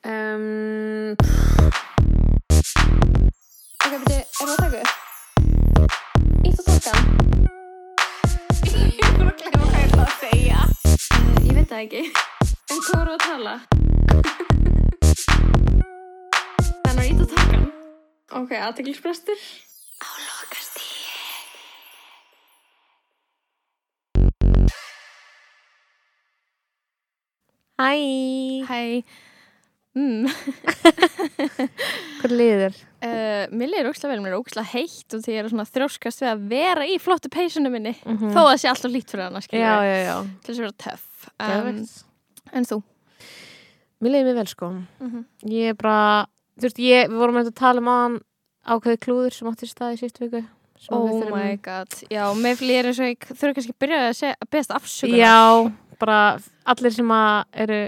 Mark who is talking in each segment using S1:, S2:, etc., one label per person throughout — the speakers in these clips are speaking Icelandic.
S1: Um, ok, beti, er það að taka upp? Ítt og tólka.
S2: Ég voru að glemma hvað ég ætla að segja.
S1: Uh, ég veit það ekki. En hvað voru að tala? Þannig að ítt og tólka. Ok, aðteglisbrestur.
S2: Á lokast í. Hæ.
S3: Hæ mm.
S2: Hvað liðir þér?
S3: uh, Mér leiður ókslega vel, mér er ókslega heitt og því ég er svona að þrjóskast við að vera í flottu peysunum minni
S1: Mhm.
S3: þó að það sé alltaf lít fyrir
S2: Mm.
S3: hana
S2: Já,
S3: skilur við,
S2: já, já.
S3: til þess að vera töff um,
S2: Um,
S3: En þú?
S2: mér leiði mér vel sko.
S3: Mhm.
S2: Ég er bara, þú veist, ég, við vorum einmitt að tala um aðan ákveði klúður sem átti staði sítt viku. sem
S3: Oh
S2: við þurfum-
S3: my god, já, mér líður eins og ég þurfa kannski að byrja að segja að beðast afsökunar
S2: Já, bara allir sem að eru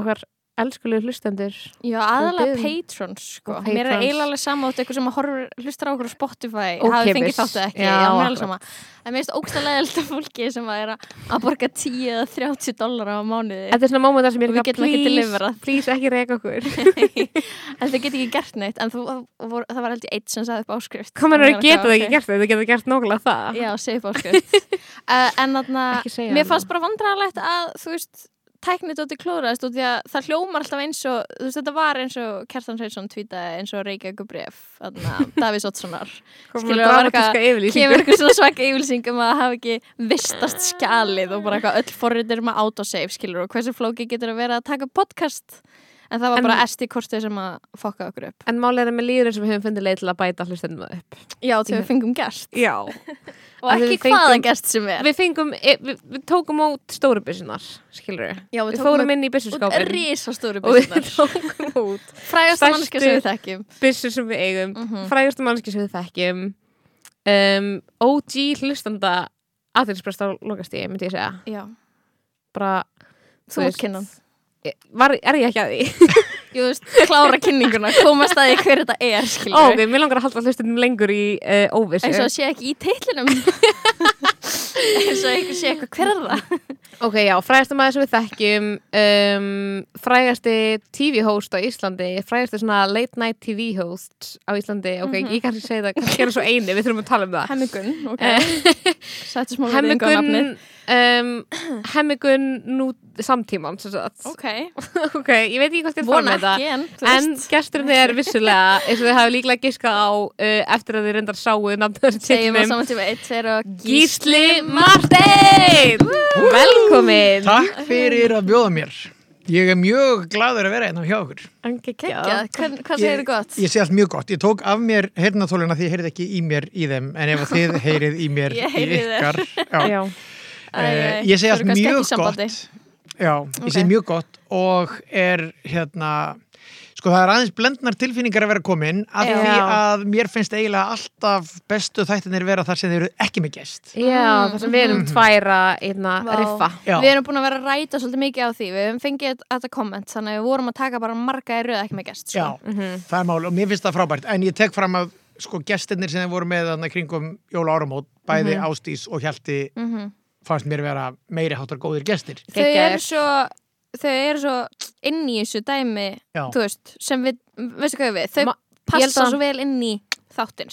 S2: okkar elskulegu hlustendur.
S3: Já, aðalega
S2: biðum.
S3: patrons sko
S2: Og
S3: Mér er
S2: patrons.
S3: eiginlega alveg sama átt eitthvað sem að horfur, hlustar á okkur á Spotify
S2: Ókeypis.
S3: hafi fengið þáttu ekki,
S2: Já,
S3: já, mér er alveg
S2: akkurat.
S3: sama Það meðist ógstælega elda fólki sem að er að- að borga 10 eða 30 dólar á mánuði
S2: Þetta er svona mómentar sem ég er
S3: Og við
S2: eitthvað,
S3: getum ekki
S2: please,
S3: deliverað."
S2: Please, ekki reyka okkur.
S3: En þau get ekki gert neitt En þú, vor, það var held ég eitt sem sagði upp áskrift
S2: Hvað maður
S3: Þannig
S2: er að geta
S3: ok,
S2: það ekki gert það? Þau geta gert nógulega það.
S3: ok. Já, segi upp áskrift uh, En þarna,
S2: Ekki segja
S3: mér
S2: það.
S3: fannst bara vandræðalegt að Þú veist, tæknið dóti klóðraðist Því að það hljómar alltaf eins og Þú veist, þetta var eins og Kjartan Sveinsson Tvítaði eins og Reykjavík bref Davís Ottssonar
S2: Hvað
S3: skilur,
S2: maður
S3: það var eitthvað-
S2: dramatíska yfirlýsingu.
S3: kemur eitthvað svona svaka yfilsing um að hafa ekki vistast skjalið og bara eitthvað öll forritir um að autosave skilur og hversu flóki getur að vera að taka upp podcast en það var
S2: En-
S3: bara esti kostið sem að fokka okkur upp
S2: En málið er að með líður eins og við höfum fundið leið til að bæta hlustendum það upp.
S3: já þegar við fengum gest
S2: Já.
S3: og
S2: Af því
S3: ekki
S2: við fengum-
S3: hvaða gest sem er
S2: Við fengum, e- við, við tókum út stóru byssunar, skilur við.
S3: já
S2: Við
S3: við
S2: fórum
S3: tókum
S2: inn í
S3: upp
S2: byssuskápin.
S3: risastóru
S2: Og við
S3: byssunar
S2: tókum út
S3: frægast mannski sem við
S2: stærstu-
S3: þekkjum
S2: byssur sem við eigum.
S3: Mhm.
S2: frægastu mannski sem við þekkjum um, OG hlustanda aðeinsprest á lokastíði, myndi ég segja
S3: já
S2: bara,
S3: þú ert kynnan
S2: ég- var, er ég ekki að því?
S3: Jú, þú veist, klára kynninguna, komast að því hver þetta er, skilur
S2: Ó, ok, mér langar að halda hlustandum lengur í uh, óvissu
S3: eins og það sé ekki í teitlinum eins og eitthvað sé eitthvað hver er það
S2: ok, já, frægastu maður sem við þekkjum um, frægasti TV-host á Íslandi frægasti svona late night TV-host á Íslandi, ok, ég kannski segi það kannski er það svo eini, við þurfum að tala um það
S3: Hemmigun, ok Sættu smá virðingu á nafnið
S2: Hemmigun um, Hemmigun nú samtíman sem sagt.
S3: Ok,
S2: ok, ég veit ekki hvað skal fara
S3: vona
S2: með þetta
S3: ekki en, þú
S2: En
S3: veist,
S2: gesturinn er vissulega eins og þið hafi líklega giskað á uh, eftir að þið reyndar sáu nafnum
S3: segjum við
S2: tilnum
S3: saman tíma 1, 2 og
S2: Gísli Marteinn Velkomin
S4: Takk fyrir að bjóða mér. Ég er mjög gladur að vera hérna hjá okkur.
S3: Gekja,
S2: Takk
S3: hvern, hvað segir þið gott?
S4: Ég sé allt mjög gott. Ég tók af mér heyrnatóluna því ég heyrði ekki í mér í þeim en ef að þið heyrið í mér
S3: Ég
S4: í
S3: heyri þér.
S4: ykkar. Já. Eh,
S2: Já,
S3: Æ, æ,
S4: Ég sé
S3: þú eru
S4: allt
S3: kannski
S4: mjög
S3: ekki í sambandi.
S4: gott. Já, ég sé
S3: Ok.
S4: mjög gott og er hérna sko það er aðeins blendnar tilfinningar að vera komin af
S2: Já.
S4: því að mér finnst eiginlega alltaf bestu þættinir vera þar sem þeir eru ekki með gest.
S2: já þar sem við erum tværa einna
S3: Vá.
S2: riffa
S4: Já.
S3: Við erum búin að vera að ræta svolítið mikið á því Við hefum fengið þetta komment Þannig að við vorum að taka bara marga í röð ekki með gest sko.
S4: Já, það er mál og mér finnst það frábært en ég tek fram að sko gestirnir sem þeir voru með þannig kringum jóla áramót bæði Ástís og Hjalti
S3: Mhm.
S4: fannst mér vera meiri háttar góðir gestir
S3: Þau
S2: Geggjaðir.
S3: eru svo Þau eru svo inn í þessu dæmi
S4: Já,
S3: Þú veist, sem við, veistu hvað ég við Þau
S2: Ma- ég held
S3: passa
S2: að-
S3: svo vel inn í þáttinn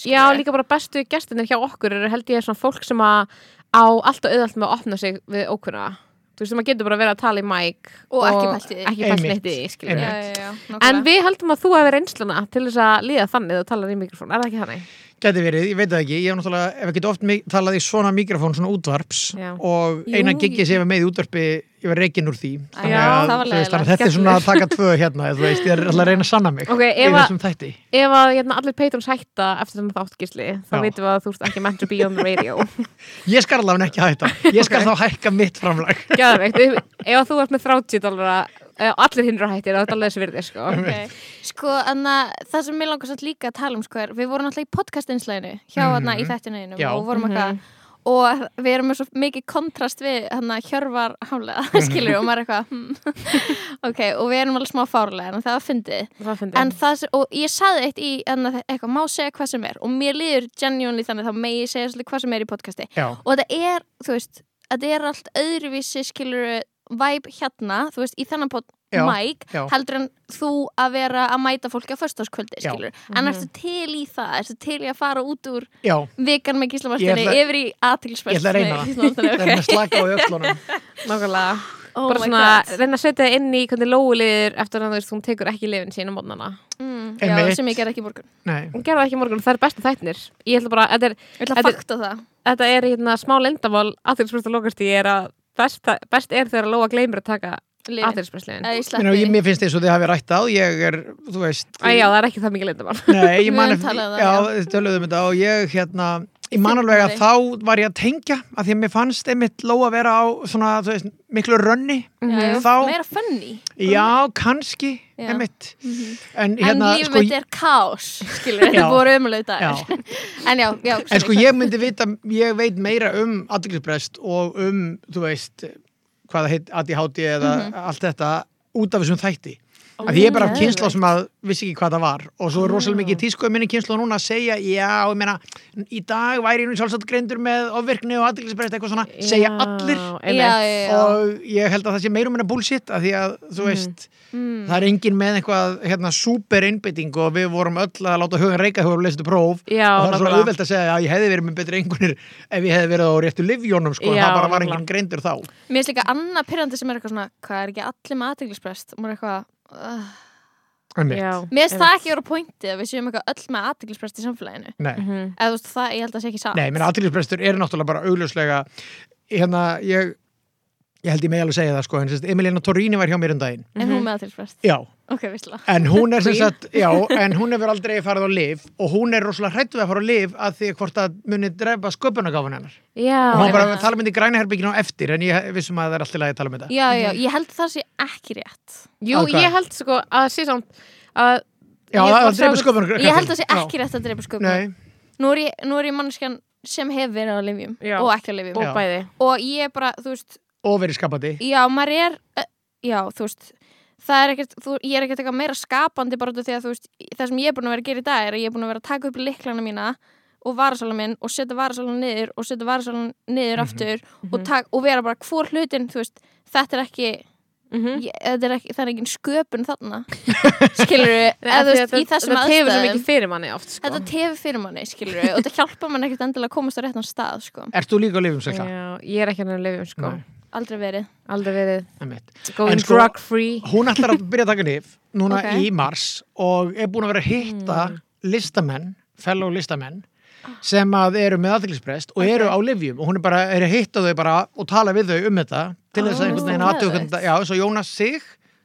S2: Já,
S3: skilurðu.
S2: líka bara bestu gestirnir hjá okkur eru held ég svona fólk sem að á allt og auðvelt með að opna sig við ókunna Þú veist, maður getur bara að vera að tala í mæk
S3: Og ekki pælt í því.
S2: Ekki pælt
S4: Einmitt.
S2: neitt í því, skilur
S3: já,
S2: við.
S4: Einmitt.
S3: já, já,
S2: En
S3: nákvæmlega.
S2: við heldum að þú hefur reynsluna til þess að líða þannig að þú talar í mikrofón, er það ekki þannig?
S4: gæti verið, ég veit það ekki ég hef náttúrulega, ef ekki oft mi- talað í svona mikrofón svona útvarps
S2: Já.
S4: og
S3: Jú,
S4: eina giggi
S3: ég-
S4: sem ég var með í útvarpi ég var reikin úr því Þannig
S2: Já,
S3: það
S4: að,
S3: var
S4: þú veist,
S3: leiðilegt.
S4: þannig að þetta er svona að taka tvö hérna eða þú veist, ég er alltaf að reyna að sanna mig
S2: Ok,
S4: í
S2: ef að-
S4: þessum þætti
S2: Ef að hérna, allir patrons hætta eftir þannig þátt gísli, þá
S4: Já.
S2: veitum við að þú ert ekki meant to be on the radio.
S4: Ég skal alveg ekki hætta, ég skal þá hækka mitt framlag
S2: Gæðveikt, ef að þú ert með 30 dólar og allir hinn eru hættir, þá er þetta alveg þessi virði, sko.
S4: Mhm.
S3: okay. Sko, anna, það sem mér langast líka að tala um sko er, við vorum alltaf í podcastinslæðinu hjá mm í þættinu einum
S4: Já.
S3: og vorum eitthvað og við erum með svo mikið kontrast við hann að hjörvar hálega, skilur og maður er eitthvað hmm. ok, og við erum alveg smá fárlega en það var fyndið
S2: Það finnst
S3: en
S2: ég.
S3: það, sem- og ég saði eitt í anna, eitthvað, má segja hvað sem er og mér líður genuinely þannig þá megi ég segja svolítið hvað sem er í podcasti
S4: Já,
S3: og þetta er, þú veist, þetta er allt öðruvísi skilur væp hérna, þú veist, í þennan pod
S4: Já,
S3: mæk
S4: já.
S3: heldur en þú að vera að mæta fólki á föstaskvöldi,
S4: Já.
S3: skilur en ertu
S2: Mhm.
S3: til í það, ertu til í að fara út úr
S4: Já,
S3: vikan með gíslamartinni
S4: Ég ætla-
S3: yfir í
S4: ég ætla að
S3: aðtilsfærsni
S4: reyna það. það er með slaka á öllunum
S2: nákvæmlega
S3: oh
S2: bara
S3: my
S2: svona,
S3: God.
S2: reyna að setja það inn í hvernig Lóu liður eftir að þú veist, hún tekur ekki lifin sín á mótnana
S3: mm, já,
S4: Einmitt.
S3: sem ég ger ekki í morgun
S4: Nei,
S2: hún gerði það ekki í morgun, það er bestu þættinir ég ætla bara, þetta er,
S3: ég ætla
S2: Þetta
S3: að
S2: er-
S3: fakta það
S2: þetta er hérna smá lindamál aðeinspresta lokast ég er að best, best er þegar Lóa gleymur að taka
S3: Lyfin.
S2: aðeinsprestlegin
S3: Eða ég
S4: Ég meina,
S3: sleppi
S4: ég- mér finnst eins og þið hafi rætt á ég er, þú veist
S2: Æjá, það er ekki það mikið lindamál
S4: Nei, ég
S3: Við
S4: man
S3: höfum
S4: eftir,
S3: talað um það,
S4: já,
S3: já.
S4: við töluðum þetta og ég hérna, ég man alveg að þá var ég að tengja að því að mér fannst einmitt lóa að vera á svona, þú veist, miklu rönni
S3: Já, já,
S4: Þá-
S3: meira funny
S4: Já, kannski,
S3: Mm-hmm. Já. Mm-hmm.
S4: einmitt En
S3: en
S4: hérna,
S3: lífið
S4: sko,
S3: mitt er kaos skilur, þetta
S4: Já.
S3: voru umlega
S4: já,
S3: dagar en já, já,
S4: en sko
S3: sorry.
S4: ég myndi vita ég veit meira um aðdeglisbrest og um, þú veist hvað það heit, ADHD eða allt þetta út af þessum þætti af því ég er bara af kynsla sem að vissi ekki hvað það var og svo er rosalega mikið í tísku í minni kynsla núna að segja, já, ég meina í dag væri ég nú sjálfsagt greindur með ofvirkni og aðdeglisbrest eitthvað svona, segja allir
S2: einmitt.
S3: já, já, já.
S4: og ég held að það sé meira og minna bullshit af því að þú veist það er engin með eitthvað hérna, super innbytting og við vorum öll að láta hugan reyka þegar við lestu próf
S2: Já,
S4: og það er svo
S2: nákvæmlega.
S4: auðvelt að segja að ég hefði verið með betri einhvernir ef ég hefði verið á réttu livjónum sko,
S2: Já,
S4: það bara var
S2: nákvæmlega.
S4: engin greindur þá
S3: mér finnst líka annað pyrrandi sem er eitthvað svona hvað er ekki allir með aðteglisprest og maður er eitthvað uh,
S4: Einmitt.
S2: Já,
S3: mér finnst það
S2: einmitt.
S3: ekki vera pointið að við séum eitthvað öll með aðteglisprest í samfélaginu
S4: Nei.
S2: Mhm.
S3: eða þú veist það, ég held að það sé ekki satt
S4: Nei, menn aðtýrlisbrestur er náttúrulega bara augljóslega hérna, ég ég held ég með alveg segja það sko, en sérst, Emilina Torrini var hjá mér um daginn
S3: en hún með aðteglisprest,
S4: Já,
S3: ok, vissla
S4: En hún er sem
S2: Queen.
S4: sagt, já, en hún hefur aldrei farið á lif og hún er rosalega hrættu við að fara á lif að því hvort að muni drefa sköpunagafan hennar.
S2: Já,
S4: og hún bara
S3: einmitt.
S4: tala um myndi græna herbygginu á eftir en ég vissum að það er alltaf lagi að tala um þetta.
S3: já, já, ég held að það sé ekki rétt
S2: Jú,
S4: Að hvað?
S2: ég held sko að sé samt að
S4: Já,
S2: Ég
S4: það
S2: bara
S4: að drefa
S2: sjá-
S4: sköpunagafan.
S3: ég held að það sé ekki rétt að dreipa sköpun
S4: Nei,
S3: nú er ég, nú er ég mannskjan sem hef verið á livjum
S2: Já.
S3: og ekki á livjum
S2: og
S4: Já.
S2: bæði
S3: og ég er bara, þú veist,
S4: og verið skapandi.
S3: já, maður er eh, já, þú veist það er ekkert, þú, ég er ekkert eitthvað meira skapandi bara út af því að þú veist, það sem ég er búin að vera að gera í dag er að ég er búin að vera að taka upp liklana mína og varasalan minn og setja varasalan niður og setja varasalan niður
S4: Mhm.
S3: aftur og, tak, og vera bara hvor hlutin, þú veist þetta er ekki,
S2: mm
S4: Mhm.
S2: -hmm.
S3: ég, þetta er ekki það er ekki sköpun þarna skilur við, eða þú veist, í þessum
S2: Það tefur svo
S3: aðstæðum
S2: mikið fyrir manni oft sko.
S3: þetta tefur fyrir manni, skilur við og þetta hjálpa mann ekkert endilega að komast á réttan stað sko.
S4: Ert þú líka á lifum, Sækla?
S2: Já, ég er ekki hann að lifum sko
S4: Nei.
S3: aldrei verið
S2: Aldrei verið
S4: Einmitt. En
S2: going
S4: sko-
S2: drug free
S4: Hún ætlar að byrja að taka lif núna
S3: Ok.
S4: í mars og er búin að vera að hitta
S2: Mm.
S4: listamenn, fellow listamenn
S2: Ah.
S4: sem að eru með aðtæklisprest og eru á livjum og hún er bara, er að hitta þau bara og tala við þau um þetta til
S3: Ó,
S4: þess
S2: Ah.
S4: að einhvern veginn aðtöku
S3: geðveikt.
S4: hvernig þetta, já, svo Jónas Sig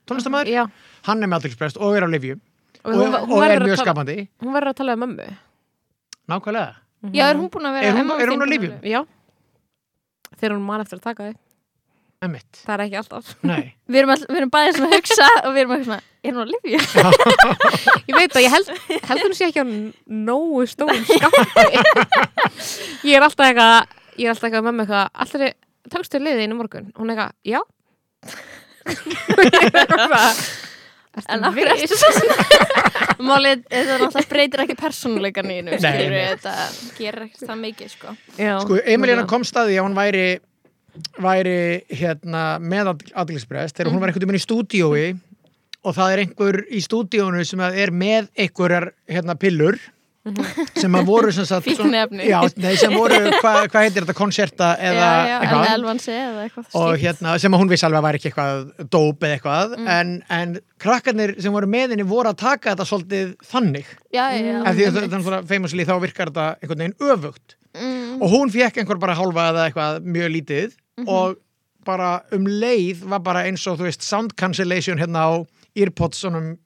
S4: tónlistamæður,
S2: Já,
S4: hann er með aðtæklisprest og er á livjum
S2: og
S4: og,
S2: hún,
S4: og,
S2: hún,
S4: er
S2: verður
S4: mjög
S2: að tala,
S4: skapandi
S2: hún verður að tala um mömmu
S4: nákvæmlega,
S3: já, er hún búin að vera
S4: Mhm. Er hún-
S3: Emma
S4: er hún á
S3: Þín búin
S4: lyfjum?
S3: vera-
S2: Já Þegar hún man eftir að taka þig
S4: emmitt
S2: Það er ekki alltaf
S4: Nei,
S3: Við erum, all, við erum bæðið svona að hugsa og við erum að hugsa, er hún að lifja?
S2: Ég veit að ég held, held hún sé ekki á nógu stórum skampi Ég er alltaf eitthvað Ég er alltaf eitthvað með mig eitthvað Alltaf tókstu liðið þínu í morgun Hún er eitthvað, já
S3: En af hverju ertu svo svona? Málið, þetta náttúrulega breytir ekki persónuleikan í hennu,
S4: Nei,
S3: skilur við,
S4: nei.
S3: þetta gerir ekkert það mikið, sko.
S2: Já,
S4: sko Emilina
S2: nákvæmlega.
S4: kom staði að hún væri væri hérna með aðdeglisprest þegar hún
S3: Mhm.
S4: var einhvern veginn í stúdíói og það er einhver í stúdíónu sem að er með einhverjar hérna pillur
S3: Mhm.
S4: sem að voru sem sagt
S3: Fíkniefni.
S4: já, nei, sem voru, hvað hva heitir þetta, konserta eða
S3: já, já,
S4: eitthvað
S3: en elvansi eða eitthvað
S4: og
S3: slíkt.
S4: hérna, sem að hún vissi alveg að væri ekki eitthvað dóp eða eitthvað
S3: Mm.
S4: en, en krakkarnir sem voru með henni voru að taka þetta svolítið þannig
S3: Já, já, já.
S4: af því að þannig svona famously þá virkar þetta einhvern veginn öfugt
S3: Mm.
S4: og hún fekk einhver bara hálfa eða eitthvað mjög lítið
S2: Mhm.
S4: og bara um leið var bara eins og þú veist sound cancellation hérna á earpodsunum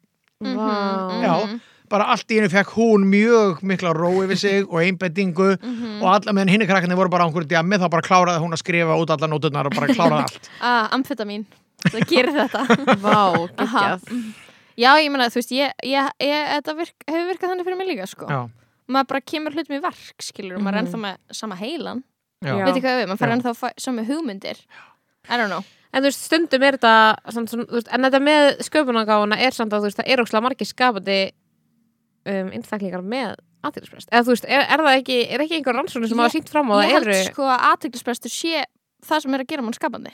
S2: Vá.
S4: já, bara allt í hennu fekk hún mjög mikla ró yfir sig og einbettingu
S2: Mhm.
S4: og alla meðan hinni krakkarnir voru bara á einhverju djami þá bara kláraði hún að skrifa út alla nóturnar og bara kláraði allt
S3: Ah, amfetamín, það gerir þetta.
S2: Vá,
S3: Aha.
S2: geggjað
S3: Já, ég meina, þú veist, ég, ég, ég, þetta virk, hefur virkað þannig fyrir mig líka, sko.
S4: já,
S3: Maður bara kemur hlutum í verk, skilur, maður er ennþá með sama heilan.
S4: já,
S2: Já.
S4: já.
S3: Veit ekki hvað við, maður fær
S4: Já.
S3: ennþá að fá sömu hugmyndir. I don't know.
S2: En þú veist, stundum er þetta samt, svona, þú veist, En þetta með sköpunagáfuna er samt að þú veist, það er ókslega margir skapandi um, einstaklingar með aðtilsprest Eða þú veist, er, er það ekki, er ekki einhver rannsóknir sem
S3: Ég-
S2: hafa sínt fram á það
S3: ég held
S2: eru
S3: sko að aðteglisbrestur sé það sem er að gera mann skapandi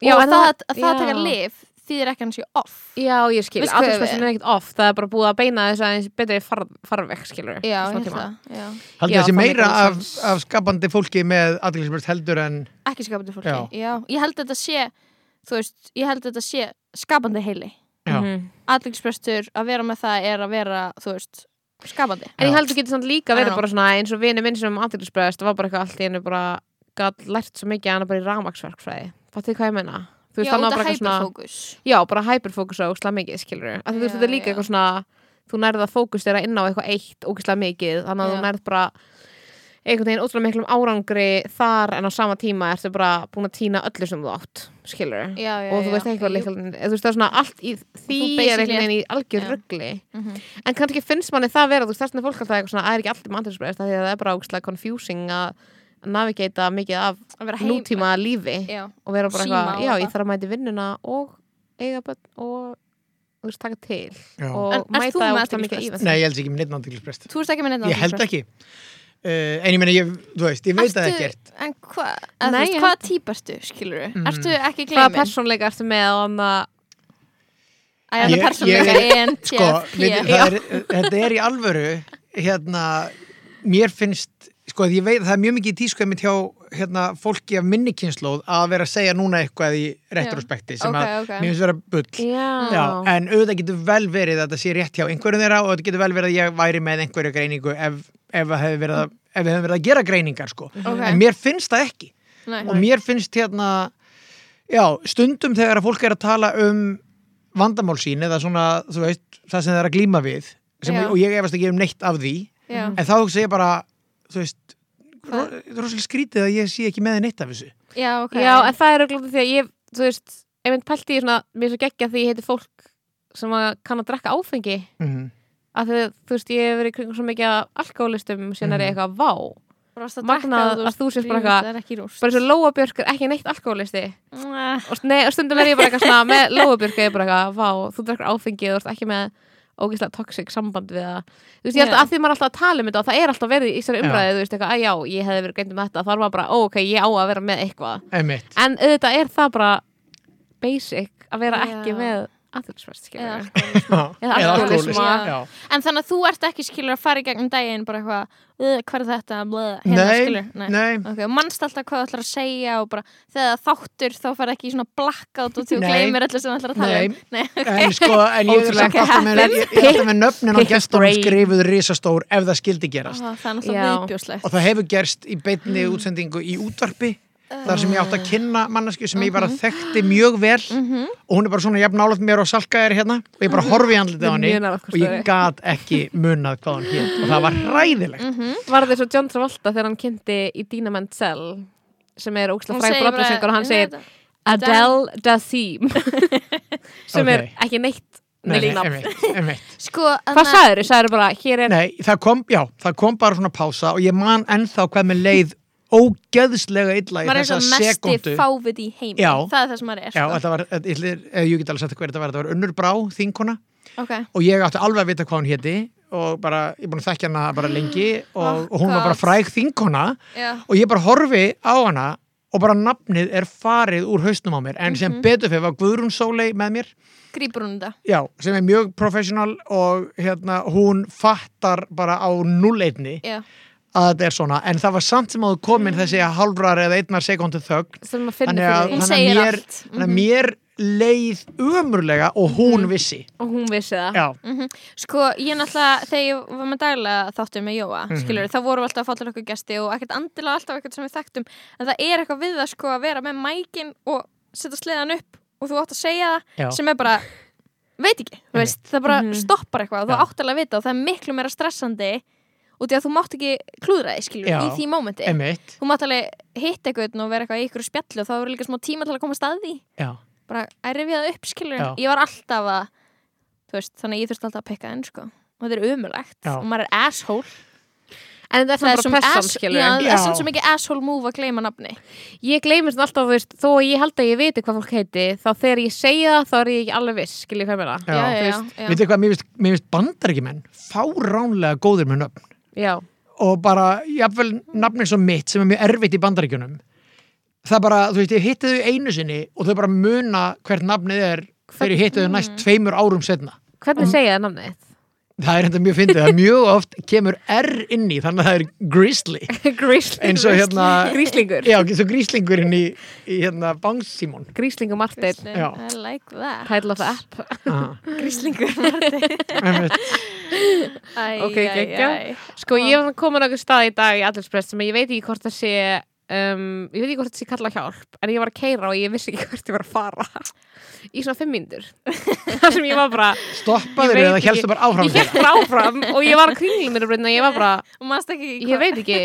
S2: Já,
S3: og
S2: en
S3: það, að það
S2: já.
S3: taka lif þýðir ekki að hann sé off
S2: Já, ég skil,
S3: Veistu hvað ég-
S2: aðeinsbæslan er ekkert off það er bara búið að beina þess aðeins betri far, farveg skilur
S3: Já, ég held það já.
S4: Haldið
S2: Já,
S4: þessi
S2: það
S4: meira
S2: mikið
S4: af,
S2: sens.
S4: af skapandi fólki með aðeinsbrest heldur en
S3: Ekki skapandi fólki
S4: Já.
S3: já. Ég held þetta sé Þú veist, ég held þetta sé skapandi heili
S4: Já.
S2: Mhm.
S3: Aðlingsprestur að vera með það er að vera Þú veist, skapandi
S2: En ég
S4: Já.
S2: held þú getur samt líka
S3: I don't
S2: verið
S3: know.
S2: bara svona eins og vini minn sem aðeinsbæst var bara eitthvað allt í hennu bara gæt lært svo mikið að hann bara í ramagsverkfræði Fattu hvað ég menna? Þú
S3: Já,
S2: hann var
S3: þetta
S2: bara eitthvað svona-
S3: hyperfókus
S2: já, bara hyperfókusa ógislega mikið, skilur við þú veist,
S3: Já,
S2: þetta er líka
S3: já.
S2: eitthvað svona þú nærð að fókus þér að inn á eitthvað eitt ógislega mikið, þannig að
S3: Já.
S2: þú nærð bara einhvern veginn ótrúlega miklum árangri þar en á sama tíma ertu bara búin að týna öllu sem þú átt, skilur við
S3: Já, já,
S2: og þú
S3: já.
S2: veist eitthvað
S3: Jú.
S2: líka þú veist það er svona allt í því
S3: þú
S2: er
S3: basically
S2: einhvern veginn í algjör
S3: Já.
S2: ruggli
S3: Mhm.
S2: en kannski finnst manni það vera þú veist þessna fólk alltaf eitthvað svona, "Æ, er ekki allir með andrisbreyðist því að það er bara ógislega confusing að navigata mikið af
S3: Að vera heim-
S2: nútíma lífi
S3: Já,
S2: og vera bara
S3: Síma
S2: eitthvað,
S3: og
S2: já, ég
S3: eitthvað.
S2: þarf að mæta í vinnuna og eiga börn og þú veist, taka til
S4: Já.
S2: og
S3: En ert þú
S2: mæta
S3: með
S2: og
S3: athyglisbrest?
S2: mikið í það
S4: Nei, ég held sér ekki með neitt aðeinsbrest
S3: þú veist ekki með neitt
S4: Ég held ekki uh, En ég meina, ég, þú veist, ég veit það ekkert
S3: En hvað, eða þú
S2: Nei,
S3: veist,
S2: ég
S3: hvaða típ ertu, skilur
S4: Mm.
S3: Ertu ekki
S2: hvaða
S3: gleymin?
S2: persónleika ertu með og hann að
S3: Æ, E hann
S4: Ég-
S3: er persónleika
S4: ég- Sko, við,
S3: ENTFP
S4: það er, þetta er í alvöru hérna, mér finnst sko, ég veit, það er mjög mikið í tísku einmitt hjá hérna, fólki af minni kynnslóð að vera að segja núna eitthvað í retrospekti sem
S3: ok,
S4: að
S3: ok.
S4: mér finnst vera bull
S2: já,
S4: Já, en auðvitað getur vel verið að þetta sé rétt hjá einhverjum þeirra og þetta getur vel verið að ég væri með einhverju greiningu ef, ef, það hefði verið að, ef við hefum verið að gera greiningar sko.
S3: Ok.
S4: en mér finnst það ekki
S3: Nei.
S4: og mér finnst hérna já, stundum þegar að fólk er að tala um vandamál sín eða svona, þú veist, það sem það er að glíma við sem,
S3: Já.
S4: og ég efast ekki um neitt af því
S3: Já.
S4: en þá hugsa ég bara, þú veist ro- rosalega skrítið að ég sé ekki með neitt af þessu
S3: Já, ok
S2: já, en það er auðvitað því að ég þú veist, ef minn pælti í svona mér er svo geggja því ég heiti fólk sem að kann að drekka áfengi
S4: mm -hmm.
S2: að því, að, þú veist, ég hef verið í kringum svo mikið af alkoholistum, síðan er ég eitthvað vá
S3: Brosta
S2: Magnað
S3: drekka
S2: að þú sért bara
S3: rýmist,
S2: eitthvað-
S3: Það er ekki rúst
S2: bara eins og Lóa Björk er ekki neitt alkoholisti
S3: Mwah.
S2: og, st- nei, og stundum er ég bara eitthvað svona með Lóabjörg er ég bara eitthvað, vá, þú drekkur áfengi og þú ert ekki með ógeðslega toxic samband við það þú veist, ég held
S3: Já.
S2: að að því maður er alltaf að tala um þetta og það er alltaf verið í þessari umræði, þú veist, eitthvað, að já, ég hefði verið gændið með þetta, þá er maður bara, ó, ok, ég á að vera með eitthvað,
S4: einmitt
S2: en auðvitað er það bara basic að vera
S3: Já.
S2: ekki með aðhilsverst,
S3: Eða
S2: skilur
S3: alkohólisma.
S2: Eða
S3: alkohólisma.
S4: alkohólisma,
S3: Já.
S4: já.
S3: En þannig að þú ert ekki skilur að fara í gegnum daginn bara eitthvað, "Ugh, hvað er þetta, blöð, hérna
S4: Nei,
S3: skilur
S4: nei,
S3: Ok, og mannst alltaf hvað þú ætlar að segja og bara þegar þáttur þá fara ekki í svona blackout og þú
S4: Nei.
S3: gleymir öllu sem þú ætlar að tala um Nei,
S4: en sko, en ég er
S2: Ótrúlega.
S4: samt alltaf með, ég, ég er alltaf með nöfnin á
S2: Pick
S4: gestunum
S2: brain.
S4: skrifuð risastór ef það skildi gerast
S3: Ó, það er
S2: Já.
S3: náttúrulega viðbjóslegt
S4: og það hefur gerst í beinni útsendingu í útvarpi þar sem ég átt að kynna mannesku sem ég bara þekkti mjög vel og hún er bara svona jafn nálaðt mér og salka er hérna og ég bara horfi í andlitið
S2: Við
S4: á henni
S2: munar okkur
S4: og ég
S2: stöðu.
S4: gat ekki munað hvað hann hétt og það var ræðilegt
S2: var þess að John Travolta þegar hann kynnti í Dina Menzel sem er ógeðslega
S3: Hún
S2: fræg
S3: segir bara, um
S2: brottlæsingur og hann
S3: "Ég
S2: segir
S3: veit það."
S2: Adele Dazeem sem er
S4: Ok.
S2: ekki neitt
S4: Nei,
S2: neitt
S4: nei,
S2: nafn.
S4: einmitt, einmitt.
S3: Sko,
S2: Hvað sagður? Sagður bara, hér er
S4: nei, það kom, já, það kom bara svona pása og ég man ennþá hvað með leið ógeðslega illa í
S3: maður er
S4: þessa
S3: svo mesti
S4: sekundu
S3: fávit í heim
S4: Já.
S3: Það er það sem maður er
S4: Já,
S3: sko.
S4: þetta var, þetta- ég ætli- eh, ég get alveg sagt hver þetta var, þetta var Unnur Brá, þinkona
S3: Ok.
S4: og ég átti alveg að vita hvað hún héti og bara, ég er búin að þekkja hana bara lengi og,
S3: Oh,
S4: og hún var bara
S3: God.
S4: fræg þingona
S3: Já.
S4: og ég bara horfi á hana og bara nafnið er farið úr hausnum á mér en sem
S3: Mhm.
S4: betur fyrir var Guðrún Sóley með mér
S3: Grípur hún þetta
S4: já, sem er mjög professional og hérna, hún fattar bara á nulleinni
S3: Já. Mhm.
S4: að þetta er svona, en það var samt sem áður komin þessi að hálfrar eða einnar sekundu þögn
S2: sem maður
S4: þannig
S2: finnir
S4: að,
S2: fyrir
S3: Hún
S2: því
S4: þannig að
S3: segir
S4: mér,
S3: allt. Mhm.
S4: þannig að mér leið umurlega og hún vissi
S2: og hún vissi það
S3: Mhm.
S4: já,
S3: Sko, ég náttúrulega, þegar ég var með daglega þáttum með Jóa,
S4: Mhm.
S3: mm þá vorum við alltaf að fá til okkur gesti og ekkert andilega alltaf ekkert sem við þekktum en það er eitthvað við það sko að vera með mækin og setja sleðan upp og þú átt að segja það
S4: Já. Mhm.
S3: sem er bara veit ekki, þú veist, það bara stoppar eitthvað og þú
S4: Já.
S3: átt alveg að vita og það er miklu meira stressandi út í að þú mátt ekki klúðra þig skilur
S4: Já.
S3: í því mómenti
S4: emitt
S3: þú mátt alveg hitta eitthvað og vera eitthvað í ykkur spjalli og þá eru líka smá tíma til að koma að því
S4: já
S3: bara að rifja það upp skilur
S4: Já.
S3: ég var alltaf að þú veist, þannig að ég þurfti alltaf að pikka enn sko. og þetta er umulagt
S4: Já.
S3: og maður er asshole
S2: en þetta er
S3: það
S2: svona
S3: er
S2: bara
S3: ass-
S2: pessan
S3: já,
S2: skilur
S3: það
S4: Já.
S3: er samt svo mikið asshole move að gleyma nafni
S2: ég gleymist alltaf, þú veist, þó að ég held að ég viti hvað fólk heiti, þá þegar ég segja það þá er ég ekki alveg viss, skilur ég hvað mér það
S4: Já,
S3: já, já,
S2: veist,
S3: já.
S4: Vitið hvað, mér finnst, mér finnst bandaríkjumenn fáránlega góðir með nöfn
S2: já,
S4: og bara, jafnvel nafn eins og mitt sem er mjög erfitt í bandaríkjunum það bara, þú veist, ég hitti þau einu sinni og þau bara muna hvert nafnið er þegar ég hitti þau
S2: Mm.
S4: næst tveimur árum setna
S2: Hvernig segja það namnið? þitt?
S4: það er enda mjög fyndið, það er mjög oft kemur R inn í, þannig að það er grizzly
S2: Gríslingur
S4: eins og hérna
S2: Gríslingur
S4: já, eins og gríslingurinn í, í hérna bangsímon
S2: Gríslingur Martin
S3: Kristinn,
S4: Já.
S3: I like that
S2: Title of the app
S3: Gríslingur Æ,
S2: Ok,
S3: æ,
S2: geggjað.
S3: æ.
S2: Sko ég var komin á einhver stað í dag í Adelspress sem ég veit ekki hvort það sé um, ég veit ekki hvort það sé kalla á hjálp en ég var að keira og ég vissi ekki hvort ég var að fara í svona fimm myndur þar sem ég var bara Ég
S4: stoppaður
S2: veit
S4: eða
S2: ekki.
S4: helstu bara áfram
S2: ég held bara áfram og ég var að kringlu mér og ég var bara
S3: Og maður ekki
S2: ég veit ekki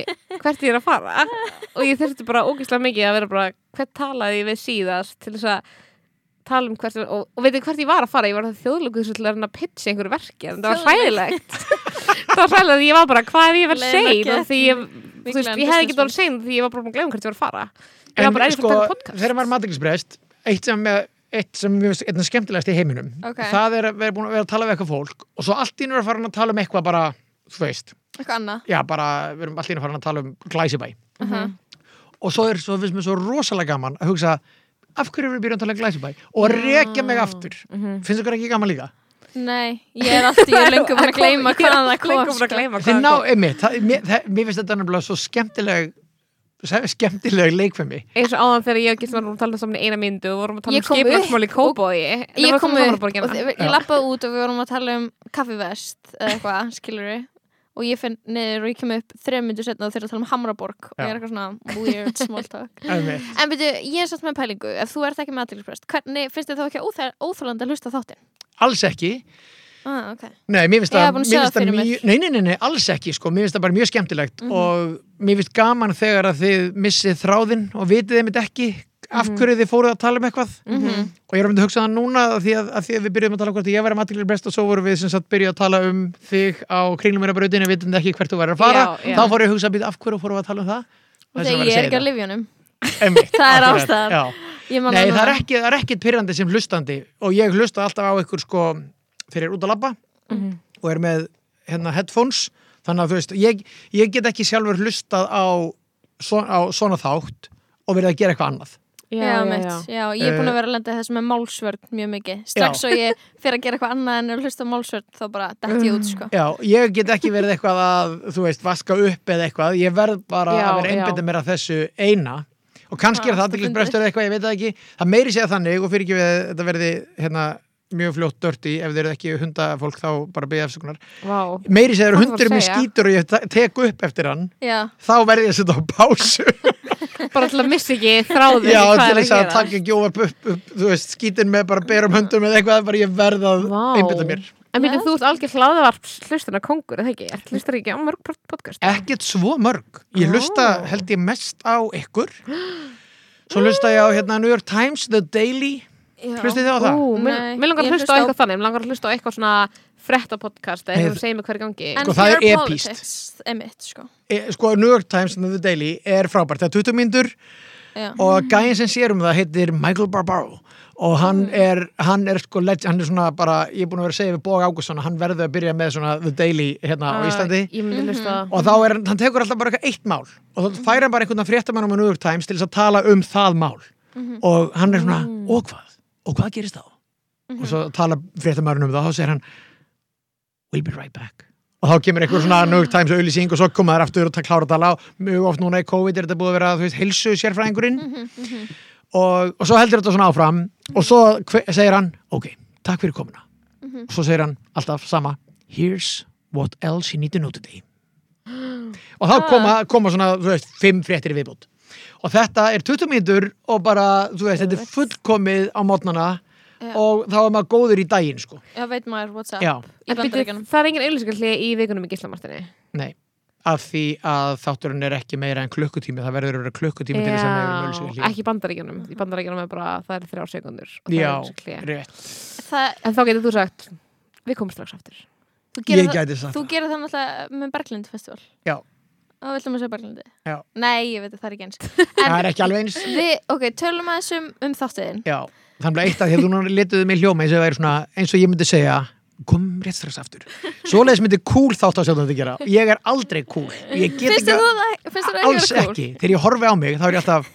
S2: hvert ég er að fara og ég þurfti bara ógeðslega mikið að vera bara hvert talaði ég við síðast til þess að tala um hvert og, og veitir hvert ég var að fara, ég var að þjóðlöku þess að reyna að pitcha einhverju verki en það var hræðilegt það var hræðilegt, ég var bara hvað ef ég verð
S3: Leiðin að
S2: sein
S3: geta-
S2: af því ég, þú veist,
S3: Miklan
S2: ég hefði ekki
S3: businessman.
S2: dálf sein því ég var bara búin að glemja hvert ég var að fara ég var
S4: en
S2: bara eða fyrir
S4: sko,
S2: að tala um podcast
S4: þegar maður er matriksbrest eitt sem, er- eitt sem er eitthvað skemmtilegast í heiminum
S3: Ok.
S4: það er að vera búin að vera að tala við eitthvað fólk og svo allt í einu er að fara að tala um eitthvað bara, þú veist,
S3: Eitthvað annað
S4: já bara við erum allt í einu að fara að tala um glæsibæ
S3: Mhm.
S4: og svo er, svo finnst mér svo rosalega gaman að hugsa, af hverju erum við byrjum að tala um glæsibæ og
S2: Mm.
S4: að rekja mig aftur
S2: Mhm.
S4: finnst ykkur ekki gaman líka?
S3: Nei, ég er alltaf, ég er lengur bara að gleyma hvaðan það kom
S2: Lengur bara að
S3: sko.
S2: gleyma
S4: Þeir
S2: hvaðan
S4: ná,
S2: það kom.
S4: einmitt, það, mér, það, mér finnst þetta nefnilega svo skemmtileg skemmtileg leikfemi
S2: eins og áðan þegar ég og Gísla vorum að tala um saman í eina myndu og vorum að tala
S3: Ég
S2: um
S3: kom upp
S2: skipulagsmál í Kópavogi Nei,
S3: Ég
S2: vorum
S3: kom
S2: að tala um
S3: upp og
S2: Hamborgina.
S3: þið- ég
S4: Já.
S3: lappaði út og við vorum að tala um kaffivest eða eitthvað, skilur við og ég finn niður og ég kem upp þrejum myndu setna og þeir eru að tala um Hamraborg og ég er eitthvað svona weird small talk
S4: einmitt.
S3: En byrju, ég er satt með pælingu, ef þú ert ekki með aðdýlisprest hvernig finnst þið þá ekki óþæ- óþolandi að hlusta á þáttinn?
S4: alls ekki
S3: Ah, ok
S4: Nei, mér finnst
S3: Ég
S4: það,
S3: var búin að sjá
S4: mér
S3: það
S4: finnst það
S3: fyrir mér. Mhm.
S4: mjög, nei, nei, nei, nei, alls ekki, sko, mér finnst það bara mjög skemmtilegt og mér finnst gaman þegar að þið missið þráðinn og vitið þeim ekki af
S3: Mhm.
S4: hverju þið fóruð að tala um eitthvað og ég er að mynda að hugsa það núna að því að, að því að við byrjum að tala um hvort ég var um aðtýrlega brest og svo vorum við sem sagt byrjuð að tala um þig á kringlumirabrautinu, vitandi ekki hvert þú verður að fara,
S2: Já, já.
S4: þá fór ég að hugsa að af hverju fórum við að tala um það
S3: Og þegar ég er ekki að lifa í honum
S4: Einmitt,
S3: Það er
S4: akkurat,
S3: ástæðan.
S4: já.
S3: Ég man
S4: Nei,
S3: núna.
S4: það er, ekki, það er ekkit pyrrandi sem hlustandi og ég hlusta alltaf á ykkur sko þegar ég er út að labba og er með hérna headphones þannig að þú veist, ég, ég get ekki sjálfur hlustað á, svo, á svona þátt og verið að gera eitthvað annað
S3: Já, mitt, já, ég er búin
S4: Uh,
S3: að vera að lenda í þessu með málsvörn mjög mikið Strax og ég fyrir að gera eitthvað annað en að hlusta á málsvörn þá bara dætt ég út, sko
S4: Já, ég get ekki verið eitthvað að þú veist, vaska upp eða eitthvað ég verð bara
S2: Já,
S4: að vera einbytta
S2: já.
S4: mér að þessu eina og
S3: Ha,
S4: kannski er það
S3: stundum.
S4: aðdeglisbrestur eða eitthvað, ég veit það ekki það meiri segja þannig og fyrir ekki við þetta verði hérna, mjög fljótt dörti ef þeir eru ekki hundafólk þá bara byggja afsökunar
S2: Vá.
S4: meiri segir
S2: Hvað þú
S4: hundur
S2: var að
S4: mér
S2: segja?
S4: skýtur og ég ta- tek upp eftir hann
S3: Já,
S4: þá verði ég að setja á pásu
S2: bara til að missa ekki þráðin
S4: já,
S2: í hvað
S4: til
S2: er að
S4: þess að
S2: gera.
S4: taka ekki óvart upp, upp þú veist, skýtin með bara berum höndum eða eitthvað, bara ég verð að
S2: Vá.
S4: einbytta mér
S2: En býttu, þú ert algjör hlaðvarp hlustuna kongur, eða ekki? Ert Hlustar ekki á mörg pro- podcast?
S4: ekkert svo mörg ég
S2: Ó.
S4: hlusta held ég mest á ykkur svo hlusta ég á hérna New York Times, The Daily
S3: já
S4: hlusta þið á það?
S2: Ú,
S3: Nei,
S2: mér mér langar að hlusta á
S3: ég hlusta á-
S2: eitthvað þannig, mér langar að hlusta á eitthvað svona frekta podcast eða
S4: Nei,
S2: eitthvað sem segir mig hver gangi.
S3: En
S4: Sko, það er
S3: pure
S4: epíst.
S3: politics, Emitt, sko
S4: E, sko New York Times and The Daily er frábært, það er 20 myndur
S3: Já.
S4: og gæðin sem sér um það heitir Michael Barbaro og hann
S2: Mm.
S4: er, hann er sko legend, hann er svona bara, ég er búin að vera að segja við Bóga Ágússon að hann verður að byrja með svona The Daily hérna á
S2: Ah,
S4: Íslandi
S2: Ég myndi hlusta á
S3: Mhm.
S2: það.
S4: og þá er hann, hann tekur alltaf bara eitthvað eitt mál og
S2: Mm.
S4: þá fær hann bara einhvern fréttamann um New York Times til þess að tala um það mál
S2: Mhm.
S4: og hann er svona,
S2: Mm.
S4: og hvað? Og hvað gerist þá?
S2: Mhm.
S4: Og svo tala fréttamann um það og þá segir hann We'll be right back og þá kemur einhver svona New York Times auðlýsing og svo koma þær aftur og ta- klára að tala og mjög oft núna í COVID er þetta búið að vera, þú veist, heilsu sérfræðingurinn og, og svo heldur þetta svona áfram og svo hve- segir hann ok, takk fyrir komuna og svo segir hann alltaf sama Here's what else you need to know today og þá koma, koma svona, þú veist, fimm fréttir í viðbútt og þetta er 20 mínútur og bara, þú veist, þetta er fullkomið á mótnana
S3: Já.
S4: og þá er maður góður í daginn, sko
S3: Já, veit maður, what's up
S4: Já.
S3: Í
S2: En býttu,
S3: bandaríkjanum
S2: það er engin auðlýsingarhlið í vikunum í Gíslamartinni.
S4: nei, af því að þátturinn er ekki meira en klukkutími það verður að vera klukkutími til þess að meira um en öllu
S2: Ehm, ekki í bandaríkjunum. Í bandaríkjunum er bara, það er þrjá sekundur.
S4: Já, rétt
S3: Það,
S2: En þá getur þú sagt, við komum strax aftur.
S3: þú
S4: Ég
S3: gerir það,
S4: gæti sagt
S3: þú gerir það náttúrulega með Berglind festival
S4: Já.
S3: Og við ætlum að segja Berglindi
S4: Já.
S3: Nei, ég veit að það er ekki eins
S4: Það er ekki alveg eins
S3: Við, ok, tölum aðeins um, um þáttiðin
S4: Já, þannig að eitt að því að þú núna letiðu mig hljóma eins og, það væri svona, eins og ég myndi segja kom rétt strax aftur Svoleiðis myndi cool þátt að sjá þetta gera Ég er aldrei cool Ég get
S3: Finnst
S4: ekki-
S3: þér þú það, finnst þér það
S4: alls
S3: vera cool?
S4: ekki, þegar ég horfi á mig þá er ég alltaf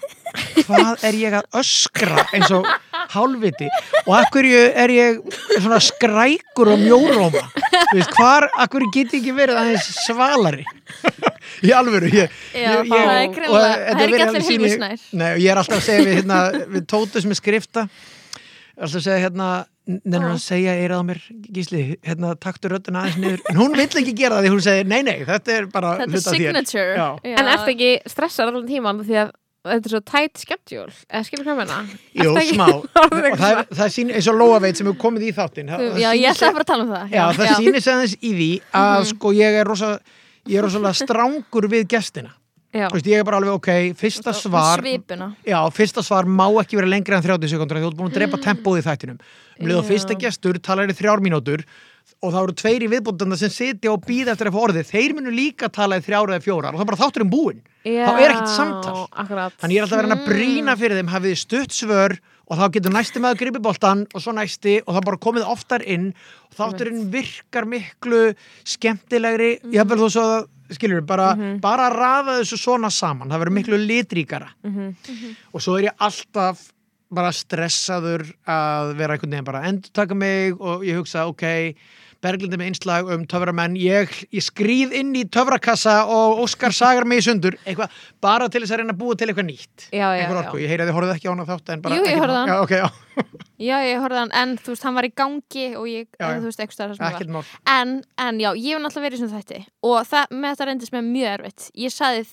S4: hvað er ég að öskra eins og hálfviti og af hverju er ég svona skrækur og mjóróma Þú veist, hvar, af hverju get ég ekki verið aðeins svalari í alvöru ég,
S3: Já, það er greinilega-
S4: og
S3: það
S4: þetta
S3: er ekki
S4: verið
S3: allir
S4: alveg sýni-
S3: Hilmisnær.
S4: Nei, og ég er alltaf að segja við, hérna, við Tótu sem er skrifta alltaf að segja hérna nefnir hann að segja eirað á mér gísli, hérna taktu röddina aðeins niður en hún vill ekki gera það því hún segir nei, nei, þetta er bara
S3: Þetta er
S4: hluti af þér."
S3: signature
S4: Já.
S3: Já.
S2: En ertu ekki stressað allan tíman því að þetta er svo tætt schedule eða skilur hvað menna
S4: Jú,
S2: Ertu ekki-
S4: smá og
S2: Orðin eitthvað
S4: það, er- það er sín, eins og Lóa veit sem hefur komið í þáttinn það-
S3: Þú-
S4: það
S3: Já, ég
S4: sýnir
S3: ætla
S4: sig-
S3: að fara að tala um það
S4: Já, það sýnir sig aðeins í því að sko ég er rosa ég er rosalega strángur við gestina
S2: Já,
S4: Þú veist, ég er bara alveg ok, fyrsta svar
S3: Svipuna
S4: Já, fyrsta svar má ekki vera lengri en 30 sekundur því þú ert búin að drepa tempóið í þættinum um leið og fyrsta gestur talar í þrjár mínútur og þá eru tveir í viðbúndanda sem sitja og býða eftir að fá orðið, þeir munu líka tala í þrjár eða fjórar og þá er bara þátturinn búinn þá er ekkert samtal
S2: akkurat.
S4: Þannig ég er alltaf að vera að brýna fyrir þeim, hafið þið stutt svör og þá getur næsti maður gripið boltan og svo næsti og þá bara komið oftar inn og þátturinn virkar miklu skemmtilegri, ég hafði þú svo að, skilur, bara, bara að rafa þessu svona saman, það verður miklu litríkara og svo er ég alltaf bara stressaður að vera einhvern veginn bara að endurtaka mig og ég hugsa, ok, Berglindi með einslag um töframenn, ég, ég skrýð inn í töfrakassa og Óskar sagar mig í sundur, eitthvað, bara til þess að reyna að búa til eitthvað nýtt.
S2: Já, já,
S4: Einhver orku.
S2: já.
S4: Ég heyri að þið horfðu ekki á hana þátt en bara
S3: Jú, ég
S4: ekki-
S3: horfði á hana.
S4: Já, ok, já,
S3: Já, ég horfði á hann, en þú veist, hann var í gangi og ég,
S4: Já, já.
S3: eða, þú veist, ekki stærðar sem ég var
S4: ekkert mál.
S3: en, en já, ég hef náttúrulega verið í svona þætti og það, með þetta reyndist mér mjög erfitt ég sagði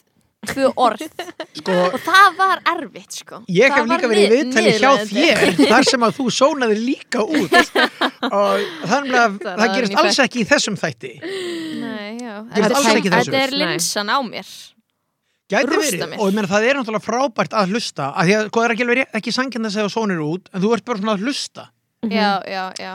S3: tvö orð
S4: Sko,
S3: og það var erfitt, sko
S4: ég
S3: Það
S4: hef
S3: var
S4: líka verið í
S3: nið-
S4: viðtali hjá
S3: niðurlægjandi.
S4: þér þar sem að þú sónaði líka út og þannig að
S3: Það er
S4: það
S3: ný
S4: gerist
S3: fakt.
S4: alls ekki í þessum þætti.
S3: Nei, já.
S4: Ég
S2: er
S3: Þetta
S2: alls
S3: er-
S2: ekki
S4: þessu.
S3: Þetta er
S2: Nei.
S3: linsan á mér
S4: Gæti
S3: Rústa
S4: verið,
S3: mér.
S4: og ég meina það er náttúrulega frábært að hlusta, að því að, sko, það er ekki alveg ré- ekki sangin að segja sónir út, en þú ert bara svona að hlusta.
S3: Já, já, já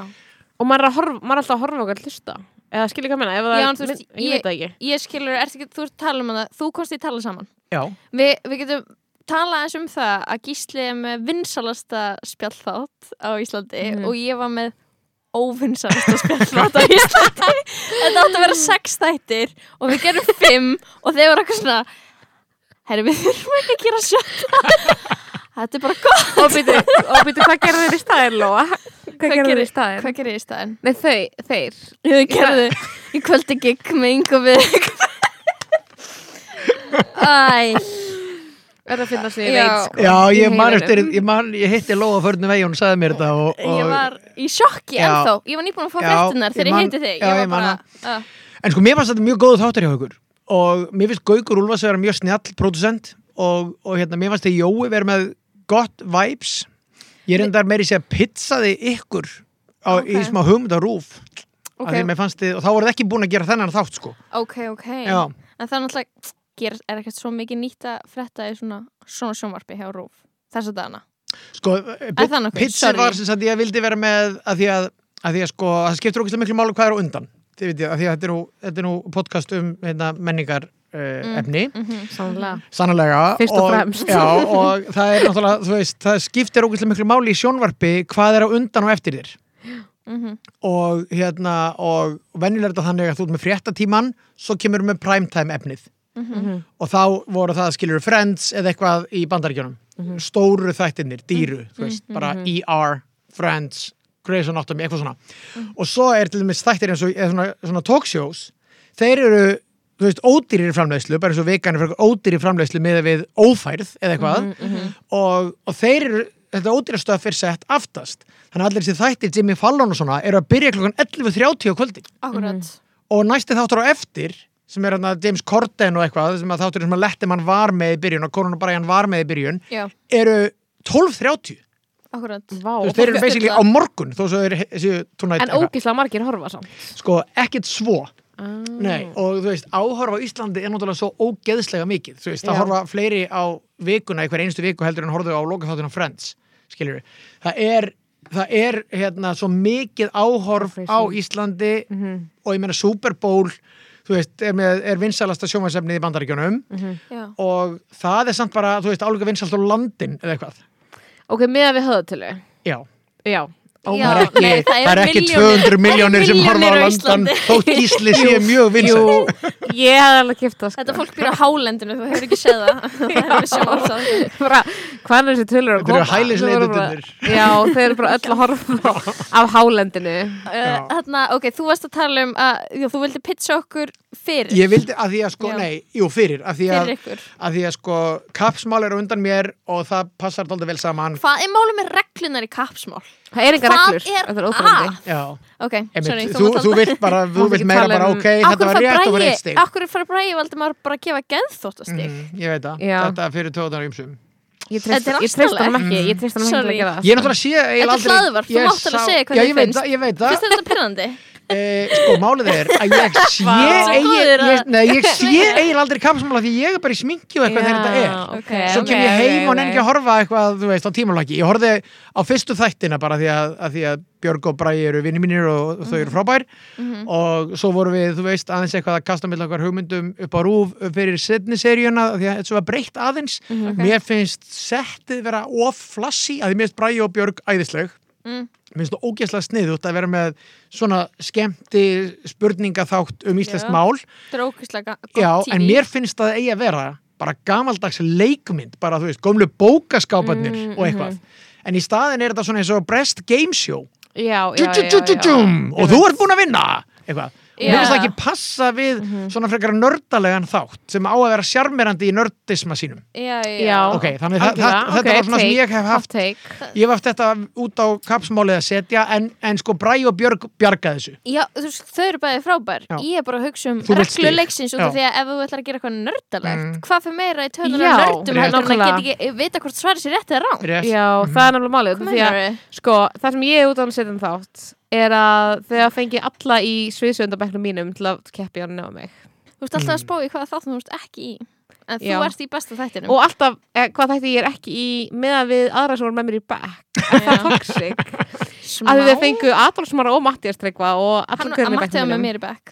S2: Og maður er, að horfa, maður er alltaf að horfa okkar hlusta Eða skilur hvað menna, ef það
S3: Já,
S2: er,
S3: en þú veist,
S2: ég, ég veit það ekki
S3: Ég skilur, ert ekki, þú ert að tala um það Þú komst í tala saman
S4: Já.
S3: Vi, Við getum talað eins um það að Gísli er með vinsalasta spjallþátt á Íslandi
S2: Mhm.
S3: og ég var með óvinsalasta spjallþátt á Íslandi Þetta átti að vera sex þættir og við gerum fimm og þeir voru eitthvað svona Herri, við þurfum ekki að gera sjötta Þetta er bara gott
S2: Og býtu, og býtu, hvað gerðu þeir í staðin, Lóa? Hvað gerðu þeir í
S3: gerir-
S2: staðin?
S3: Hvað gerir ég í staðinn?
S2: Nei, þau, þeir
S3: Ég gerði í kvöldi gig með yngu við Æ,
S2: Er að finna sig í
S3: Já.
S2: veit, sko
S4: Já,
S2: Í
S4: ég man
S2: heiminum.
S4: eftir, ég man, ég hitti Lóa förnum vegi og hún sagði mér þetta og,
S3: ég
S4: og
S3: var í sjokki
S4: Já.
S3: ennþá Ég var nýbúin að fá
S4: Já,
S3: fréttunar þegar
S4: ég
S3: ég
S4: man-
S3: heiti þig
S4: já,
S3: Ég
S4: ég
S3: var
S4: man
S3: bara,
S4: það.
S3: uh,
S4: En sko, mér fannst þetta mjög góðu þáttar hjá ykkur og mér finnst Gaukur Úlfars vera mjög snjall pródusent og, og hérna, mér fannst þetta Jói vera með gott vibes Ég reyndar meiri sér að pizzaði ykkur á, í
S3: Ok.
S4: smá hugmyndarúf
S3: Ok.
S4: okay. því, og þá voru það ekki búin að gera þennan þátt sko
S3: Ok, ok
S4: Já,
S3: En það er náttúrulega ger, er ekkert svo mikið nýtt að frétta í svona, svona sjónvarpi hjá Rúf Þess að dana
S4: sko,
S3: Er það nokkuð?
S4: pizza
S3: Sorry.
S4: var sem sagt ég vildi vera með að því að, að, því að sko, það skiptir okkur miklu máli hvað er á undan þið veit ég, að því að þetta er nú, þetta er nú podcast um hérna, menningar uh,
S3: Mm.
S4: efni
S2: Sannlega
S3: Mhm.
S4: Sannlega
S2: Fyrst og fremst.
S4: já, og það er náttúrulega, þú veist, það skiptir ógæslega miklu máli í sjónvarpi hvað er á undan og eftir þér
S3: Mhm.
S4: og hérna, og venjulega er þetta þannig að þú ert með fréttatíman svo kemur með primetime efnið
S2: Mhm.
S4: og þá voru það skilur Friends eða eitthvað í bandaríkjunum stóru þættinir,
S2: Mhm.
S4: dýru, þú veist bara ER, Friends Grey's Anatomy, eitthvað svona
S2: Mhm.
S4: og svo er til dæmis þættir eins og eða svona, svona talkshows þeir eru þú veist, ódýrir framleiðslu, bara eins og vegan er fyrir ódýrir framleiðslu með við ófærð eða eitthvað og, og þeir eru þetta ódýra stöf er sett aftast þannig að allir þessi þættir Jimmy Fallon og svona eru að byrja klokkan 11.30 á kvöldin
S3: Akkurat
S4: og næsti þáttur á eftir sem er hérna James Corden og eitthvað sem að þátturinn sem að Letterman var með í byrjun og Conan O'Brien var með í byrjun
S3: Já,
S4: eru 12.30
S3: akkurat
S2: Vá
S4: Þú veist, þeir eru basically á morgun þó svo er þessi tónætt
S2: En ógislega margir horfa samt
S4: sko ekkert svo
S2: ah.
S4: Nei,
S3: Mm.
S4: og þú veist, áhorfa á Íslandi er náttúrulega svo ógeðslega mikið, þú veist, það
S2: Já.
S4: horfa fleiri á vikuna, í hver einstu viku heldur en horfðu á lokaþáttun á Friends, skiljur við það er, það er hérna svo mikið áhorf á Íslandi
S3: Mhm.
S4: og ég meina Super Bowl þú veist, er, með, er vinsalasta sjómasefnið í bandaríkjunum
S3: Já,
S4: og það er samt bara, þú veist, álíka vinsalt á landin eða eitthvað,
S2: Ok, miða við höðatölu
S4: já
S2: Já,
S3: Já,
S4: það er ekki,
S3: nei, það er
S4: það er ekki
S3: milljónir-
S4: 200 miljónir sem
S3: milljónir
S4: horfa á
S3: á
S4: landan
S3: Íslandi.
S4: þótt Ísli sé mjög vinsæl
S2: Jú, ég hef alveg kipta sko.
S3: Þetta fólk byrja á hálendinu, þú hefur ekki séð það Það hefur sjónvarpsað
S2: bara, hvað er þessi tölur að
S4: Þetta
S2: koma?
S4: eru
S2: Svo
S4: hælisleitendurnir.
S2: voru bara- Já, þeir eru bara öll að horfa á hálendinu
S4: Já.
S3: Þarna, Eh, hérna, ok, þú varst að tala um að já, þú vildi pitcha okkur fyrir
S4: Ég vildi að því að sko,
S3: Já.
S4: nei, jú fyrir að því að,
S3: fyrir ykkur
S4: að því að sko kappsmál eru undan mér og það passar dálítið vel saman
S3: Hvað er málið með reglunar í kapsmál?
S2: Það er engar
S3: Hvað
S2: reglur,
S3: er
S2: þetta er óþröndi
S4: Já,
S3: Ok, sorry,
S4: einmitt,
S3: þú mátt
S4: þú, þú
S3: halda
S4: vilt bara, þú
S2: Mátt
S4: vilt
S2: ekki
S4: meira
S2: tala
S4: bara
S2: um-
S4: ok, þetta var rétt og var eitt stig
S3: Akkur fær bræði Valdimar bara að gefa geðþóttastig mm.
S4: Mm, Ég veit það,
S2: Já.
S4: þetta er fyrir tóðunar ymsum
S2: Ég
S3: Þetta er
S2: treyst honum
S3: afstæðulegt.
S2: ekki, ég treyst honum ekki til
S3: Sorry.
S2: að gera það
S4: Ég náttúrulega sé
S3: Þetta er
S4: eiginlega aldrei-
S3: hlaðvarp, þú
S4: ég
S3: mátt alveg
S4: sá-
S3: segja hvað
S4: Já,
S3: þér
S4: ég veit
S3: finnst.
S4: það, ég veit það
S3: Fyrst þetta pirrandi?
S4: Eh, sko málið er að ég sé
S2: Vá.
S3: Svo
S4: eigi,
S3: góður að-
S4: ég, nei, ég sé eiginlega aldrei kapsmála því ég er bara í sminki og eitthvað þegar þetta er
S2: ok,
S4: svo
S2: ok,
S4: kem ég heim
S2: ok,
S4: og nenni ekki
S2: ok.
S4: að horfa eitthvað þú veist á tímalaki, ég horfði á fyrstu þættina bara því að, að því að Björg og Bræi eru vinni mínir og, og þau
S2: Mhm.
S4: eru frábær og svo vorum við, þú veist, aðeins eitthvað að kasta með okkar hugmyndum upp á rúf fyrir setni seríuna, því að þetta var breytt aðeins
S2: Mhm,
S4: mér finnst settið vera of flassi, að því mér finnst Bræi og Björg æðisleg
S3: Mm.
S4: Mér finnst það ógeðslega sniðut að vera með svona skemmti spurningaþátt um íslenskt
S3: Já.
S4: mál
S3: Drókislega gott
S4: Já,
S3: TV.
S4: en mér finnst það eigi að vera bara gamaldags leikmynd, bara þú veist, gömlu bókaskáparnir
S2: Mm,
S4: og eitthvað. En í staðin er þetta svona eins og Brest Game Show.
S2: Já, já,
S4: Tjú, tjú, tjú, tjú,
S2: já,
S4: tjú,
S2: já.
S4: og þú ert búin að vinna! Eitthvað. Og Mér
S3: Já.
S4: finnst það ekki passa við
S2: Mhm.
S4: svona frekar nördalegan þátt sem á að vera sjarmerandi í nördisma sínum.
S3: Já, já,
S2: Já,
S4: Ok, þannig það-
S2: algjörlega,
S4: það- þetta
S2: ok,
S4: var svona sem
S2: take,
S4: ég hef haft-
S2: hot take.
S4: Ég hef haft þetta út á kapsmálið að setja en, en sko Bræ og Björg bjarga þessu.
S3: Já, þú veist, þau eru bæði frábær
S4: Já.
S3: Ég er bara að hugsa um
S4: Þú vilt stig.
S3: reglu leiksins út af
S4: Já.
S3: því að ef þú ætlar að gera eitthvað nördalegt
S4: Mm.
S3: hvað fyrir meira í töðunar
S2: Já,
S3: nördum
S4: rétt.
S3: heldur en að
S2: nákvæmlega.
S3: geta ekki vita hvort svarið sér rétt eða rám
S4: Rétt.
S2: Já, það er nefnilega málið út af því að,
S3: Meinar
S2: Sko, það sem ég er út á að setja um þátt er að þegar fengi alla í sviðsöndabæknum mínum til að keppi hann á mig
S3: Þú ert
S4: Mm.
S3: alltaf að spá í hvaða þáttum þú ert ekki í En þú
S2: Já.
S3: ert í besta þættinum
S2: og alltaf, eh, hvað þætti ég er ekki í meðan við aðra sem voru með mér í back Er það toxic
S3: Smá
S2: að þau fengu Adolfsmara og Mattias Tryggva og
S3: Hann
S2: allir
S3: hann
S2: hvernig
S3: mætti það
S2: bæknum
S3: með
S2: mínum
S3: mér í bekk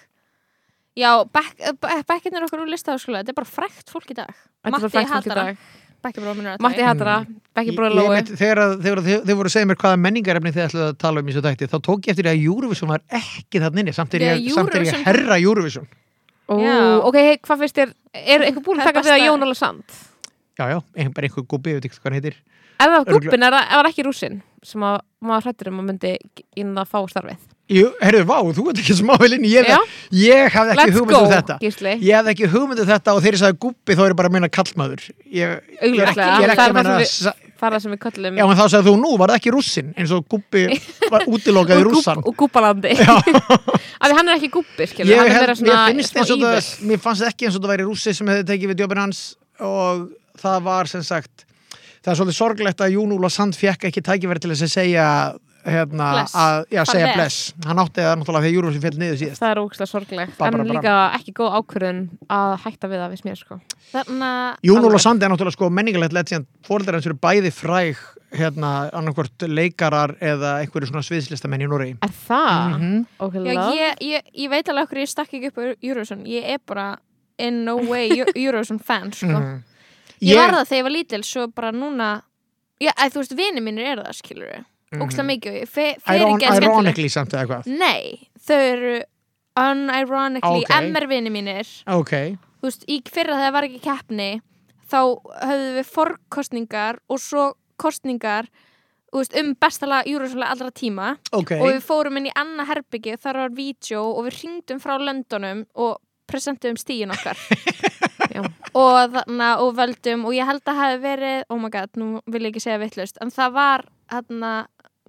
S3: Já, eh, bekkinnir okkar úr listaháskóla Þetta er bara frækt fólk í dag
S2: Þetta er bara
S3: Matti
S2: frækt fólk í
S3: hatar
S2: dag.
S3: Bekkibróðminur
S2: Matti hatara, Bekki Bróður
S4: Mm. Ég-
S2: Lói
S4: ég veit, þegar, að- þegar þið, þið voru að segja mér hvaða menningarefni þið ætlaðu að tala um í svo dætti þá tók ég eftir því að Eurovision var ekki þann inni samt er
S3: Já,
S4: ég, samt er ég
S3: Eurovision-
S4: herra Eurovision
S2: Ó,
S3: Já.
S2: Ok, hey, hvað finnst þér, er eitthvað búin að
S3: Það er
S2: taka við að
S3: besta-
S2: Jón Óla Sand?
S4: já, já, ein, bara einhver gubbi, ég veit ekki hvað hann heitir
S2: Ef það var
S4: Örugglega.
S2: guppin, er það var ekki rúsin sem að maður hrættur um að myndi inn að fá starfið
S4: Jú, herru, vá, þú ert ekki smá vel inn í- ég,
S2: Já.
S4: ég hafði ekki
S2: Let's
S4: hugmynd
S2: go,
S4: um þetta
S2: Gísli
S4: ég hafði ekki hugmynd um þetta og þeir sagði gubbi þá er ég bara að meina kallmaður ég, ég, er ekki-
S2: Augljóslega,
S4: ég
S2: það
S4: er ekki
S2: er
S4: að meina
S2: það sem
S4: við...
S2: Það er það sem við köllum
S4: já, en þá sagði þú nú, var það ekki rússin eins og gubbi var útilokað í
S2: úr
S4: rússan
S2: gúp- úr gúbalandi Af því hann er ekki gúbbi, skilur
S4: ég
S2: Hann er meira
S4: held, mér
S2: svona
S4: finnst
S2: smá
S4: eins og
S2: ível
S4: það mér fannst ekki eins og það væri rússi sem hefði tekið við djópin hans og það var sem sagt það er svolítið sorglegt að Jún Úla Sand fekk ekki tækifæri til þess að segja hérna,
S3: Bless.
S4: að, já,
S3: Farvel.
S4: segja bless hann átti það náttúrulega þegar Júruvísin fell niður síðast
S2: Það er ógæslega sorglegt
S4: Bara,
S2: En
S4: bara, bara.
S2: líka ekki góð ákvörðun að hætta við það við mér, sko
S3: Þannig
S4: Jún Úla Sand er náttúrulega sko menningalegt legend fóreldar hans eru bæði fræg hérna, annarkvort leikarar eða einhverju svona sviðslistamenn í Noregi
S2: Er
S3: Ah,
S2: það? Mm
S4: Mhm.
S2: okay,
S3: Já,
S2: love.
S3: ég, ég, ég veit alveg okkur ég stakk ekki upp á Eurovision Ég er bara in no way Eu- Eurovision fan sko.
S4: Mhm.
S3: Ég var það þegar ég var lítil Svo bara núna Já, að, Þú veist, vini mínir eru það, skilur við
S4: Mhm.
S3: Ókslega mikið og ég fe- fer
S4: Iron,
S3: ekki að skemmtileg
S4: Ironically samt eða hvað
S3: Nei, þau eru unironically
S4: Ókei.
S3: MR vini mínir
S4: Ok,
S3: Þú veist, í fyrra þegar var ekki keppni Þá höfðu við forkostningar Og svo kostningar þú veist, um bestala Eurovision allra tíma
S4: ok
S3: og við fórum inn í annað herbyggi þar var vídeo og við ringdum frá löndunum og presentum stíin okkar
S2: Já.
S3: og þarna og völdum og ég held að hafi verið, oh my god, nú vil ég ekki segja vittlust, en það var þarna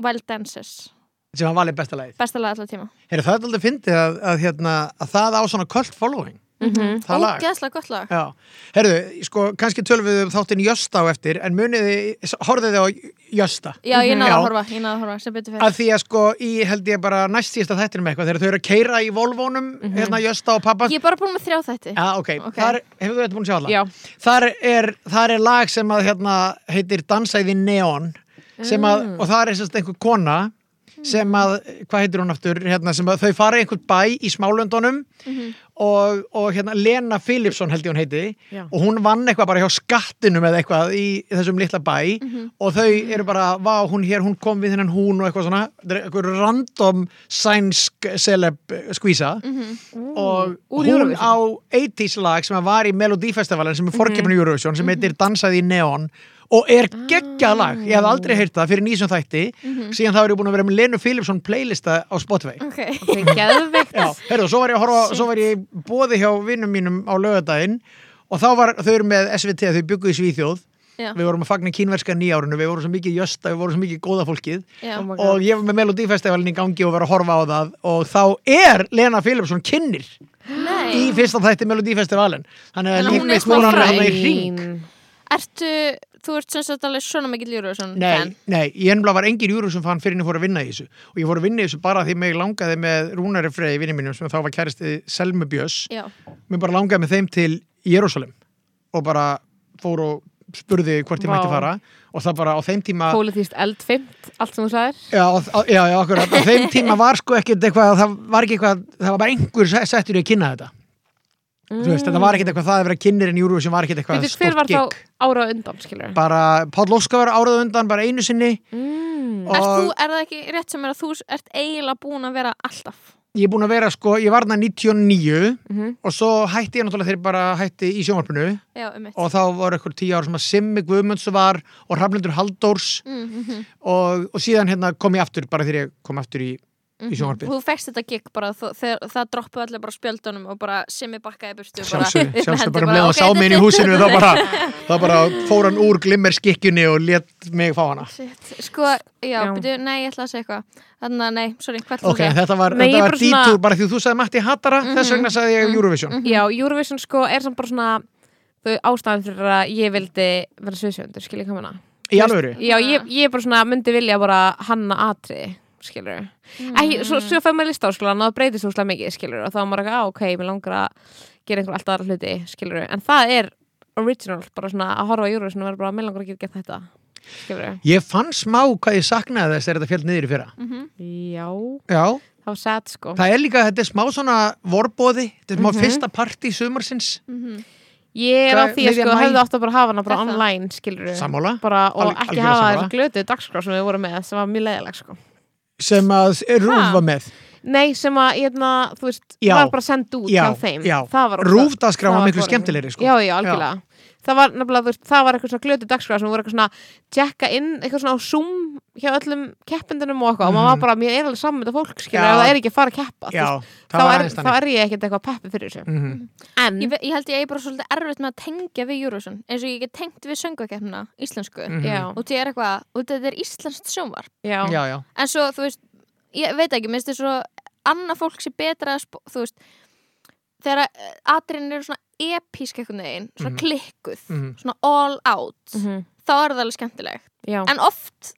S3: Wild Dancers,
S4: sem hann valið besta lagið
S3: besta lag allar tíma
S4: Heyrðu, það er aldrei fyndið að, að, hérna, að það á svona cult following
S2: Mhm.
S4: Það lag
S3: Ógeðslega gott lag
S4: Já, herðu, sko, kannski tölum við um þáttin Jösta á eftir, en munið þið, horfið þið á Jösta?
S3: Já, ég náði
S4: Mhm. Já.
S3: að horfa, ég náði að horfa, sem betur fyrir
S4: Að því að sko, í held ég bara næst síðasta þættinum eitthvað, þegar þau eru að keira í Volvónum, hérna Jösta og pappa.
S3: Ég er bara búin með þrjá þætti
S4: Já, ok,
S3: Mhm. Ok.
S4: þar, hefur þú þetta búin að sjá alla?
S2: Já.
S4: Þar er, þar er lag sem að, hérna, heitir Dansæði Neon, sem að, og þar er sérst einhver kona sem að, hvað heitir hún aftur hérna, sem að þau fara í einhvern bæ í smálöndunum og, og hérna Lena Philipsson held ég hún heiti
S2: Já.
S4: og hún vann eitthvað bara hjá skattinum eða eitthvað í þessum litla bæ og þau eru bara, vá hún hér, hún kom við hennan hún og eitthvað svona Þetta er eitthvað random sænsk celeb skvísa og
S2: Mm. Úr
S4: hún
S2: Eurovision.
S4: á 80s lag sem að var í Melody Festivalen sem er
S2: Mhm.
S4: fórkeppinu Eurovision sem heitir Dansaði í neon og er geggjað lag, ég hef aldrei heyrt það fyrir nýsum þætti,
S2: Mhm.
S4: síðan þá er ég búin að vera með Lenu Philipsson playlista á Spotify
S2: Mm.
S3: Ok.
S2: Ok, geðveikt.
S4: Já, heyrðu, svo var ég að horfa, svo var ég bóði hjá vinnum mínum á lögadaginn og þá var, þau eru með SVT, þau byggu í Svíþjóð
S3: Já.
S4: við vorum að fagna kínverska nýjárunu, við vorum svo mikið jösta, við vorum svo mikið góða fólkið
S3: Já.
S2: Oh my God.
S4: og ég var með Melodífestivalin í gangi og var að horfa á það og þá er Lena Philipsson kynnir í
S3: Nei.
S4: fyrsta þætti Melodífestivalin þannig
S3: Þannig
S4: að
S3: að hún
S4: líf
S3: er
S4: mitt fór
S3: smá
S4: hann
S3: fræg.
S4: hann í hring
S3: Ertu, þú ert sem sagt alveg svona mikill Eurovision
S4: Nei,
S3: fan?
S4: nei, ég ennbla var engin júru sem fann fyrir en ég fór að vinna í þessu og ég fór að vinna í þessu bara því mig langaði með Rúnari Frey, vinni mínum sem þá var kæristi Selmu Björs
S3: Já.
S4: mér bara langaði með þeim til Jérúsalem og bara fór og spurði hvort ég
S2: Vá.
S4: mætti fara og það bara á þeim tíma
S2: Pólitíst eldfimt, allt sem þú sagðir
S4: já, á- já, já, okkur, á þeim tíma var sko ekkert eitthvað, það var ekki eitthvað það var bara einhver se- settur í að kynna þetta mm. veist, þetta var ekkert eitthvað það að vera kynnir en Júru sem var ekkert eitthvað
S2: Veitir, hver var
S4: stórt
S2: þá
S4: gig
S2: ára á undan, skilur
S4: bara Páll Óskar var árað undan bara einu sinni
S2: mm.
S4: og
S3: Er, þú, er það ekki rétt sem er að þú ert eiginlega búin að vera alltaf?
S4: ég er búin að vera sko, ég var þarna 99
S2: Mhm.
S4: og svo hætti ég náttúrulega þegar bara hætti í sjónvarpinu
S3: Já, um eitt.
S4: og þá voru eitthvað tíu ára sem að Simmi Guðmunds var og Raflendur Halldórs
S3: Mm -hmm.
S4: og, og síðan hérna kom ég aftur bara þegar ég kom aftur í, í sjónvarpið
S3: Þú fekst þetta gig bara, þú, þegar, það droppuð allir bara á spjöldunum og bara simmi bakkaði burtu.
S4: sjálfsög, sjálfsög
S3: hendur
S4: bara
S3: bara,
S4: með að
S3: ok,
S4: sá mig inn í
S3: þetta-
S4: húsinu þá bara, þá bara fór hann úr glimmerskikkjunni og let mig fá hana
S3: Shit. Sko, já,
S2: Já.
S3: byrju, nei, ég ætla að segja eitthvað. Þannig að, nei, sorry, hvað
S4: ok,
S3: er það?
S4: þetta var,
S2: Nei, ég
S4: þetta var
S2: bara svona- Mhm.
S4: dítúr bara því þú sagði Matti Hattara, þess vegna sagði ég Eurovision
S2: Já, Eurovision sko er samt bara svona þau ástæðan fyrir að ég vildi vera sviðsjöndur, skilur ég komuna
S4: í alvöru,
S2: Já, ég, ég bara svona myndi vilja bara hanna atriði, skilur Ekki, svo, svo fæði maður lista á skilur og það breytist úslega mikið, skilur og þá var maður ekki, á, ok, mér langar að gera einhver alltaf aðra hluti, skilur en það er original, bara svona að horfa á Eurovision og vera bara, mér langar að gera gett þetta skilur
S4: ég fann smá hvað ég saknaði þess þegar þetta fjöld niður í fyrra
S2: Mhm. Já,
S4: já,
S2: það var sad sko
S4: það er líka, þetta er smá svona vorbóði, þetta er
S2: Mhm.
S4: smá fyrsta partí sumarsins,
S2: Ég er á því
S4: Hvað-
S2: að
S4: miðjan
S2: sko,
S4: maí?
S2: hefðu átt að bara hafa hana bara
S3: Þetta.
S2: online, skilur
S4: sammála
S2: bara, og
S4: Al-
S2: ekki
S4: algjörlega
S2: hafa
S4: sammála.
S2: þessa glötu dagskrá sem við vorum með sem var mjög leiðileg sko.
S4: sem að Rúf
S2: Ha?
S4: var með
S2: Nei, sem að, hérna, þú veist,
S4: Já.
S2: var bara sendt út
S4: Já,
S2: hjá þeim
S4: já.
S2: Það var ógeðslega-
S4: Rúf dagskrá
S2: það
S4: var miklu
S2: boring.
S4: skemmtilegri, sko.
S2: Já, já, algjörlega Það var nefnilega, þú veist, það var eitthvað svona glötu dagskrá sem voru eitthvað svona tjekka inn eitthvað svona á Zoom hjá öllum keppendunum og eitthvað og maður var bara, mér er alveg saman þetta fólk skilja
S4: Já.
S2: ef það er ekki að fara að keppa þú
S4: já,
S2: veist,
S4: það var
S2: þá, er,
S4: aðeins
S2: þá
S4: þannig
S2: er ég ekkert eitthvað peppi fyrir þessu
S4: Mhm.
S2: En,
S3: Ég, ve- ég held ég eigi bara svolítið erfitt með að tengja við Eurovision eins og ég get tengt við sönguakefnina íslensku
S4: Mhm.
S2: já,
S3: og þetta er eitthvað, og þetta er íslenskt sjónvarp
S2: já,
S4: já, já,
S3: en svo, þú veist, ég veit ekki minnst þess að annað fólk sé betra að spó, þú veist, þegar eh, atriðin eru svona epísk eitthvað neginn svona
S4: Mhm.
S3: klikkuð,
S4: Mhm.
S3: svona all out
S2: mhm,
S3: þá er það alveg skemmtilegt,
S2: já.
S3: en oft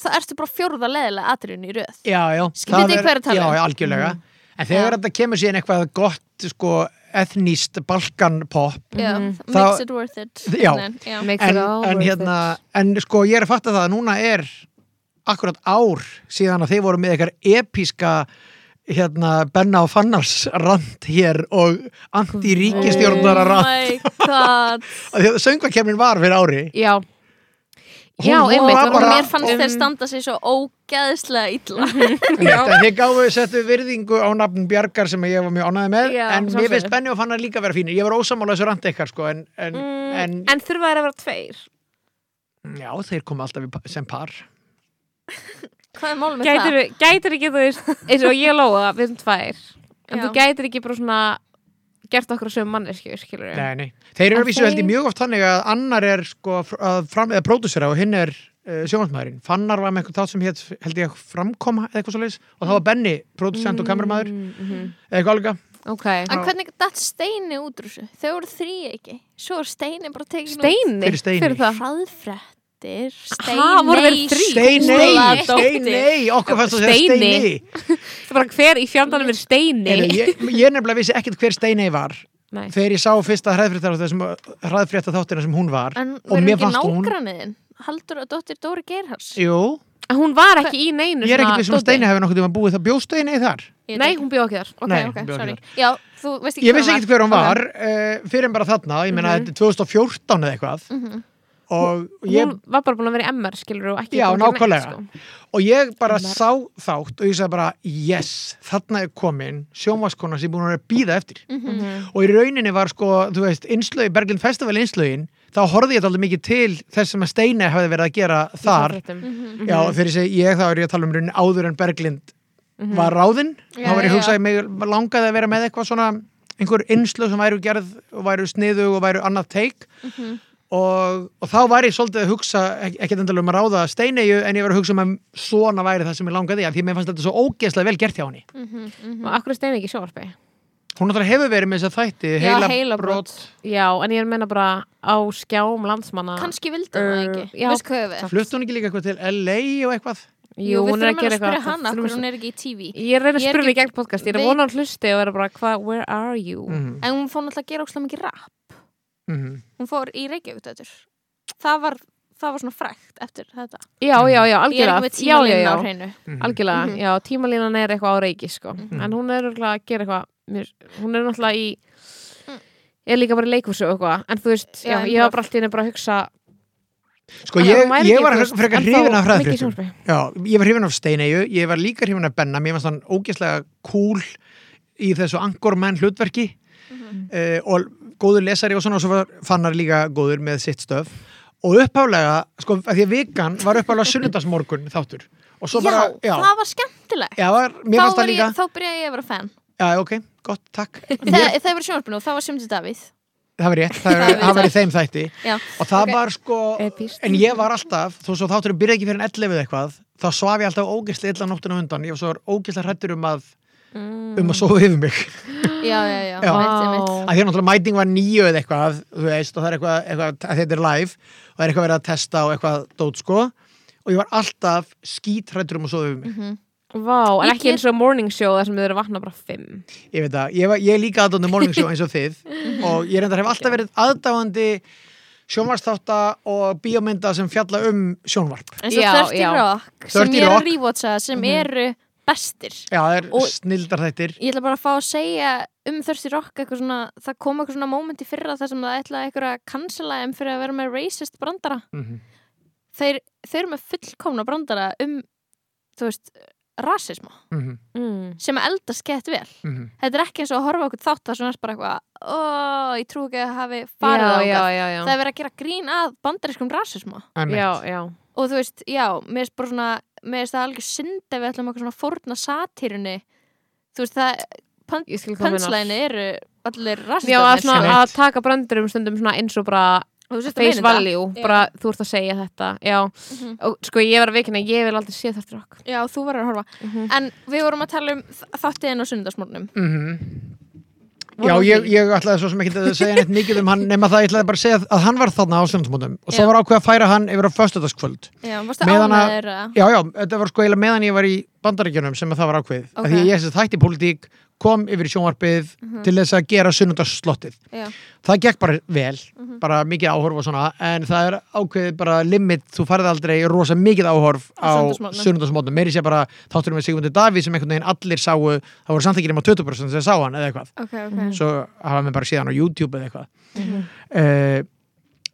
S3: það ertu bara fjórða leðilega atriðin í röð
S4: já, já
S3: Skil- vitið
S4: það
S3: þið hvað ég er að tala
S4: já,
S3: um?
S4: já, algjörlega en
S3: Já.
S4: þegar þetta kemur síðan eitthvað gott sko, etníst balkanpop
S3: Já,
S2: Mhm.
S3: það
S4: Þá-
S3: makes it worth it
S4: Já.
S3: Nei, já.
S2: Makes it
S4: en,
S2: all
S4: en,
S2: worth
S4: hérna,
S2: it.
S4: en sko ég er að fatta það að núna er akkurat ár síðan að þeir voru með eitthvað episka hérna Benna og Fannars rand hér og anti-ríkistjórnara
S3: Oh
S4: rand
S3: my god
S4: Af því að söngvakefnin var fyrir ári
S2: Já
S4: Hún
S2: Já,
S4: var
S2: einmitt
S4: bara-
S2: hún var
S3: Mér fannst
S2: um, Mhm.
S3: þeir standa sig svo ógeðslega illa
S4: Einmitt, en þið gáfu settu virðingu á nafn Bjarkar sem ég var mjög ánæði með
S2: Já,
S4: en mér
S2: sjálfsögðu.
S4: finnst Benni og Fannar líka vera fínir ég var ósamála þessu randi ykkar sko en, en,
S3: Mm.
S2: En, Mm, en þurfa þær að vera tveir
S4: en já þeir koma alltaf í pa- sem par
S3: Hvað er málum með
S2: Gætir, gætir ekki þú veist eins og ég lóa, við erum tvær En
S3: Já.
S2: þú gætir ekki bara svona gert okkur sem mannesku, skilur við
S4: nei, nei. þeir eru
S2: En
S4: að vísu held ég
S2: þeir-
S4: mjög oft þannig að annar er sko fr- að fram eða pródúsera og hinn er uh, sjónvarsmaðurinn Fannar var með eitthvað þátt sem hét, held ég framkoma eða eitthvað svo og það var Benni pródúsent og kameramaður
S2: mm -hmm.
S4: eða eitthvað alveg
S2: Ok
S3: En hvernig datt steini út úr þessu? Þau voru þrý ekki. Svo er steini bara tekin
S2: Steini,
S4: Fyrir Steini.
S3: út.
S2: það
S3: Hraðfrettir,
S2: Ha, voru þeir
S3: steinei,
S2: þrír?
S4: Steinei,
S3: skóladóttir.
S4: Steinei, okkur fannst það að segja
S2: Steini.
S4: Steinei
S2: Það er bara hver í fjandanum er steini
S4: Heyrðu, Ég ég nefnilega vissi ekkert hver Steinei var
S2: Nei.
S4: þegar ég sá fyrsta hraðfrétta þáttina sem hún var
S3: En
S4: og
S3: verður
S4: mér
S3: ekki
S4: fannst hún
S3: nágranniðin? Haldur að dóttir Dóri Geirhars?
S4: Jú,
S2: En Hún var ekki í neinu
S4: Ég er
S2: svona
S4: ekki með sem að
S2: dóti.
S4: Steini hefur nokkuð tíma búið það bjóstu einni þar
S3: Ég veit
S2: Nei,
S3: ekki.
S2: hún bjóð ekki þar
S3: ok,
S4: Nei,
S3: ok,
S4: hún bjó ekki
S3: sorry
S4: þar.
S3: Já, þú veist ekki
S4: Ég vissi ekkert hver hún var uh, fyrir en bara þarna, ég meina
S2: Mhm.
S4: þetta er 2014 eða eitthvað og ég
S2: Hún var bara búin að vera í MR, skilur og ekki
S4: Já,
S2: búin að gera neitt,
S4: nákvæmlega.
S2: sko.
S4: Og ég bara
S2: Mar-
S4: sá þátt og ég sagði bara, yes, þarna er komin sjónvaskona sem ég búin að vera að býða eftir.
S2: Mhm.
S4: Og í rauninni var sko, þú veist, innslögi, Berglind Festival innslögin, þá horfði ég alltaf mikið til þess sem að Steini hefði verið að gera
S2: Í
S4: þar.
S2: samþykktum.
S3: Mhm.
S4: Já, þegar ég segi ég, þá er ég að tala um rauninni áður en Berglind var ráðinn.
S3: Já,
S4: þá var ég
S3: já,
S4: hugsaði, mig langaði að vera með eitthvað svona, einhver innslög sem væru gerð og væru sniðu og væru annað teik. Og, og þá var ég svolítið að hugsa, ek- ekkert endalega um að ráða steinegu, en ég var að hugsa um að svona væri það sem ég langaði að því mér fannst þetta svo ógeðslega vel gert hjá henni.
S3: mhm.
S2: Mhm. Og akkur er stein ekki í sjóvarpi
S4: Hún náttúrulega hefur verið með þess að þætti,
S3: Já,
S4: heila,
S3: heilabrot.
S2: Já, en ég er að menna bara á skjám landsmanna
S3: kannski vildi hún
S2: Uh,
S3: það ekki
S2: Ah. já.
S3: veist hvað við
S4: Flutt hún ekki líka eitthvað til LA og eitthvað?
S2: Jú,
S3: við
S2: hún er að
S3: þurfum
S2: gera
S3: að spyrja
S2: eitthvað
S3: hana
S2: Þurfum
S3: hvernig
S2: að-
S3: hún er ekki í TV
S2: Ég er að reyna að
S3: Ég er
S2: spyrja
S3: ekki-
S2: í gegn podcast Ég er að
S3: Veit-
S2: vona að hlusti og vera bara hva, Where are you?
S4: Mm
S3: en hún fór náttúrulega að gera óslega mikið rap
S4: -hmm.
S3: hún fór í Reykjavík þetta það var, það var svona frækt eftir þetta
S2: Já, já, já,
S3: ég er
S2: algjörlega
S3: ekki með
S2: Já, já,
S3: tímalinn á
S2: já,
S3: hreinu
S2: algjörlega
S3: Mhm.
S2: Já, tímalínan er eitthvað á reiki, sko En hún er örugglega að gera eitthvað mér, Hún er náttúrulega í Ég er líka bara í leikhúsi og eitthvað En þú veist,
S3: Mm. Já,
S2: já, ég
S3: improv.
S2: var bara alltaf inni bara að hugsa
S4: Sko,
S2: Þannig að
S4: ég,
S2: hún væri
S4: ég
S2: ekki,
S4: var
S2: þú veist,
S4: frekar
S2: ennþá
S4: hrifin af
S2: mikið í
S4: hræðfréttum.
S2: sjónvarpi.
S4: Já, ég var hrifin af steinegu, ég var líka hrifin af Benna, mér fannst hann ógeðslega cool í þessu angormenn hlutverki
S3: Mhm.
S4: uh, og góður lesari og svona og svo var fannar líka góður með sitt stöf og upphálega, sko, að því að vikan var upphálega sunnudagsmorgun þáttur og svo bara,
S3: já, það var skemmtilegt
S4: Já, var, mér
S3: þá,
S4: fannst það
S3: var
S4: líka
S3: ég, þá byrjaði ég að vera fan
S4: Já, ok, gott, takk mér,
S3: Þegar það var sjónarpinu, þá var Sjöndi Davíð
S4: Það var rétt, það,
S3: Það
S4: það,
S3: var-
S4: það var í þeim þætti
S3: Já.
S4: Og það var sko
S2: Epíst.
S4: En ég var alltaf, þó svo þáttur ég byrja ekki fyrir en 11 eða eitthvað Þá svaf ég alltaf ógeðslega illa nóttinu undan Ég var svo ógeðslega hrættur um að
S3: Mm.
S4: Um að sofa yfir mig
S3: Já, já, já,
S4: Já.
S3: mitt, mitt.
S2: Vá.
S4: að því að náttúrulega mæting var nýju eða eitthvað þú veist, og það er eitthvað, eitthvað að þetta er live og það er eitthvað verið að testa og eitthvað dót sko og ég var alltaf skítrættur um að sofa yfir mig
S2: Vá, en
S3: Ég
S2: ekki
S3: get-
S2: eins og morning show þar sem þau eru að vakna bara fimm
S4: ég veit það, ég, var- ég er líka aðdáðandi morning show eins og þið og ég reyndar hef alltaf verið aðdáðandi sjónvarsþátta og bíómynda sem fjalla um sjónvarp
S3: En svo
S2: Já,
S3: 30
S2: já.
S3: Rock sem ég
S4: 30
S3: er
S4: Rock. Mhm.
S3: að rewatcha sem eru bestir
S4: já, það er
S3: Og-
S4: snildar þættir
S3: Ég ætla bara að fá að segja um 30 Rock eitthvað svona, það kom eitthvað svona moment í fyrra þar sem það ætlaði eitthvað að cancela þeim fyrir að vera með racist brandara
S4: Mhm.
S3: Þeir, þeir eru með fullkomna brandara um, þú veist, rasisma
S4: Mhm,
S2: mm.
S3: sem að eldast gett vel
S4: mhm.
S3: Þetta er ekki eins og að horfa á okkur þátt það sem er bara eitthvað, ó, ég trú ekki að hafi farið
S2: Já,
S3: á
S2: já, já, já
S3: Það er verið að gera grín að bandariskum rasisma
S4: Einmitt.
S2: Já, já
S3: og þú veist, já, mér finnst bara svona mér finnst það algjör synd ef við ætlum okkur svona forna satýrunni þú veist, það,
S2: Ég skil hvað þú
S3: punchline eru allir
S2: Já, að,
S3: rastistarnir
S2: svona,
S4: Einmitt.
S2: að taka brandurum stundum svona eins og bara
S3: þú veist,
S2: face value,
S3: Já.
S2: bara þú ert að segja þetta já,
S3: Mhm.
S2: og sko ég var að veikina ég vil aldrei sé þetta rock
S3: já, þú verður að horfa
S2: Mhm.
S3: en við vorum að tala um þ- þáttiðin á sundarsmórnum
S2: Mm.
S4: Mhm. Já, ég, ég ætlaði svo sem ekki að segja neitt mikið um hann nema það ég ætlaði bara að segja að hann var þarna á stundumótum og svo
S3: Já.
S4: var ákveð að færa hann yfir á föstudagskvöld
S3: já, varstu
S4: Meðan að-
S3: ánæður að
S4: Já, já, þetta var sko eiginlega meðan ég var í bandaríkjunum sem að það var ákveð okay.
S3: Ok. Mhm.
S4: Því að ég sem þætti pólitík, kom yfir í sjónvarpið til þess að gera sunnundaslottið
S3: Já.
S4: Það gekk bara vel,
S3: Mhm.
S4: bara mikið áhorf og svona En það er ákveðið bara limit, þú farið aldrei rosa mikið áhorf
S3: Á
S4: á
S3: sunnudagsmorgnum.
S4: sunnundasmótum Meiri sé bara þátturum við Sigmundi Davíð sem einhvern veginn allir sáu Það voru samt ekki nema 20% sem sá hann eða eitthvað
S3: ok, ok
S4: Mm.
S2: Mhm.
S4: Svo hafa við bara síðan á YouTube eða eitthvað uh,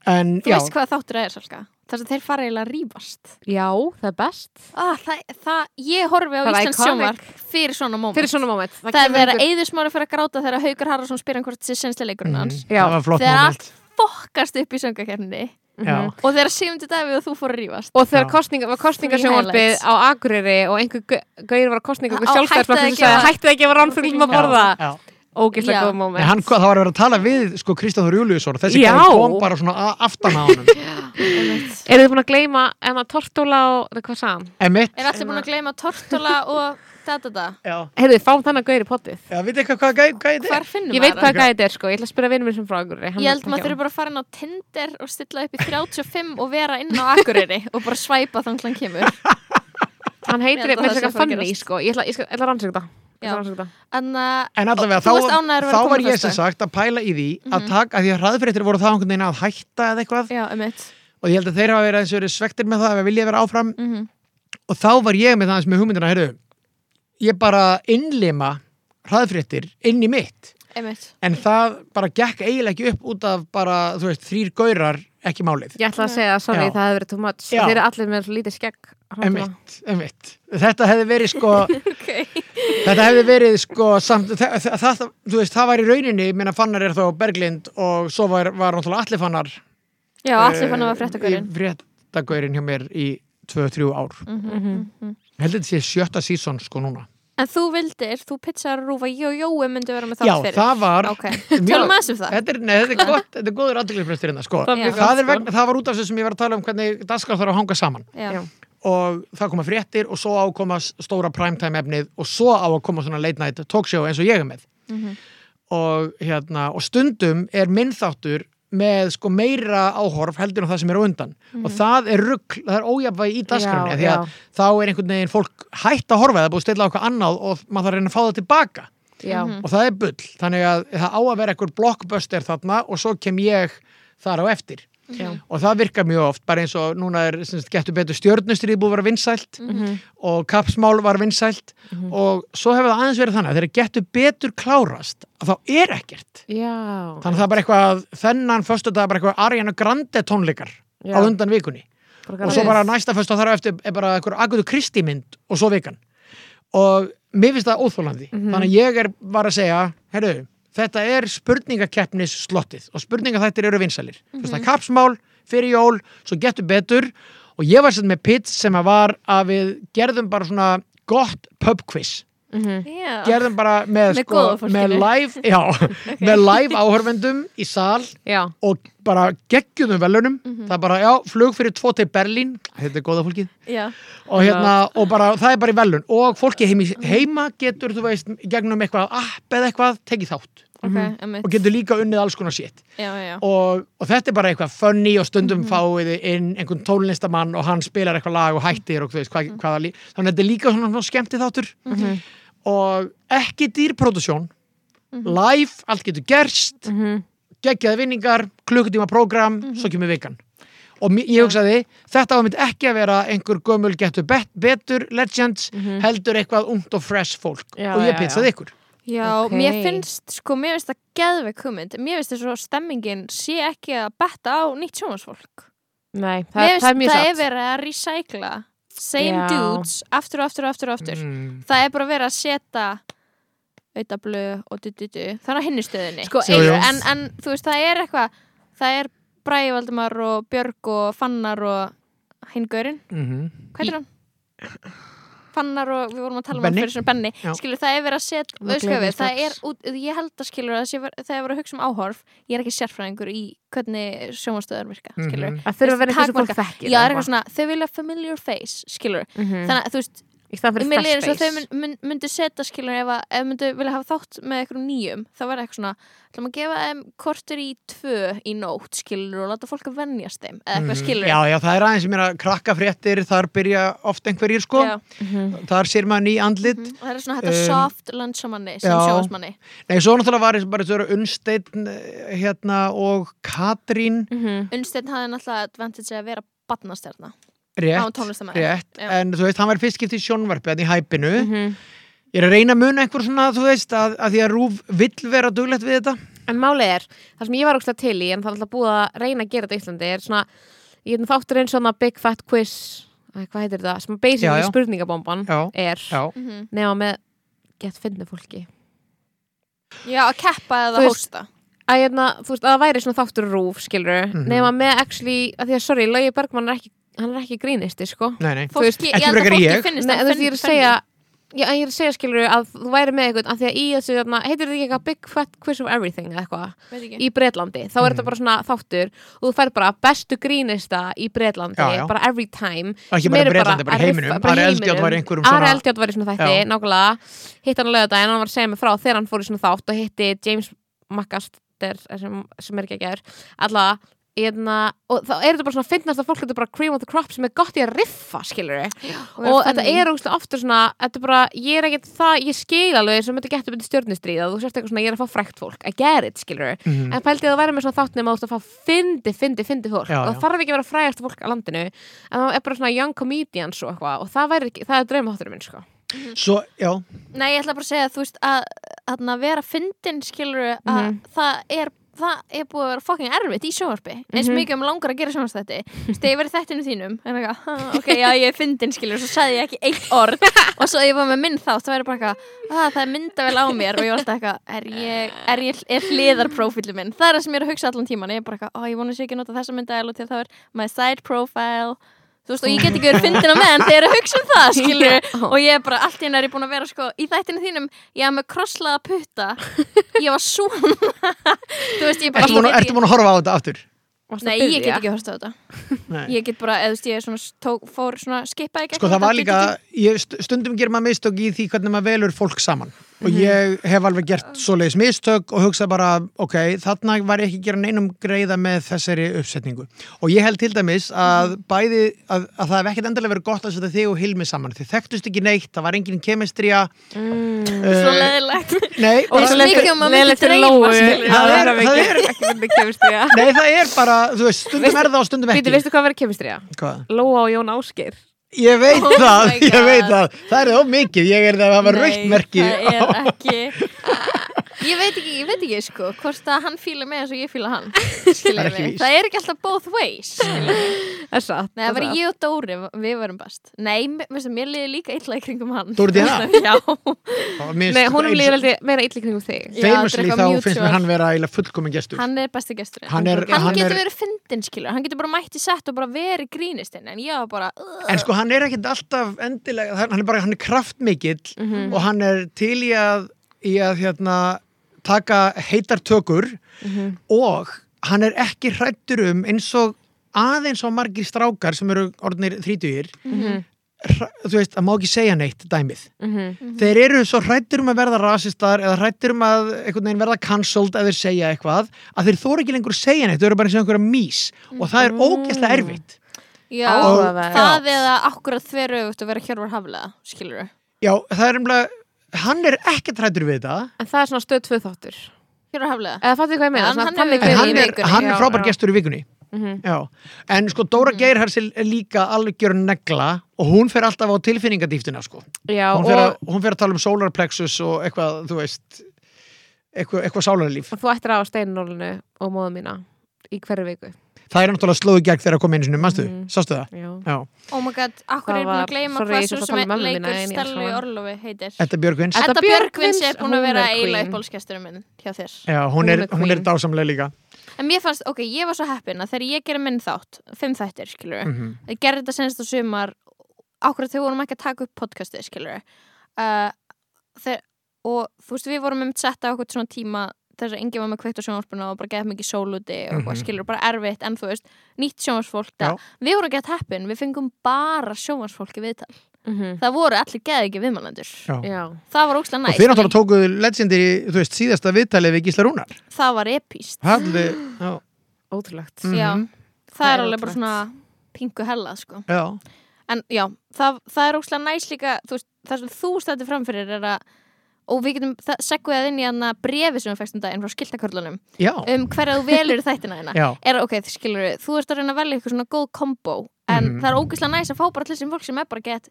S4: En
S3: Mhm. þú
S4: já,
S3: veist hvað þáttur það er, Salka þar sem þeir fara eiginlega að rýfast
S2: já, það er best
S3: ah, það, það, ég horfi á
S2: Það er
S3: Íslands
S2: iconic.
S3: sjómar fyrir svona moment
S2: fyrir svona moment það,
S3: það er
S2: kemur
S3: þegar
S2: einhver-
S3: Eiðismári fyrir að gráta þegar Haugur Haraldsson spyr hann hvort þessi sensleileikurinn hans
S2: Já.
S4: það var Mhm. flott
S3: Þegar
S4: moment
S3: allt Mhm. fokkast upp í söngakerninni
S4: Já.
S3: og þegar síðundi davi og þú fór að rífast
S2: og þegar
S4: Já.
S2: kostninga, var kostningasjónvarpið
S3: highlights.
S2: á Akureyri og einhver gau- gaur var að kostninga og
S3: Á,
S2: sjálfstæðarflokkur
S3: hættið að
S2: sem sagði
S3: gefa-
S2: hætti að gefa rán fyrir um að borða
S4: Já.
S2: ógeðslega
S3: Já.
S2: góð
S4: Nei,
S2: moment
S4: hann, það var að vera að tala við sko Kristóður Júliusson þessi
S2: Já.
S4: gæði kom bara svona a- aftan á honum
S3: Einmitt.
S2: eru þið búin að gleyma enna tortóla og eða hvað sagðan
S4: Emmett
S3: er allir búin að gleyma tortola og da da da
S4: Já,
S2: heyrðu þið fáum þannig gaur í pottið
S4: Já vitið eitthvað hvað gæði gæ, þetta er?
S3: hvar finnum
S2: ég veit
S3: maður hann?
S2: hvað gæði þetta er sko, ég ætla að spyrja vinnum minn sem frá Akureyri hann
S3: ég
S2: er
S3: held maður
S2: þekkja
S3: þurfi bara að fara inn á Tinder og stilla upp í 35 og vera inn á Akureyri og bara svæpa þannig hann kemur
S2: hann
S3: Ég
S2: heitir
S3: held að
S2: með
S3: það sé
S2: þess
S3: að
S2: að
S3: fara að
S2: fanni
S3: gerast.
S2: sko, ég ætla, ég skal- ég ætla að rannsaka þetta. Ég ætla
S3: Já.
S2: að rannsaka þetta
S3: en að
S4: En allavega,
S3: Þú
S4: þá,
S3: varst ánægður að vera
S4: þá
S3: komin
S4: var ég sem
S3: föstudag.
S4: sagt að pæla í því
S3: Mhm.
S4: að taka, að því að hraðfréttir voru þá einhvern veginn að hætta eða eitthvað
S3: já, um eitt
S4: og ég held að þeir hafa verið eins og verið svektir með það ef við viljið vera áfram
S3: Mhm.
S4: og þá var ég með það með hugmyndina heyrðu, ég bara innlima hraðfréttir inn í mitt
S3: einmitt
S4: en það bara gekk eiginlega ekki upp út af bara, þú veist, þrýr gaurar ekki málið
S2: Ég ætla að segja, sorry,
S4: Já.
S2: það hefur verið too much
S4: Já.
S2: Þeir eru allir með svo lítið skegg Hráfla.
S4: Emitt, emitt. Þetta hefði verið sko
S3: okay.
S4: þetta hefði verið sko samt, það, það, það, þú veist, það var í rauninni minna fannar er þá Berglind og svo var, var náttúrulega allir fannar
S3: Já, allir
S4: Eh,
S3: fann að frétta
S4: í
S3: hverjum
S4: fréttagaurin hjá mér í 2-3 ár
S2: Mm. Mhm.
S3: Mhm.
S4: Ég held að þetta sé sjötta sísón sko núna
S3: En þú vildir, þú pitchar rúfa Jó, Jói myndi vera með
S4: Já,
S3: þátt fyrir
S4: það var
S3: Ok, tölum aðeins um það
S4: þetta, er, nei, þetta er gott, þetta er góður aðdeglisbrestur hérna sko.
S2: Það er
S3: Já.
S2: mjög gott,
S4: það, er
S2: sko.
S4: vegna, það var út af þessu sem ég var að tala um hvernig daskar þarf að hanga saman
S3: Já.
S2: Já.
S4: og það koma fréttir og svo á að koma s- stóra primetime efnið og svo á að koma svona late night talkshow eins og ég er með
S2: Mhm.
S4: og, hérna, og stundum er minnþáttur með sko meira áhorf heldur en það sem er á undan og það er rugg, það er ójafvæg í
S2: Mhm. Já,
S4: daskarunni því að
S2: já.
S4: þá er einhvern veginn fólk hætt að horfa það er búið að stilla á eitthvað annað og maður þarf að reyna að fá það tilbaka
S3: Mhm.
S2: Já,
S4: og það er bull, þannig að það á að vera einhver blockbuster þarna og svo kem ég þar á eftir
S2: já,
S4: og það virkar mjög oft, bara eins og núna er sem sagt, getur betur stjörnustrið búið að vera vinsælt og kapsmál var vinsælt og svo hefur það aðeins verið þannig að þegar getur betur klárast að þá er ekkert
S2: já
S4: þannig að það er bara eitthvað, að þennan föstu það er bara eitthvað Ariana Grande tónleikar
S2: Já.
S4: á undan vikunni og svo bara næsta föstu þar á eftir er bara einhver Agatha Christie mynd og svo vikan og mér finnst það óþólandi
S3: Mhm.
S4: þannig að ég er bara að segja herru, þetta er spurningakeppnis slottið og spurningaþættir eru vinsalir þú
S3: Mhm.
S4: veist það er kapsmál fyrir jól svo getur betur og ég var sett með pitt sem að var að við gerðum bara svona gott pub quiz
S2: Mhm.
S3: Já.
S4: gerðum bara með,
S3: Með góða
S4: sko,
S3: fólkinu.
S4: með live já, með live áhörfendum í sal
S2: Já,
S4: og bara geggjuðum velunum það er bara, já, flug fyrir tvo til Berlín þetta er góða fólkið
S3: Já.
S4: og, hérna, og bara, það er bara í velun og fólki heimi, heima getur, þú veist gegnum eitthvað app eða eitthvað, tekið þátt
S3: Ok, emmitt
S4: Mhm. og getur líka unnið alls konar shit
S3: Já, já, já
S4: og, og þetta er bara eitthvað funny og stundum mm fáið þið inn einhvern tónlistamann og hann spilar eitthvað lag og hættir og þú veist, hvað, hvaða lí... þannig að þetta er líka svona, svona skemmti þáttur
S3: Mhm.
S2: Mhm.
S4: og ekki dýrprodusjón live, allt getur gerst
S2: Mhm.
S4: geggjaði vinningar, klukkutíma program svo
S3: Mhm.
S4: kemur vikan og mér- ég hugsaði, þetta var mynd ekki að vera einhver gömul getur bet, betur legends,
S2: Mhm.
S3: Mhm.
S4: heldur eitthvað ungt og fresh fólk
S2: Já,
S4: og ég
S2: já,
S4: pizzaði
S2: já.
S4: ykkur
S3: Já,
S2: Ok.
S3: mér finnst, sko, mér finnst það geðveik hugmynd Mér finnst þess að stemmingin sé ekki að betta á nýtt sjónvarsfólk
S2: nei,
S3: Mér
S2: það,
S3: finnst
S2: það er mjög satt
S3: verið að recycla same
S2: Já.
S3: dudes aftur og aftur og aftur og aftur
S4: mm.
S3: Það er bara verið að setja auðablu og du-du-du Það er á hinni stöðinni
S2: Sko,
S4: Jú, jú.
S3: en, en þú veist, það er eitthvað Það er Bræði Valdimar og Björg og Fannar og hinn gaurinn
S4: Mm
S3: Hvað er hann? Fannar og við vorum að tala um hann
S4: Benni.
S3: fyrir svona Benni
S4: Já.
S3: skilur það er verið að set
S2: Það
S3: veistu hvað
S2: gleymist
S3: við, það er
S2: strax.
S3: út, ég held að skilur að það sé ver- það er verið að hugsa um áhorf ég er ekki sérfræðingur í hvernig sjónvastöðar virka skilur
S4: Mhm.
S2: Það þurfa að vera eitthvað sem fólk
S3: Takmarka.
S2: þekkir
S3: já, það er
S2: eða
S3: eitthvað svona, þau vilja familiar face skilur,
S2: Mhm.
S3: þannig að þú veist
S2: Í stað fyrir
S3: mér leiðir
S2: fresh
S3: eins og þau
S2: face
S3: mynd, mynd, myndu setja skilur ef, að- ef myndu vilja hafa þátt með eitthvað nýjum þá verður eitthvað svona, ætlum að gefa þeim kortur í tvö í nótt skilur og láta fólk að venjast þeim eða eitthvað skilur
S4: Mm. Mhm. Já, já, það er aðeins mér að krakka fréttir þar byrja oft einhverjir sko
S3: Já.
S2: Mhm.
S4: þar sér maður ný andlit
S3: Mhm. það er svona þetta
S4: Um,
S3: soft landsamanni sem
S4: já.
S3: sjónvarsmanni
S4: Nei, svo náttúrulega var bara þessu unnsteinn eh, hérna og Katrín
S2: Mhm.
S3: Unnsteinn hafði náttúrulega advantage að vera badnastjarna
S4: rétt,
S3: Hann var tónlistarmaður.
S4: rétt
S3: Já.
S4: en þú veist, hann var fyrst skipt í sjónvarpi þannig í hæpinu,
S2: Mhm.
S4: ég er að reyna að muna einhver svona, þú veist, að, að því að Rúf vill vera duglegt við þetta
S2: En málið er, það sem ég var ógstlega til í en það er alltaf búið að reyna að gera þetta í Íslandi er svona, ég hefði þáttur eins og svona Big Fat Quiz, Æ, hvað heitir þetta sem
S4: Já,
S2: basically
S4: já.
S2: spurningabomban
S4: Já,
S2: er,
S4: já,
S2: nema með gett finnu fólki
S3: Já, að keppa eða
S2: Þú veist-
S3: hósta
S2: að, hérna, þú veist, að það væri svona þáttur rúf, skilur
S4: Mhm.
S2: nema með actually, að því að sorry, Laugi Bergman er ekki, hann er ekki grínisti, sko
S4: nei, nei
S2: Þú veist,
S3: Fólki,
S4: ekki
S3: ég held að
S4: frekar
S3: fólki
S4: ég.
S3: finnist
S2: Nei,
S3: það
S2: þú veist, ég er að
S3: fenn-
S2: segja Já, en ég er að segja, skilur, að þú væri með eitthvað, að því að í þessu, þarna, heitir þetta ekki eitthvað Big Fat Quiz of Everything eða eitthvað,
S3: fenn- veit ekki.
S2: í Bretlandi, þá er
S4: Mhm.
S2: þetta bara svona þáttur og þú fær bara bestu grínista í Bretlandi,
S4: Já, já.
S2: bara every time
S4: Og ekki
S2: sem
S4: bara
S2: eru
S4: Bretlandi, bara
S2: að
S4: heiminum.
S2: riffa-
S4: Ari
S2: heiminum.
S4: Eldjárn var í einhverjum
S2: Ari
S4: svona-
S2: Eldjátt var í svona þætti,
S4: Já.
S2: nákvæmlega hitt hann á lögadaginn, hann var að segja mig frá þegar hann eh, fór í svona þátt og hitti James McAster sem, sem er ekki að gera allavega hérna, og þá er þetta bara svona finnast að fólk þetta bara cream of the crop sem er gott í að riffa skilur og, þetta er ógstlega ofta svona þetta er bara, ég er ekkert það, ég skil alveg sem þetta getur myndið stjórnistríð að þú sérst eitthvað svona, ég er að fá frækt fólk, I get it, skilur
S4: Mhm.
S2: en pældi að það væri með svona þátt nema að þú ert að fá fyndi, fyndi, fyndi fólk
S4: Já,
S2: og það
S4: já.
S2: þarf ekki að vera frægast fólk á landinu en það er bara svona young comedians og eitthvað og það, væri, ekki- það er draumahátturinn minn, sko
S4: Svo, já,
S3: Nei, ég ætla bara að segja, þú veist, að, að vera fyndin, skilur að
S2: Mhm.
S3: það er það er búið að vera fucking erfitt í sjónvarpi eins
S2: Mhm.
S3: mikið um langar að gera sjónvarstætti þegar ég verið þettinu þínum en eitthvað, "Ha, ok, já, ég er fyndin, skilur, svo sagði ég ekki eitt orð og svo ég var með minn þátt, það væri bara eitthvað "Ah, það er myndavel á mér og ég var alltaf eitthvað er ég, er ég, er hliðarprófílum minn það er það sem ég er að hugsa allan tíman ég er bara eitthvað, ó, ég vonu sér ekki að nota þessa myndavel og til það er my side profile þú veist, og ég get ekki verið fyndin á meðan þegar ég er að hugsa um það, skilur og ég er bara, allt í henni er ég búin að vera sko, í þættinu þínum, ég haf með krosslaða putta ég var svona þú veist, ég bara
S4: ertu búin,
S3: ég
S4: að-
S3: get
S4: ertu búin að horfa á þetta aftur?
S2: Varstu
S3: Nei,
S2: að
S3: ég get
S2: biðja?
S3: ekki horst á þetta
S4: Nei.
S3: ég get bara, eða þú veist, ég er svona tók, fór svona, skipaði
S4: Sko það var líka, ég, st- stundum gerir maður mistök í því hvernig maður velur fólk saman og ég hef alveg gert svoleiðis mistök og hugsað bara, ok, þarna var ég ekki að gera neinum greiða með þessari uppsetningu og ég held til dæmis að bæði, að, að það hef ekkert endilega verið gott að setja þig og Hilmi saman, þið þekktust ekki neitt það var engin kemistría mm.
S3: svo leðilegt
S4: Nei,
S2: Og
S3: Og
S2: svo
S4: bara-
S3: svo
S2: leiðilegt
S3: mikið um
S2: fyrir-
S3: að
S2: leiðilegt fyrir
S3: myndi
S2: Lóu
S3: dreyma, skilurðu.
S2: að
S4: Það er-
S2: vera með
S4: það
S2: ekki- ekki myndi kemistriða
S4: nei, það er bara, þú veist, stundum er það og stundum
S2: Býtu,
S4: ekki
S2: veistu hvað verið kemistriða?
S4: Hvað?
S2: Lóa og Jón Ásgeir
S4: Ég veit
S3: Oh
S4: það,
S3: my
S4: ég
S3: God.
S4: veit það Það er það mikið, ég er það að hafa raukt merki
S3: það
S4: á-
S3: er ekki ég veit ekki, ég veit ekki sko hvort að hann fíla mig eins og ég fíla hann
S4: Það
S3: það
S4: er ekki víst.
S3: það er ekki alltaf both ways skilurðu.
S2: Það er satt
S3: Nei, það var ég og Dóri, við varum best Nei, m- veistu, mér liði líka illa í kringum hann
S4: Dóri Díana?
S3: Já,
S4: Á, mér
S2: Nei,
S4: finnst-
S2: honum líður aldrei meira illi kringum þig
S3: Já,
S4: famously
S3: þetta er
S4: þá
S3: eitthvað
S4: finnst mér
S3: mutual.
S4: hann vera eiginlega fullkomin gestur
S3: hann er besti gesturinn
S4: Hann er- hann
S3: getur
S4: er-
S3: verið fyndin, skilur Hann getur bara mætt í sett og bara verið grínistinn En ég var bara uh,
S4: en sko hann er ekkert alltaf endilega hann hann er bara, hann er kraftmikill
S3: Mhm.
S4: og hann er til í að, í að hérna, taka heitar tökur
S3: Mhm,
S4: og hann er ekki hrættur um eins og aðeins á margir strákar sem eru orðnir þrítugir
S3: mhm.
S2: Mhm,
S4: hra- þú veist, það má ekki segja neitt dæmið
S2: mhm.
S4: þeir eru svo hrættir um að verða rasistar eða hrættir um að einhvern veginn verða cancelled ef þeir segja eitthvað að þeir þóra ekki lengur að segja neitt, þau eru bara eins og einhverja mís og það er
S2: Mhm.
S4: ógeðslega erfitt
S3: Já,
S2: Áhugavert.
S3: það eða akkurat þveröfugt að vera Hjörvar Haflega, skilur
S4: já, það er umlega hann er ekkert hrættur við þetta
S2: En það er svona stöð tvö þáttur
S3: Hjörvar Haflega
S2: Eða fattu hvað ég meina
S3: En
S2: svona
S3: hann
S2: þannig
S3: hefur-
S2: gaur
S4: en
S2: í
S4: hann er,
S2: vikunni.
S4: hann
S2: Já,
S4: er frábær
S2: já.
S4: gestur í vikunni
S2: Mhm.
S4: já, en sko Dóra Geirhars er er líka algjör negla og hún fer alltaf á tilfinningadýftina sko.
S2: Já,
S4: hún, fer að,
S2: og
S4: hún fer að tala um solarplexus og eitthvað, þú veist eitthvað, eitthvað sálarlíf
S2: og þú ættir að á steinunólinu og móðu mína í hverju viku
S4: það er náttúrulega slóðu gegn þegar að koma einu sinni, mannstu,
S2: Mhm.
S4: sástu það?
S2: Já
S4: Já,
S3: Oh my god, akkur
S2: Það
S3: er ég búin
S2: var-
S3: að gleyma
S2: sorry,
S3: hvað
S2: ég
S3: svo
S2: þurfti að
S3: sem
S2: tala um
S3: er
S2: mömmu mína
S3: leikur
S2: en ég er
S3: Stellu í
S2: svona-
S3: Orlofi heitir
S4: Edda Björgvins
S2: Edda
S3: Edda Björgvins er
S2: Björgvins,
S3: búin að
S2: hún
S3: vera
S2: er
S3: eiginlega
S2: queen.
S3: uppbólsgesturinn minn hjá þér
S4: Já, hún,
S2: Hún
S4: er,
S2: er
S4: hún er
S2: queen.
S4: dásamlega líka
S3: En mér fannst, ok, ég var svo heppin að þegar ég gerði minn þátt, fimm þættir, skilur mm
S4: Mhm.
S3: ég gerði þetta senast á sumar ákveð þegar við vorum ekki að taka upp podcastið, skilur uh, þeir, og þú veist, við vorum um setta okkur svona tíma þess að enginn var með kveikt á sjónvarpuna og bara geðið mikið sól úti og mm
S4: Mhm.
S3: skilur, bara erfitt, en þú veist nýtt sjónvarsfólk,
S4: Já.
S3: við vorum ekki að heppin við fengum bara sjónvarsfólk í viðtal
S2: Mhm.
S3: það voru allir geðið ekki viðmælandur
S4: Já.
S2: Já
S3: það var ókslega
S4: Og
S3: næst,
S4: þeir náttúrulega tókuðu legendir í þú veist, síðasta viðtalið við Gísla Rúnar
S3: það var epíst
S4: Halli, já,
S2: Ótrúlegt
S4: Mhm.
S3: Já, það,
S2: Það
S3: er
S2: er
S3: alveg bara
S2: ótrúlegt.
S3: svona pingu hella, sko
S4: já,
S3: en já, það, það er óslega næs líka þú veist, það sem þú stættir framfyrir er að og við getum það- segguð það inn í hana brefi sem við fækstum daginn frá skiltakörlunum
S4: já,
S3: um hverja þú velur í þættina hérna
S4: já
S3: er ok, þið skilur við, þú ert að reyna að velja eitthvað svona góð kombo en
S4: Mhm.
S3: það er ógeðslega næs að fá bara til þessum fólk sem er bara gett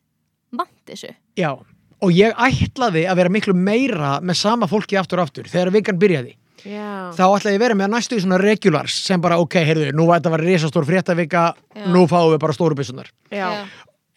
S3: vant þessu
S4: Já, og ég ætlaði að vera miklu meira með sama fólki aftur og aftur þegar vikan byrjaði
S2: Já
S4: þá ætlaði ég að vera með næstu í svona regulars sem bara, ok, heyrðu, nú var þetta var risastór fréttavika,
S3: Já.
S4: nú fáum við bara stóru byssunar
S2: Já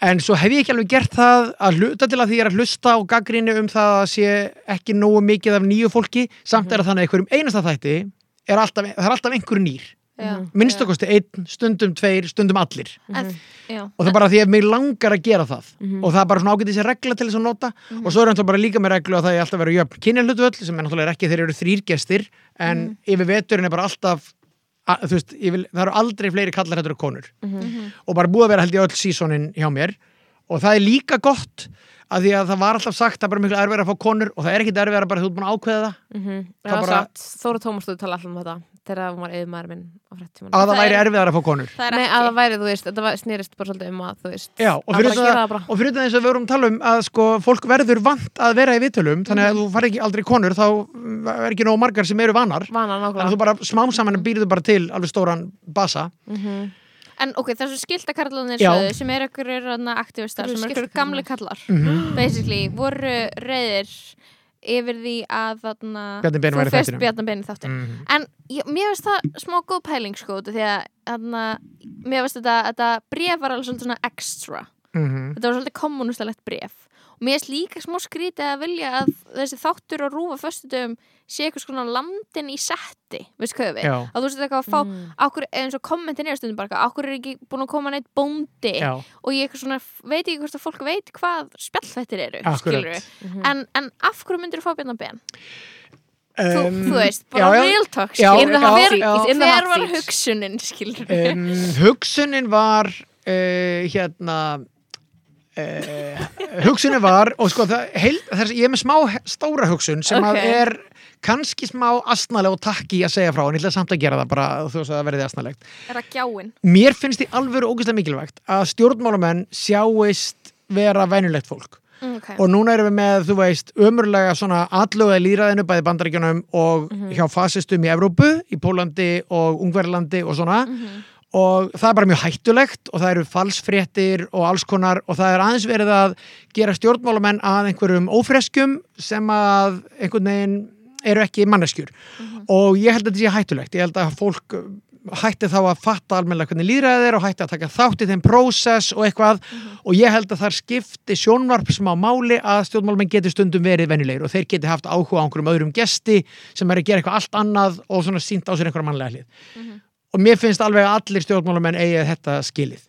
S4: En svo hef ég ekki alveg gert það að hluta til að því ég er að hlusta og gaggrinni um það að sé ekki nógu mikið af nýju fólki samt er það þannig að einhverjum einasta þætti er alltaf, það er alltaf einhver nýr
S3: já,
S2: Mhm.
S4: minnstakosti einn, stundum tveir, stundum allir
S3: en, já.
S4: og það er bara því að mig langar að gera það og það er bara svona ágætið sér regla til þess að nota og svo er hann bara líka með reglu að það er alltaf að vera jöfn kynjalutvöll sem er náttúrulega ekki þeir eru þrýr gestir en yfir veturinn er bara alltaf að, þú veist, yfir, það eru aldrei fleiri kallar hættur og konur og bara búið að vera held ég öll sísonin hjá mér og það er líka gott að því að það var alltaf sagt það er bara miklu erfið að fá konur og það er ekkit erfið að bara þú ert búin að ákveða það
S2: Mhm.
S4: Það
S2: Já,
S4: bara-
S2: satt Þóra Tómasdóttir tala alltaf um þetta þegar hún var yfir maður minn á fréttíman
S4: að það
S3: Það
S4: væri
S3: er-
S4: erfiðar að fá konur
S3: það er
S2: Nei,
S3: ekki
S2: að það væri, þú veist, þetta var- snerist bara svolítið um að, þú veist
S4: Já, og
S2: að
S4: fyrir
S2: bara
S4: það-
S2: gera það bara
S4: og fyrir þess að við vorum að tala um að sko, fólk verður vant að vera í viðtölum þannig að þú fari ekki aldrei konur þá mm, er ekki nóg margar sem eru vanar
S2: vana
S4: þannig að
S2: nákvæmlega
S4: þú bara smám saman býrðu bara til alveg stóran basa
S3: En ok, þessu skilta karlarnir
S4: Já.
S3: sögðu sem eru ykkur aktivistar,
S2: Þeir eru
S3: sem eru ykkur
S2: skilta
S3: gamli kallar
S4: Mhm.
S3: basically, voru reyðir yfir því að þarna
S4: Bjarni Ben var í
S3: þú fyrst
S4: þættinum.
S3: Bjarni Bein í þáttur
S4: Mhm.
S3: En ég, mér finnst það smá góð pæling sko, út af því að þarna, mér finnst þetta, þetta bref var alveg svolítið svona extra
S4: Mhm.
S3: þetta var svolítið kommunistalegt bref og mér finnst líka smá skrítið að vilja að þessi þáttur að rúfa föstudum sé eitthvað svona landin í setti veist hvað við,
S4: Já.
S3: að þú veist þetta
S2: Mm.
S3: eitthvað að fá okkur, eins og kommentin er stundum bara okkur er ekki búin að koma neitt bóndi
S4: Já.
S3: og ég eitthvað svona, veit ekki hvort að fólk veit hvað spjallfættir eru,
S4: Akkurat.
S3: skilur við en, en af hverju myndir þú fá Bjarnar Ben? Þú,
S4: Um,
S3: þú veist, bara
S4: já, já.
S3: real talk
S4: Já,
S3: skilur við.
S4: já,
S3: hver,
S4: já.
S2: It's in the
S3: hver
S2: hot
S3: var
S2: seat.
S3: hugsunin skilur við
S4: um, hugsunin var uh, hérna uh, hugsunin var og sko það, heil, þess, ég er með smá he- stóra hugsun sem
S3: Ok.
S4: að er kannski smá astnaleg og takki að segja frá en ég ætla samt að gera það bara þú veist að það verði astnalegt
S3: er að gjáin
S4: mér finnst því alvöru ógeðslega mikilvægt að stjórnmálamenn sjáist vera venjulegt fólk
S3: Mm, okay.
S4: og núna erum við með, þú veist, ömurlega svona atlöga í líraðinu bæði bandaríkjunum og hjá fasistum í Evrópu í Pólandi og Ungverlandi og svona og það er bara mjög hættulegt og það eru falsfréttir og alls konar og það er aðeins verið að gera stjórnmálamenn að einhverjum ófreskum sem að einhvern veginn eru ekki manneskjur og ég held að þetta sé hættulegt ég held að fólk uh, hætti þá að fatta almennilega hvernig líðræðið er og hætti að taka þátt í þeim prósess og eitthvað og ég held að þar skipti sjónvarp smá máli að stjórnmálmenn geti stundum verið venjulegir og þeir geti haft áhuga á einhverjum öðrum gesti sem er að gera eitthvað allt annað og svona sínt á sér einhverja mannlega hlið og mér finnst alveg að allir stjórnmálamenn eigi þetta skilið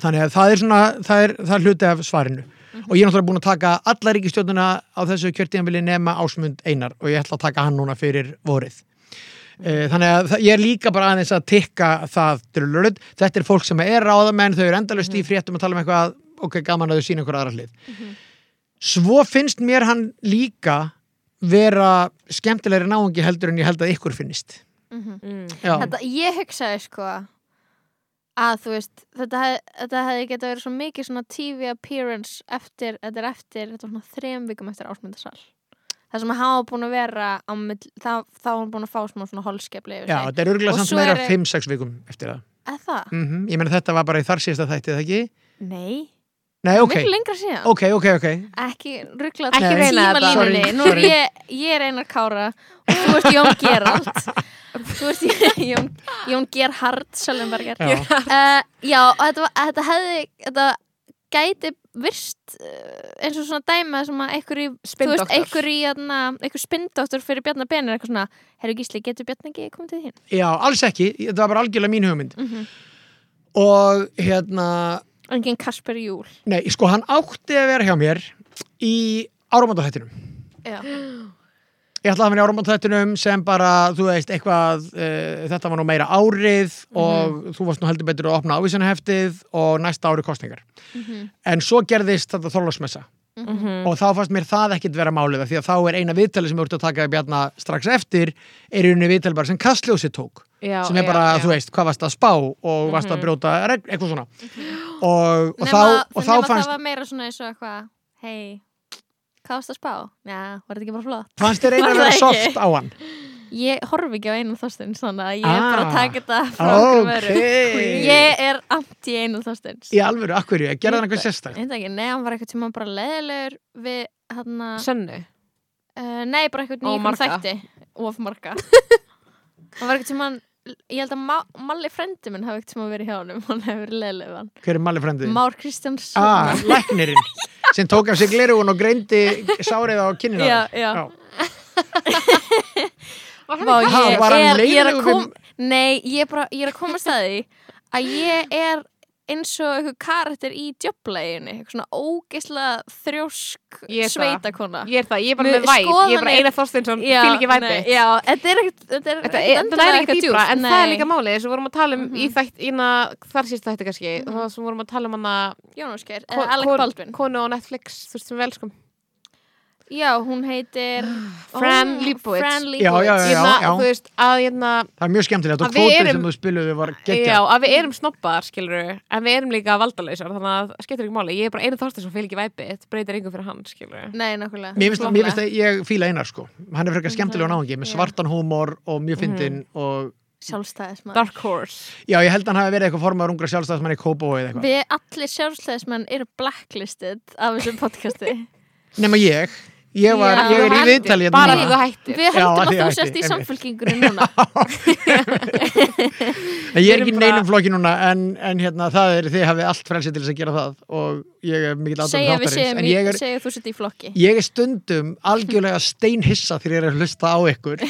S4: þannig að það er svona, það er, það er hluti af svarinu og ég er náttúrulega búin að taka alla ríkistjórnuna á þessu kjörtíðanvili nema Ásmund Einar og ég ætla að taka hann núna fyrir vorið Eh, Þannig að það- ég er líka bara aðeins að tikka það drullulut. Þetta er fólk sem er ráðamenn, þau eru endalust í fréttum að tala um eitthvað, ok, gaman að þau sína einhver aðra hlið. Svo finnst mér hann líka vera skemmtilegri náungi heldur en ég held að ykkur finnist.
S2: Mm,
S4: Já.
S3: þetta, ég hugsaði sko að þú veist þetta, hef, þetta hefði geta verið svo mikið svona TV appearance eftir, þetta er eftir þetta var svona þrem vikum eftir ásmyndasal það sem hann var búin að vera á mill, það, þá var hann búin að fá smá svona holskepli
S4: Já, þetta er örgulega
S3: Og
S4: samt
S3: svo
S4: meira
S3: eru-
S4: 5-6 vikum eftir það.
S3: eða það?
S4: Mm Ég meina þetta var bara í þar síðasta þætti, eða ekki?
S3: Nei,
S4: Nei, ok,
S3: miklu lengra síðan
S4: ok, ok, ok.
S3: ekki ruggla
S2: Ekki reyna þetta.
S4: Sorry,
S3: nú er
S4: sorry.
S3: ég, ég er Einar Kára og þú ert Jón Gerald þú ert Jón, Jón Gerhard Sjöllenberger
S4: Já.
S3: uh, já, og þetta, var- þetta hefði þetta gæti virst uh, eins og svona dæma sem að einhver í, þú veist,
S2: Spinndoktor.
S3: einhver í hérna, einhver spindóttur fyrir Bjarnar Benir eitthvað svona, herru Gísli, getur Bjarnar ekki komið til þín?
S4: Já, alls ekki, þetta var bara algjörlega mín hugmynd.
S3: Mhm.
S4: Og hérna,
S3: Engin Kasper Júl
S4: nei, sko hann átti að vera hjá mér í áramátahættinum.
S3: já.
S4: Ég ætlaði að vera í áramátahættinum sem bara, þú veist, eitthvað, uh, þetta var nú meira árið
S3: Mhm.
S4: og þú varst nú heldur betur að opna ávísanheftið og næsta ári kostningar.
S3: Mhm.
S4: En svo gerðist þetta þorlásmessa.
S2: mhm.
S3: Mm.
S4: og þá fannst mér það ekkit vera málið af því að þá er eina viðtali sem ég voru að taka í bjarna strax eftir er í rauninni viðtali bara sem kastljósi tók
S2: Já,
S4: sem er
S2: já,
S4: bara,
S2: já.
S4: þú veist, hvað varst að spá og varst að brjóta regl, eitthvað svona og, og,
S3: Mhm. nema,
S4: þá, og þá
S3: nema
S4: fannst,
S3: það var meira svona eins og eitthvað hei, hvað varst að spá? Já, var þetta ekki bara flott?
S4: fannst þér eina
S3: Var
S4: að vera
S3: það ekki?
S4: soft á hann
S3: Ég horfi ekki á einum þástinn svona, ég er
S4: Ah.
S3: bara að taka þetta frá okkur
S4: ok,
S3: veru Ég er anti einum þástins
S4: í alvöru, akkur ég, gerði hann
S3: Ég-
S4: eitthvað sérstakt
S3: Ég veit ekki, nei, hann var eitthvað tíma bara leðilegur við hann að,
S2: Sönnu
S3: uh, nei, bara eitthvað
S2: Ó,
S3: nýjum
S2: marga.
S3: þætti, of marga. hann var eitthvað tíma, ég held að Ma Malli frendi minn hafi eitthvað tíma verið hjá honum, hann hefur verið leðilegur við hann.
S4: hver er Malli frændið?
S3: Már Kristjánsson.
S4: ah, læknirinn sem tók af sig glerugun og greindi sárið á kinnina
S3: Já, já. Vá,
S4: í kassa?
S3: ég,
S4: Var
S3: er, ég
S4: hann
S3: er að
S4: leiðinlegur
S3: kom,
S4: við-
S3: nei, ég er bara, ég er að koma að staði að ég er eins og eitthvað karakter í djöfleginu, eitthvað svona ógeislega þrjósk
S2: Ég er það.
S3: sveitakona.
S2: Ég er það, ég er bara
S3: Mér-
S2: með væp Ég er bara
S3: skoðanir-
S2: Einar Þorsteinsson, fylg ekki væpi
S3: nei, já, þetta er ekkert þetta
S2: Þetta
S3: er, ekkert
S2: er, það er
S3: endilega
S2: ekki
S3: eitthvað
S2: dýbra,
S3: djúpt,
S2: en það er
S3: nei. Mhm.
S2: líka málið sem við vorum að tala um í þætt, ína, þar síst þætti kannski, mm það sem við vorum að tala um hana
S3: Jónas Geir,
S2: ko-
S3: eða Mhm. Eh, Alec
S2: kon-
S3: Baldwin
S2: konu á Netflix, þú veist sem við elskum
S3: Já, hún heitir
S2: Fran
S3: Ó,
S2: Lebowitz.
S3: Fran
S4: Já, já, já, já,
S2: Hérna,
S4: já.
S2: þú veist, að hérna
S4: Það er mjög skemmtilegt og
S2: Að við
S4: kvótið
S2: erum-
S4: sem þú spiluðu var
S2: Já,
S4: geggjað.
S2: að við erum snobbaðar, skilur en við erum líka valdalausar, þannig að það skiptir ekki máli ég er bara einu þorstir sem fylgir væpi, þetta breytir engum fyrir hann, skilur
S3: Nei, nákvæmlega
S4: Mér finnst, mér
S3: Nákvæmlega.
S4: finnst að ég fíla einar sko Hann er frekar skemmtilega náðingi
S3: Mhm.
S4: með
S3: Já. Mhm.
S4: svartan húmor og mjög fyndin og
S3: Sjálfstæðismann
S2: Dark Horse
S4: já, ég held að hann hafi verið eitthvað formaður ungra sjálfstæðismann í Kobo eða eitthvað
S3: Við allir sjálfstæðismenn eru blacklisted af þessu podcasti
S4: Nema ég, ég, var,
S3: Já.
S4: ég er í
S3: Þú
S4: viðtali hérna
S2: bara því
S4: núna.
S2: þú hættir
S3: Við
S4: að
S3: heldum
S4: því
S3: að þú
S4: hætti,
S3: sérst í
S4: einmitt.
S3: samfélkingunni núna
S4: En Ég
S2: Við
S4: er ekki í
S2: erum
S4: neinum
S2: bara-
S4: flokki núna en, en hérna, það er þið hafið allt frelsi til þess að gera það og ég er mikill aðdóðum
S3: Segja við
S4: þáttarins
S3: séum
S4: en
S3: í,
S4: ég er,
S3: segja þú sért í flokki
S4: ég er stundum algjörlega steinhissa þegar ég er að hlusta á ykkur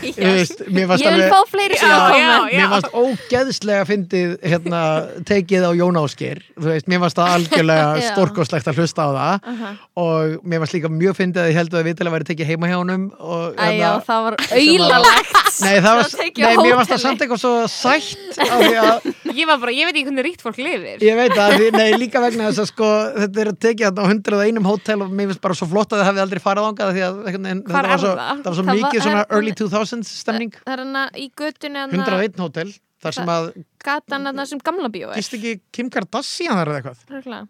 S4: Þú veist, Mér
S3: Ég
S4: varst
S3: vil
S4: alveg
S3: fá fleiri
S2: Já, já,
S3: aðkoma
S2: já.
S4: Mér varst ógeðslega fyndið hérna, tekið á Jón Ásker þú veist, mér varst það algjörlega
S3: Já.
S4: stórkoslegt að hlusta á það
S3: Aha.
S4: og mér varst líka mjög fyndið að ég held að viðtalið væri tekið heima hjá honum og,
S3: Æ, já, það var auðalegt
S4: auðalegt. Hérna, nei, það var,
S3: það var tekið á
S4: nei, mér
S3: hóteli.
S4: varst það samt eitthvað svo sætt af því að,
S2: ég var bara, ég veit ekki hvernig ríkt fólk lifir
S4: ég veit að því, nei, líka vegna þess að sko, þetta er tekið þarna á hundrað og einum hótel og mér finnst bara svo flott að það hefði aldrei farið þangað því að einhvern veginn-
S2: Hvar
S4: þetta var
S2: er
S4: svo,
S2: það?
S4: það var svo
S3: Það var-
S4: mikið svona
S3: er-
S4: early 2000s stemning
S3: Það er hana í götunni hana
S4: 101 hótel, þar sem að
S3: gatan hana sem gamla bíó er
S4: gist ekki Kim Kardashian þar eða eitthvað
S3: Örugglega.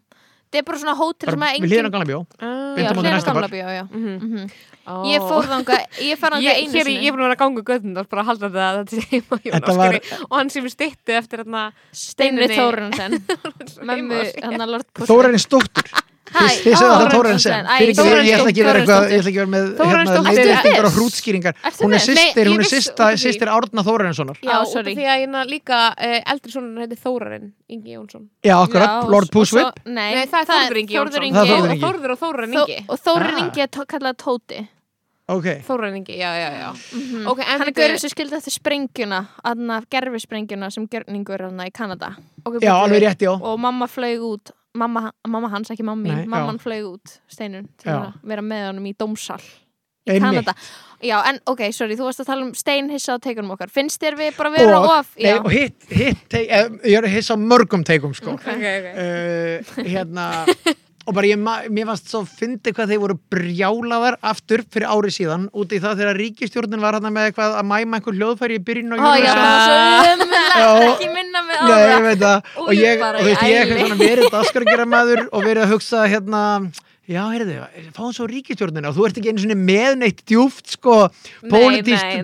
S3: Það er bara svona hótel sem að
S4: Við
S3: engin
S4: hlýðum gamla bjó
S3: Já,
S2: Ah,
S4: Beint á móti
S3: hlera
S4: næsta bar.
S3: gamla bíó, já
S2: Mhm.
S3: Mhm.
S2: Ó.
S3: Ég fór þangað, ég fór þangað
S2: Ég,
S3: einu
S2: hér, í- ég er
S3: sinni
S2: búin að vera að ganga um göðn og bara að halda þetta að þetta sé heima hjá
S4: Þetta
S2: Jónas
S4: var-
S2: skilurðu. og hann sem er stytti eftir hérna
S3: Steinri
S2: Steinunni.
S3: Þórunsen Mömmu,
S2: heima á sér.
S3: hann að Lord Pussy
S4: Þórarinn Stóttur Þið þið segðu
S3: Þórarinn
S4: það Þórarinn
S3: Stóttur.
S4: sem
S3: Æ,
S4: Fyrir ekki verið, ég ætla ekki að vera
S3: Þórarinn Stóttur.
S4: eitthvað Ég ætla ekki að vera með
S2: Þórarinn
S4: hérna,
S2: Stóttur.
S4: leiðbendingar
S3: Ertu
S4: og
S3: viss?
S4: hrútskýringar
S3: Ertu
S4: Hún er
S2: Nei,
S3: viss?
S4: systir, hún
S2: ég
S4: er
S2: vissi
S4: systa-
S2: út af því.
S4: systir Árna Þórarinsonar
S3: Já,
S2: Já, út af
S3: sorry.
S2: því að hérna líka uh, eldri sonur heiti Þórarinn Ingi Jónsson
S4: Já, akkurat,
S3: Já,
S4: Lord
S3: og
S4: Pushwip
S3: svo- Nei,
S2: Nei, það er Þórður Ingi Jónsson
S4: Það er Þórður
S2: Og
S4: Ingi.
S2: Þórður og Þórarinn Ingi
S3: Þó- Og Þórður
S4: Ah.
S3: Ingi er tó- kallað Tóti
S4: Ok,
S2: Þórarinn Ingi, já, já, já
S3: Mhm.
S2: Ok, en
S3: Hann er
S2: bíddu-
S3: gaurið sem skildi eftir sprengjuna Aðna gerfi sprengjuna sem gjörningur hann í Kanada
S2: ok,
S4: já,
S2: bíddu.
S4: alveg rétt, já
S3: Og mamma flaug út Mamma, mamma hans, ekki mamma
S4: Nei, já.
S3: mín Mamman flaug út, Steinun Til
S4: Já.
S3: að vera með honum í dómsal Í
S4: Einmitt.
S3: Kanada Já, en ok, sorry, þú varst að tala um steinhissa á teikunum okkar Finnst þér við bara vera
S4: Og-
S3: of
S4: Nei,
S3: já.
S4: og hitt, hitt teik- eh, Ég er að hissa á mörgum teikum, sko
S2: Ok, ok
S4: uh, hérna og bara ég, ma- mér fannst svo fyndi hvað þeir voru brjálaðar aftur fyrir ári síðan út í það þegar ríkistjórnin var hann með eitthvað að mæma einhver hljóðfæri í byrjun og
S3: Ó, já,
S2: Eurovision.
S3: það var svo
S4: Já.
S3: umlega Ekki minna mig á
S4: Nei,
S3: það
S4: ég veit það
S3: Ó,
S4: og
S3: ég
S4: ég,
S3: bara
S4: og þú veist,
S3: í
S4: ég er
S3: æli.
S4: eitthvað svona verið daskargera maður og verið að hugsa hérna, já, heyrðu, fáum svo ríkistjórnina og þú ert ekki einu svona með neitt djúft, sko,
S2: nei,
S4: pólitískt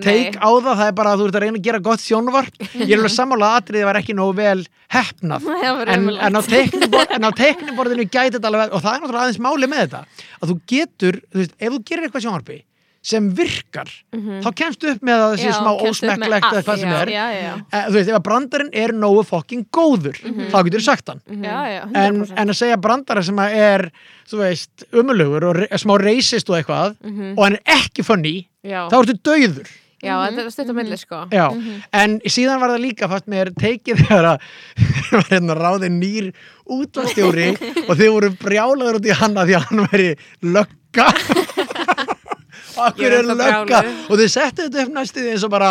S2: nei.
S4: teik á það, það er bara að þú ert að reyna að gera gott sjónvarp, ég er alveg sammála að atriði var ekki nógu vel hefnað
S3: Það var
S4: en,
S3: ömurlegt.
S4: en, á teiknibor, en á teikniborðinu gæti þetta alveg, og það er náttúrulega aðeins máli með þetta, að þú getur, þú veist, ef þú gerir eitthvað sjónvarpi sem virkar, þá kemstu upp með að það sé
S3: Já,
S4: smá
S3: kemst upp með
S4: ósmekklegt eða
S3: allt,
S4: hvað sem
S2: já,
S4: er
S3: Já, já,
S4: Eh, þú veist, ef að brandarinn er nógu fokking góður þá getur þú sagt hann
S2: Mhm.
S3: já, já, 100%
S4: en, en að segja brandara sem að er þú veist, umulugur og re smá racist og eitthvað og hann er ekki funny
S2: Já,
S4: þá Mm. ertu dauður
S2: já, þetta er stutt á milli, sko
S4: Já, en síðan var það líka fast mér teikið þegar að var hérna ráðin nýr útastjóri og þið voru brjálaður út í hann að því að hann væri lögga
S2: Ég
S4: Akkur
S2: er
S4: er
S2: ennþá
S4: lögga
S2: brjáluð.
S4: og þið settu þetta upp næstuð eins og bara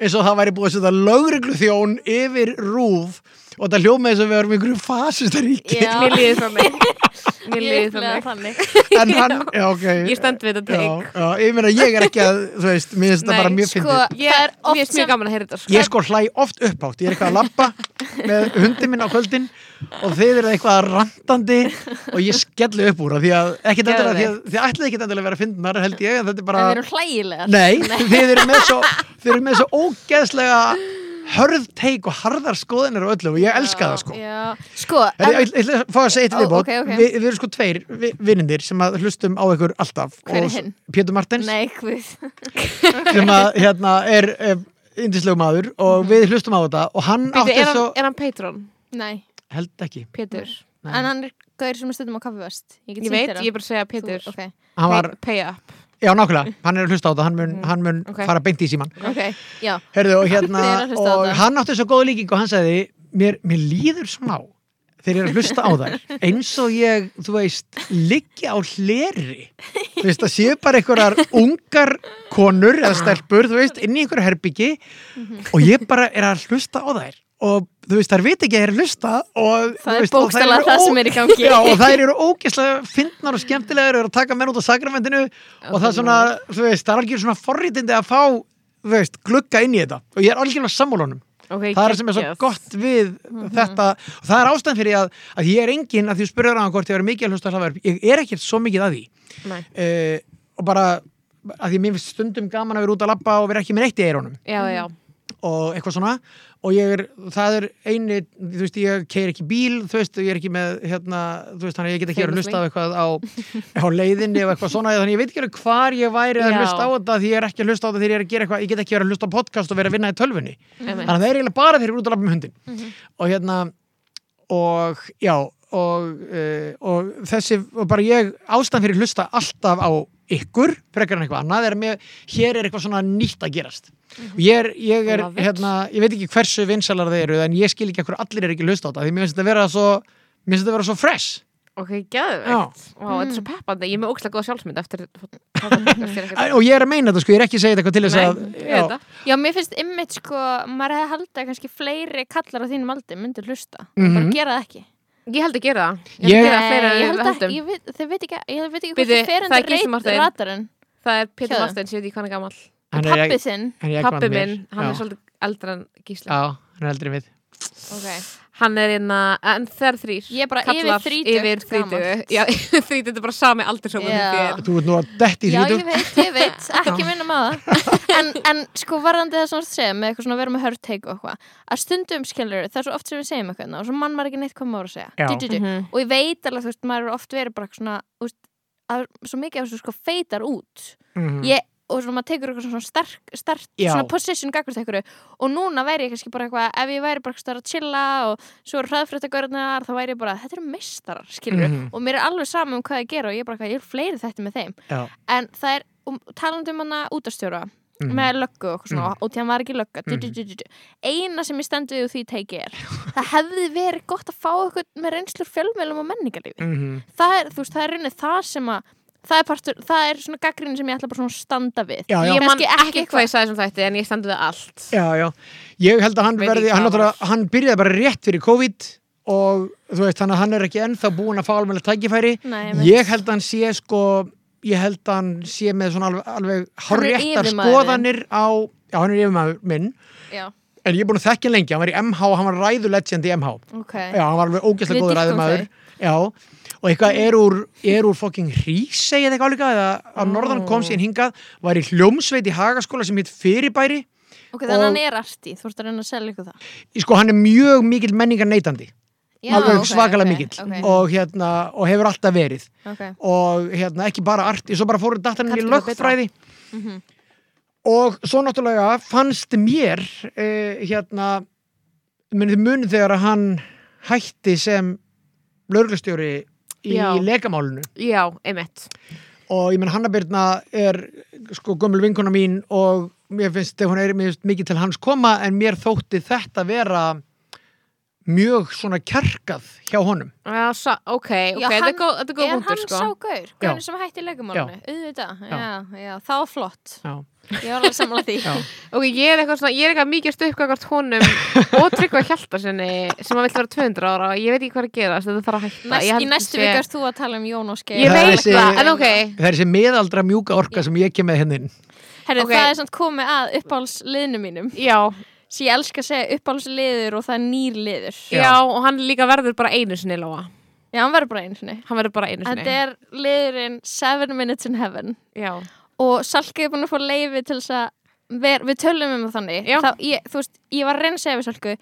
S4: eins og það væri búið að setja lögreglu þjón yfir rúf og það hljómaði eins og við varum í einhverju fasistaríki
S3: Já.
S2: Mér líður þannig Mér líður
S3: Líklega
S2: þannig
S3: þannig
S4: en hann, já ok
S2: Ég stend við þetta
S4: já,
S2: teik
S4: já, ég meina ég er ekki að, þú veist, mér finnst
S2: Nei,
S4: það bara mjög
S3: Sko,
S4: fyndið
S2: Ég
S3: það
S2: mér
S3: er oft
S2: finnst mjög
S3: sem
S2: gaman að heyra þetta, sko
S4: Ég sko hlæ oft upphátt, ég er eitthvað að labba með hundi minn á kvöldin og þeir eru eitthvað randandi og ég skellu upp úr það því að ekkit endilega, því að þið ætlaði ekkit endilega að vera fyndnar held ég, en þetta er bara,
S3: Það eru hlægilegar
S4: nei, þið eru með svo, þið eru með svo ógeðslega hörð teik og harðar skoðinir og öllu og ég elska það sko.
S3: Já. Sko,
S4: Herri,
S3: en,
S4: Ég ætla að fá að segja eitt
S3: Ó,
S4: viðbót
S3: ok, ok.
S4: Vi, Við erum sko tveir vi- vinnindir sem að hlustum á ykkur alltaf
S3: Hver er
S4: Og s-
S3: hinn?
S4: Pétur Martins
S3: nei, hvað
S4: sem að hérna er, er indislegu maður og
S3: Mhm.
S4: við hlustum á þetta og hann
S2: Býtu,
S4: átti
S2: er,
S4: svo
S2: hann- er hann Patron,
S3: Nei,
S4: held ekki
S2: Pétur?
S4: Nei.
S3: en hann er gaur sem er stundum á kaffivöst
S2: Ég veit, ég er bara að segja Pétur
S3: Ok,
S4: hann var,
S2: Pay up
S4: já nákvæmlega, hann er að hlusta á þetta hann mun,
S3: Mm,
S4: hann mun
S2: Ok.
S4: fara beint í síman
S3: ok, já
S4: Herðu, og, hérna,
S3: Þið eru að hlusta á
S4: og
S3: þetta.
S4: hann átti svo góð líking og hann sagði mér, mér líður smá þegar ég er að hlusta á þær eins og ég, þú veist, liggja á hleri þú veist, það séu bara einhverjar ungar konur eða stelpur, þú veist, inn í einhverju herbyggi og ég bara er að hlusta á þær og þú veist, þær veit ekki að þær er að hlusta og,
S3: Það
S4: þú
S3: er
S4: veist, og þær
S3: bókstaflega
S4: eru
S3: það
S4: ó-
S3: sem er í gangi.
S4: Já, og þær eru ógeðslega fyndnar og skemmtilegar og eru að taka menn út á sakramendinu og það er svona, þú veist, það er algjör svona forrítindi að fá, þú veist, glugga inn í þetta og ég er algjörlega sammálunum
S2: okay,
S4: það er sem er svo
S2: geggjað.
S4: gott við
S3: Mhm.
S4: þetta og það er ástæðan fyrir að, að ég er engin að því þú spurður á hann hvort ég er mikið að hlusta á hlaðvarp ég er ekkert svo mikið að því
S2: Nei.
S4: uh, og bara að því mér finnst stundum gaman að vera út að labba og vera ekki með neitt í eirónum
S2: Já, já,
S4: og eitthvað svona og ég er, það er eini þú veist, ég keir ekki bíl, þú veist og ég er ekki með, hérna, þú veist, þannig að ég get ekki verið að hlusta á eitthvað á, á leiðinni og eitthvað svona, þannig að ég veit ekki alveg hvar ég væri að
S2: Já.
S4: hlusta á þetta því ég er ekki að hlusta á þetta þegar ég er að gera eitthvað, ég get ekki verið að hlusta á podcast og vera að vinna í tölvunni
S2: Einmitt.
S4: þannig að það er eiginlega bara þeir eru út að lafa með hundin
S2: Mhm.
S4: og hérna og já, og, uh, og þessi, og bara ég ástæðan fyrir að hlusta alltaf á ykkur frekar en eitthvað annað, er að mér, hér er eitthvað svona nýtt að gerast og ég er, ég er
S2: Mhm. Love it.
S4: hérna, ég veit ekki hversu vinsalar þeir eru en ég skil ekki hverju allir er ekki að hlusta á þetta því mér finnst þetta vera svo mér finnst þetta vera svo fresh
S2: ok, gæðvegt
S4: Já.
S2: Vá, þetta er svo peppandi, ég er með ógæðlega góð sjálfsmynd eftir þetta
S4: og ég er að meina þetta sko, ég er ekki að segja þetta eitthvað til þess
S2: Nei,
S4: að
S2: ég veit
S4: já,
S2: það.
S3: Já, mér finnst ymmit sko, maður hefði haldið að kannski fleiri kallar á þínum aldrei myndir hlusta,
S4: Mhm.
S3: bara gera það ekki.
S2: Ég held að gera það Ég
S4: Ég-
S2: held að gera fleira
S3: Nei,
S2: en
S3: ég
S2: við
S3: held að,
S2: höldum
S3: ég veit, þeir veit ekki, ég veit ekki
S2: Bíddu,
S3: hvort það fer
S2: það er Gísli
S3: undir
S2: Marteinn.
S3: reit- radarinn.
S2: Það er Pétur
S3: Hjöðum.
S2: Marstein, ég veit ekki hvað hann er gammal
S4: hann er
S3: Pappi
S4: ekki-
S3: sinn,
S4: hann er ekki
S2: Pappi
S4: vann mér.
S2: minn, hann
S4: já,
S2: er svolítið eldra en Gísli
S4: já, hann er eldri en við
S2: okay. Hann er inna, en þeir þrýr
S3: ég er bara
S2: Kallar
S3: yfir
S2: yfir
S3: þrítugt
S2: þrítugu Já, yfir þrítugu, þetta er bara sami aldur sem
S3: Já.
S2: þér
S4: þú ert nú að detti í
S3: Já, ég
S4: þrítu
S3: veit, ég veit, ekki minna með það en, en sko varðandi það svona segja með eitthvað svona að vera með hört take og eitthvað að stundum skilur, það er svo oft sem við segjum eitthvað hérna og svo mann maður ekki neitt hvað maður á að segja
S4: Já.
S3: du, du, du.
S2: Mhm.
S3: og ég veit alveg, þú veist, maður er oft verið bara eitthvað svona, þú veist, að svo mikið af þessu sko feitar út
S4: Mhm.
S3: ég- og svona maður tekur eitthvað svona sterk, sterk
S4: Já.
S3: svona position gagvart eitthvað og núna væri ég kannski bara eitthvað, ef ég væri bara eitthvað að chilla og svo hraðfréttagörðnar þá væri ég bara, þetta eru meistarar, skilur
S4: Mhm.
S3: og mér er alveg sama um hvað ég gera og ég er bara eitthvað, ég er fleiri þetta með þeim
S4: Já.
S3: en það er, um, talandi um hana útastjóra
S4: Mhm.
S3: með löggu og eitthvað svona
S4: Mhm.
S3: og því hann var ekki lögga, du, du, du, du, du. eina sem ég stendu við og því teki er það hefði verið gott að fá eitthvað með reynslur fjölmjölum og menningarlífi
S2: Mm-hmm.
S4: Mhm.
S3: það er, þú veist, það er raunnið það sem að það er, partur, það er svona gaggrinni sem ég ætla bara svona að standa við
S4: Já, já.
S2: Ég man
S3: Kannski
S2: ekki, hvað ég sagði sem þetta En ég stendur það allt
S4: Já, já, ég held að hann
S2: Veit
S4: verði,
S2: ekki
S4: hann,
S2: hvað
S4: náttúrulega- hann byrjaði bara rétt fyrir COVID og þú veist, þannig að hann er ekki ennþá búin að fá alveg tækifæri.
S3: Nei, ég veit.
S4: Ég held að hann sé sko, ég held að hann sé með svona alveg, alveg háréttar skoðanir
S3: yfirmaðurinn.
S4: á, já hann er yfirmaður minn,
S3: já,
S4: en ég er búin að þekkja hann lengi, hann var í MH, hann var ræðu legend í MH.
S3: ok
S4: Já, hann var alveg ógeðslega
S3: Við
S4: góður
S3: dýrkum
S4: ræðumæður Já, og eitthvað er úr, er úr fucking Rísei eða eitthvað álíka eða á norðan kom síðan hingað, var í hljómsveit í Hagaskóla sem hitt Fyrirbæri
S3: ok, þannig að
S4: Og-
S3: hann er arti, þú ert að reyna að selja ykkur það
S4: sko hann er mjög mikill menningar neytandi
S3: já,
S4: alveg
S3: ok, ok,
S4: svakalega mikill
S3: ok,
S4: og hérna, og hefur alltaf verið
S3: ok,
S4: og hérna, ekki bara arti, svo bara fóru dattan í
S3: Kannski það
S4: lögfræði
S3: Mhm.
S4: og svo náttúrulega fannst mér uh, hérna munið munið þegar að hann hætti sem lögreglustjóri í
S2: Já.
S4: legamálinu
S2: Já, einmitt
S4: og ég menn Hannabirna er sko gömul vinkona mín og mér finnst, hún er mér finnst mikið til hans koma en mér þótti þetta vera mjög svona kjarkað hjá honum
S2: Já, sa- ok, ok,
S3: Já,
S2: þetta
S3: hann-
S2: er góð- þetta er góð
S3: er
S2: punktur
S3: hann
S2: sko.
S3: sá gaur, gaurinn sem hætti í leikumálunni auðvitað,
S4: Já.
S3: já, já, þá flott
S4: Já,
S3: ég var alveg sammála því
S4: já,
S2: Ok, ég er eitthvað svona, ég er eitthvað mikið stuðkvækvart honum og tryggva hjaltarsinni sem að vill vera 200 ára og ég veit ekki hvað er að gera þetta þarf að hætta
S3: Næst,
S2: Ég held
S3: í
S2: að
S3: næstu
S2: sé-
S3: viku erst þú að tala um Jón og Skeið
S2: Ég
S4: Það er
S2: veit
S4: þessi-
S2: það, en ok
S4: það er þessi meðaldra mjúka orka sem ég kem með hérna hennin
S3: Herri,
S2: Ok.
S3: það er samt komið að uppáhalsliðnum mínum
S2: Já,
S3: sem ég elska að segja uppáhalsliður og það er nýr liður
S4: Já.
S2: já, og hann líka verður bara einu sinni, Lóa
S3: já, hann verður bara einu sinni
S2: Hann verður bara einu sinni
S3: Þetta er liðurinn Seven Minutes in Heaven
S2: Já,
S3: og Salka er búin að fá leiði til þess að ver, við tölum um það þannig
S2: Já.
S3: Þá, ég, þú veist, ég var að reyna að segja við Salku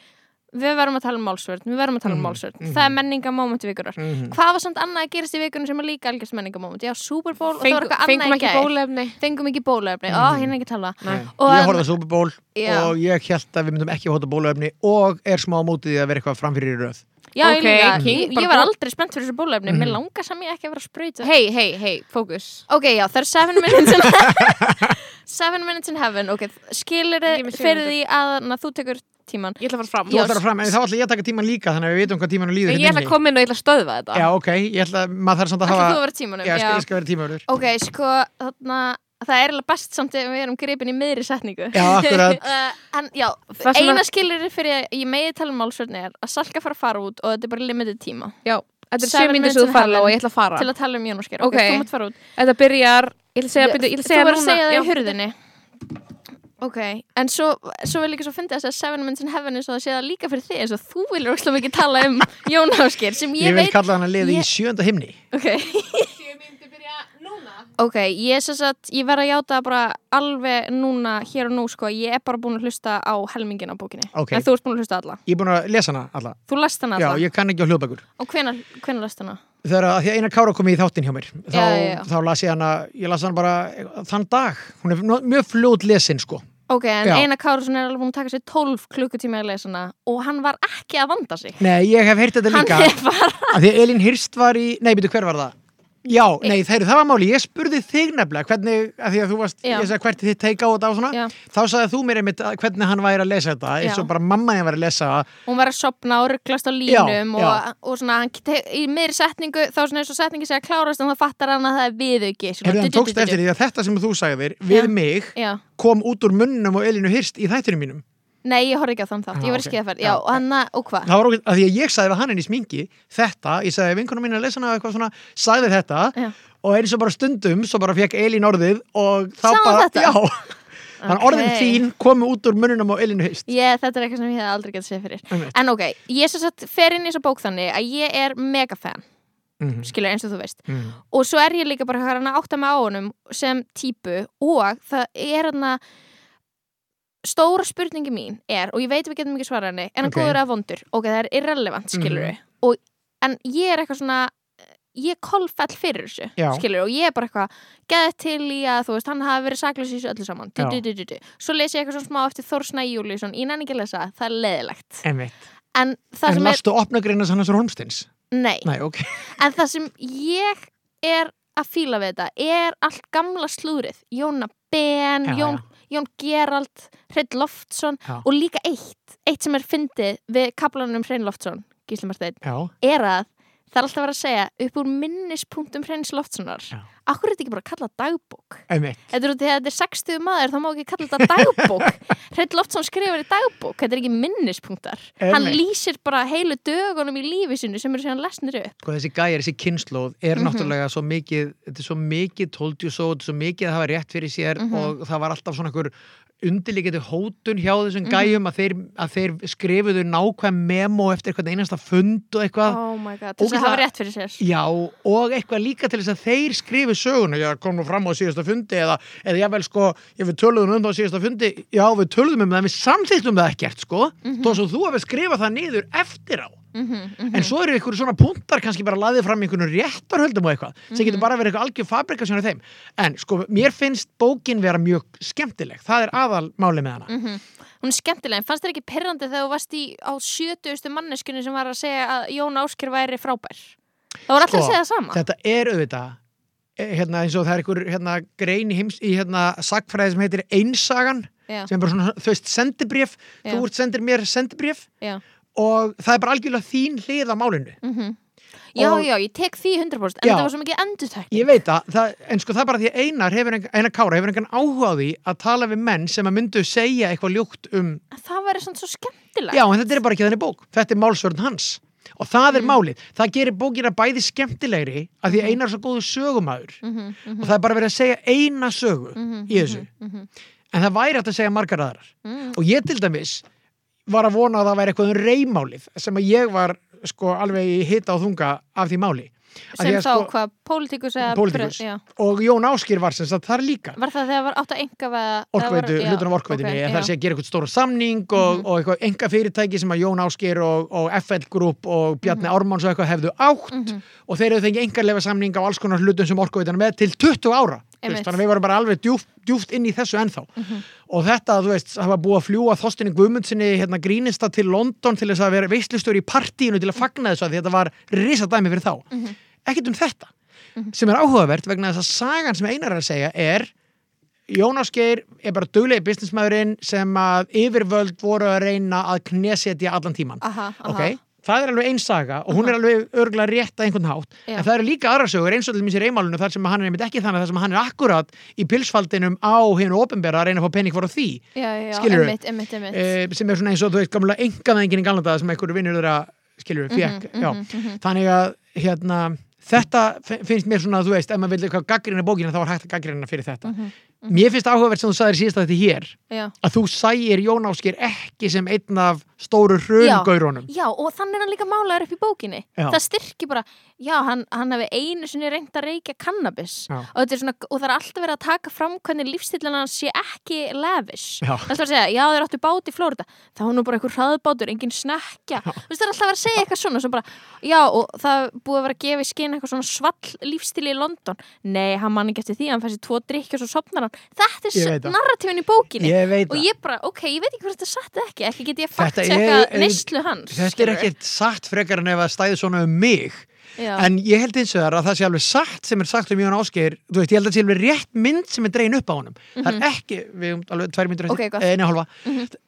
S3: við verðum að tala um málsvörð, við verðum að tala um
S2: Mm,
S3: málsvörð það er menningamóment í vikunar
S4: Mhm.
S3: hvað var samt annað að gerast í vikunum sem er líka algjörst menningamóment já, Super Bowl og það var
S2: Feng,
S3: eitthvað
S2: fengum
S3: annað í
S2: ekki
S3: gær
S2: bólefni
S3: fengum ekki bólefni, ó,
S2: Mm.
S3: hérna er ekki að tala Og
S4: Ég
S3: hann-
S4: horfði að Super Bowl
S3: Já.
S4: og ég held að við myndum ekki hóta bóluefni og er smá á móti því að vera eitthvað framfyrir í röð
S3: já,
S2: Ok,
S3: ég, líka,
S2: king,
S3: ég,
S2: bara Mm.
S3: ég var
S2: ból-
S3: aldrei spennt fyrir þessu bólefni mér langar sem ég ekki að vera að sprauta
S2: Hei, hei, hei, fókus
S3: Ok, já, það er 7 minutes in heaven 7 minutes in heaven, ok Skilir
S2: Ég er með sjö
S3: fyrir
S2: mínútur.
S3: því að na, þú tekur tíman
S2: Ég ætla að fara fram
S4: Þú ætlar að fram, en þá ætla ég að taka tíman líka þannig að við veitum hvað tímanum
S2: En
S4: líður hérna
S2: Ég ætla
S4: inni.
S2: að koma inn og ég ætla að stöðva þetta
S4: Já, ok, ég ætla að maður þarf samt að
S3: Ætlar þú að
S4: hafa
S3: vera hérna? tímanum?
S4: Já, ég skal- ég skal vera tímaverður
S3: Ok, sko, þarna það er eiginlega best samt ef við erum gripin í miðri setningu
S4: Já, akkurat
S3: uh, en já,
S2: Það sem
S3: eina
S2: að-
S3: skilur fyrir að ég megi tala um málsvörni er að Salka fara að fara út og þetta er bara limited tíma
S2: Já, þetta er 7 mínútur
S3: Seven minutes
S2: sem
S3: in
S2: þú farla
S3: heaven.
S2: og ég ætla að fara
S3: til að tala um Jónasker,
S2: Ok.
S3: þú mátt fara út
S2: Þetta byrjar, ég ætla að segja, byrju, ég ætla að
S3: þú
S2: segja
S3: var að
S2: núna-
S3: segja
S2: já.
S3: það í hurðinni ok, en svo, svo vil ég svo fyndi þess að Seven Minutes in Heaven eins og það sé það líka fyrir þig eins og þú vilur óslega mikið tala um Jónasker sem ég,
S4: Ég vil
S3: veit
S4: kalla hana
S3: ég-
S4: liði í sjönda himni
S3: ok, ok, ég sem sagt ég verð að játa bara alveg núna hér og nú sko, ég er bara búin að hlusta á helmingin á bókinni,
S4: Ok.
S3: en þú ert búin að hlusta á alla
S4: Ég er búin að lesa hana alla
S3: þú last hana
S4: Já,
S3: alla,
S4: ég kann ekki á hljóðbækur
S3: og hvenar, hvenar last hana?
S4: Þegar að því að Einar Kára kom í þáttinn hjá mér þá,
S3: Já, já, já.
S4: þá las ég hana, ég las hana bara þann dag, hún er nó- mjög fljót lesin sko
S3: Ok, en
S4: Já.
S3: Einar Kárusson er alveg búin að taka sér 12 klukkutíma að lesa hana og hann var ekki að vanda sig
S4: Nei, ég hef heyrt þetta
S3: Hann
S4: líka
S3: er bara
S4: að Því að Elín Hirst var í, nei, byrju, hver var það? Já, nei, það, það var máli, ég spurði þig nefnilega hvernig, að því að þú varst,
S3: Já.
S4: ég sagði hvert er þitt teika á þetta og svona,
S3: Já.
S4: þá sagði þú mér einmitt að hvernig hann væri að lesa þetta,
S3: Já.
S4: eins og bara mamma þín væri að lesa
S3: hún var að sopna og rugglast á línum
S4: Já, já.
S3: Og, og svona, hann, te- í meiri setningu þá svona eins og setningi sé að klárast en það fattar hann að það er viðauki svona,
S4: Hefði hann
S3: du- du- du-
S4: tókst
S3: du-
S4: eftir því að þetta sem þú sagðir við
S3: Já.
S4: mig
S3: Já,
S4: kom út úr munnum og Elinu Hirst í þættinum mínum.
S3: nei, ég horfði ekki á þann þátt,
S4: Ah,
S3: ég var í
S4: ok.
S3: skeiðaferð
S4: Já.
S3: Já, og hann, að- og hvað?
S4: Það var okkur, að því að ég sagði við hann inn í sminki þetta, ég sagði vinkunum mín að lesa hana og eitthvað svona, sagði þetta
S3: Já.
S4: og eins og bara stundum, svo bara fekk Elín orðið og þá
S3: Sagði
S4: bara,
S3: hann þetta?
S4: já, þannig orðin
S3: Ok.
S4: þín komu út úr munnum og Elinu Hirst.
S3: Ég, þetta er eitthvað sem ég hef aldrei getið séð fyrir
S4: Einmitt.
S3: En ok, ég sem sagt fer inn í þessa bók þannig að ég er mega fan
S4: Mhm.
S3: skilur eins og þú veist
S4: Mm.
S3: og svo er ég líka bara hérna að átta mig á honum sem típu og það er hérna stóra spurningi mín er og ég veit við getum ekki svarað henni, er hann
S4: Ok. Mhm.
S3: góður eða vondur ok, það er irrelevant, skilur við og, en ég er eitthvað svona ég er kolfell fyrir þessu,
S4: Já.
S3: skilur og ég er bara eitthvað, geðið til í að þú veist, hann hafi verið saklaus í þessu öllu saman du,
S4: Já.
S3: du, du, du, du. svo les ég eitthvað svona smá eftir Þórsna Júliusson, ég nenni ekki að lesa, það er leðilegt
S4: Einmitt.
S3: en það
S4: En
S3: sem er,
S4: lastu opnagreinas Hannes Rólmsteins?
S3: nei
S4: Nei, ok.
S3: En það sem ég er að fíla við þetta er allt gamla slúrið. Jóna Ben,
S4: Já,
S3: Jón, Jón Gerald, Hreinn Loftsson
S4: Já.
S3: og líka eitt, eitt sem er fyndið við kaplanum Hreinn Loftsson, Gísli Marteinn,
S4: Já,
S3: er að það er alltaf að vera að segja upp úr minnispunktum Hreins Loftssonar.
S4: Já.
S3: Akkur er þetta ekki bara að kalla dagbók?
S4: einmitt.
S3: Þetta er út í að þetta er 60 maður, þá má ekki kalla þetta dagbók. Hreinn Loftsson skrifar í dagbók, þetta er ekki minnispunktar. Hann
S4: Einmitt.
S3: lýsir bara heilu dögunum í lífi sinu sem eru síðan lesnir upp.
S4: Sko þessi gæjar, þessi kynnslóð er
S3: Mhm.
S4: náttúrulega svo mikið, þetta er svo mikið tóldjúsóð, svo mikið að hafa rétt fyrir sér
S3: Mhm.
S4: og það var alltaf svona einhver undirlíkjandi hótun hjá þessum
S3: Mhm.
S4: gæjum að þeir, að þeir skrifuðu nákvæm memo eftir eitthvað einasta fund og eitthvað.
S3: Oh my god, til þess að
S4: Ógeðslega-
S3: hafa rétt fyrir sér
S4: Já, og eitthvað líka til þess að þeir skrifu söguna, já, kom nú fram á síðasta fundi eða, eða ég vel sko, ég við töluðum um það á síðasta fundi, já, við töluðum um það, en við samþýttum það ekkert, sko,
S3: Mhm.
S4: þó svo þú hefur skrifað það niður eftir á.
S3: mm -hmm.
S4: En svo eru ykkur svona puntar kannski bara laðið fram í einhvern réttarhöldum og eitthvað sem
S3: Mhm.
S4: getur bara verið eitthvað algjör fabrikasjón af þeim en sko, mér finnst bókin vera mjög skemmtileg, það er aðalmáli með hana
S3: Mhm. Hún er skemmtileg, en fannst þér ekki perrandi þegar þú varst í, á 70. manneskinu sem var að segja að Jón Ásker væri frábær Það voru allir
S4: Sko,
S3: að segja það sama
S4: Þetta er auðvitað eh, hérna, eins og það er einhver hérna, grein í, heims, í hérna, sagfræði sem heitir einsagan
S3: Já.
S4: sem er bara svona, þú veist, sendibréf
S3: Já.
S4: þú ert sendir mér sendibréf
S3: Já.
S4: og það er bara algjörlega þín hlið á málinu
S3: Mhm. Já,
S4: Og-
S3: já, ég tek því 100% en
S4: Já.
S3: þetta var svo mikið endutekning
S4: Ég veit að, það, en sko það er bara því að Einar, hefur, engan- Einar Kára hefur engan áhuga á því að tala við menn sem að myndu segja eitthvað ljótt um
S3: Það væri svona svo skemmtilegt
S4: Já, en þetta er bara ekki þannig bók. Þetta er málsvörn hans. Og það
S3: Mm.
S4: er málið. Það gerir bókina bæði skemmtilegri af því að einar er svo góðu sögumæður.
S3: Mhm,
S4: Og það er bara verið að segja eina sögu í þessu. En það væri hægt að segja margar aðrar.
S3: Mhm.
S4: Og ég til dæmis var að vona að það væri eitthvað um reymálið sem að ég var sko alveg í hita og þunga af því máli. Af
S3: sem
S4: því að, sko-
S3: þá hvað, pólitíkus eða
S4: Pólitíkus.
S3: Já.
S4: og Jón Áskir var sem sagt þar líka.
S3: Var það þegar var átt að enga veða
S4: orkveitu, hlutunum orkveitunni, okay, það sé að gera eitthvað stóra samning og, og eitthvað enga fyrirtæki sem að Jón Ásker og, og FL Group og Bjarni Ármanns og eitthvað hefðu átt og þeir hefðu fengið engarlefa samning á alls konar hlutum sem orkveitan er með til 20 ára þú veist,
S3: Einmitt.
S4: þannig að við varum bara alveg djúft, djúft inn í þessu ennþá og þetta, þú veist, hafa búið að fljúa Þostinni Guðmundsinni hérna grínista til London til þess að vera veislustur í partíinu til að fagna þessu að þetta var risadæmi fyrir þá ekkert um þetta sem er áhugavert vegna þess að sagan sem Einar er að segja er Jónas Geir er bara duglegi businessmæðurinn sem að yfirvöld voru að reyna að knesetja allan tíman.
S3: Aha, aha.
S4: Ok, það er alveg einn saga og hún er alveg örgulega rétt að einhvern hátt
S3: Já.
S4: en það eru líka aðra sögur eins og til missi reymálinu þar sem hann er einmitt ekki þannig þar sem hann er akkurat í pilsfaldinum á hinu opinbera að reyna að fá pening voru því
S3: já, já,
S4: Skilurðu?
S3: emmitt, emmitt, emmitt
S4: e, sem er svona eins og þú veist gamla engavæðingin í gamla daga sem einhverju vinnur þeirra skilur
S3: Mhm,
S4: fekk já. þannig að hérna þetta fi- finnst mér svona þú veist ef maður vil eitthvað gaggrina bókina þá er hægt að gaggrina fyrir þetta
S3: Mhm,
S4: mér finnst áhugavert sem þú sagðir síðast að þetta hér
S3: já.
S4: að þú sæir Jón Áskir ekki sem einn af stóru hrungaurunum
S3: já, og þannig er hann líka málaður upp í bókinni
S4: Já.
S3: það styrkir bara, já, hann, hann hefði einu sinni reynd að reykja kannabis
S4: Já.
S3: og, þetta er svona, og það er alltaf verið að taka fram hvernig lífstillan hans sé ekki lavish
S4: Já.
S3: alltaf að segja, já þeir áttu bát í Flórida þá var nú bara einhver hraðbátur, engin snakja þú veist það er alltaf að vera að segja eitthvað svona sem bara, já og það er búið að vera að gefa í skinn eitthvað svona svall lífstil í London nei, hann man ekki eftir því, hann fæsir tvo drikki og svo sopnar hann, þetta
S4: Ég
S3: er
S4: veit
S3: s-
S4: það.
S3: narratífin í bókinni
S4: ég veit
S3: og
S4: það
S3: ég bara, ok, ég veit ekki hvort þetta satt eða ekki ekki get ég
S4: Þetta
S3: fakt
S4: er-
S3: sekka neyslu hans
S4: þetta er
S3: skilurðu.
S4: ekkert satt frekar en ef að stæði svona um mig
S3: Já.
S4: en ég held eins og þar að það sé alveg satt sem er sagt um Jón Ásgeir þú veist, ég held að það sé alveg rétt mynd sem er dregin upp á honum það er ekki, við erum alveg tvær myndur
S3: Mhm. Ok, gott. Mhm.
S4: einu hálfa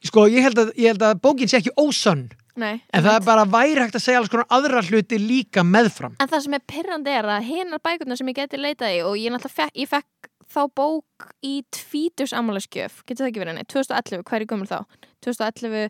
S4: sko, ég held, að, ég held að bókin sé ekki ósönn
S3: Nei,
S4: en það er bara væri hægt að segja alls konar aðra hluti líka meðfram
S3: en það sem er pyrrandi er að hinar bækurnar sem ég geti leitað í og ég náttúrulega fekk, ég fekk þá bók í tvítus ammálaskjöf, getur það ekki verið henni 2011, hvað er ég gömul þá? 2011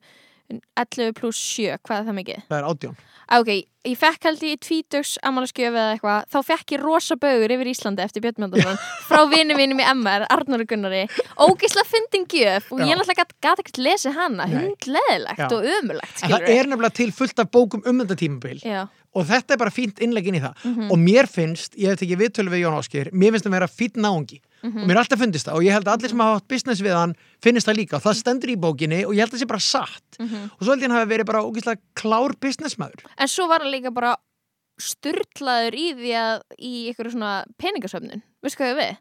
S3: 11 pluss 7, hvað er það mikið?
S4: það er átjón
S3: Á, Ah, Ok, ég fekk held ég í tvítugs ammálaskjöf eða eitthvað, þá fekk ég rosa baugur yfir Íslandi eftir Björn Mjöndarsson frá vinu mínum í MR, Arnur og Gunnari ógisla fyndin gjöf og
S4: Já.
S3: ég náttúrulega gat, gat ekkert lesið hana,
S4: Nei.
S3: hundleðilegt
S4: Já.
S3: og ömulegt,
S4: en það
S3: skilur
S4: er nefnilega til fullt af bókum um þetta tímabil
S3: Já,
S4: og þetta er bara fínt innlegg inn í það og mér finnst, ég hef tekið viðtölu við Jón Áskir mér finnst það vera fínt náungi og mér er alltaf fundist það og ég held að allir sem hafa haft business við hann finnist það líka og það stendur í bókinni og ég held að það sé bara satt og svo held ég hann hafi verið bara ógeðslega klár businessmaður
S3: en svo var hann líka bara styrlaður í því að í ykkur svona peningasöfnun veistu hvað ég á við?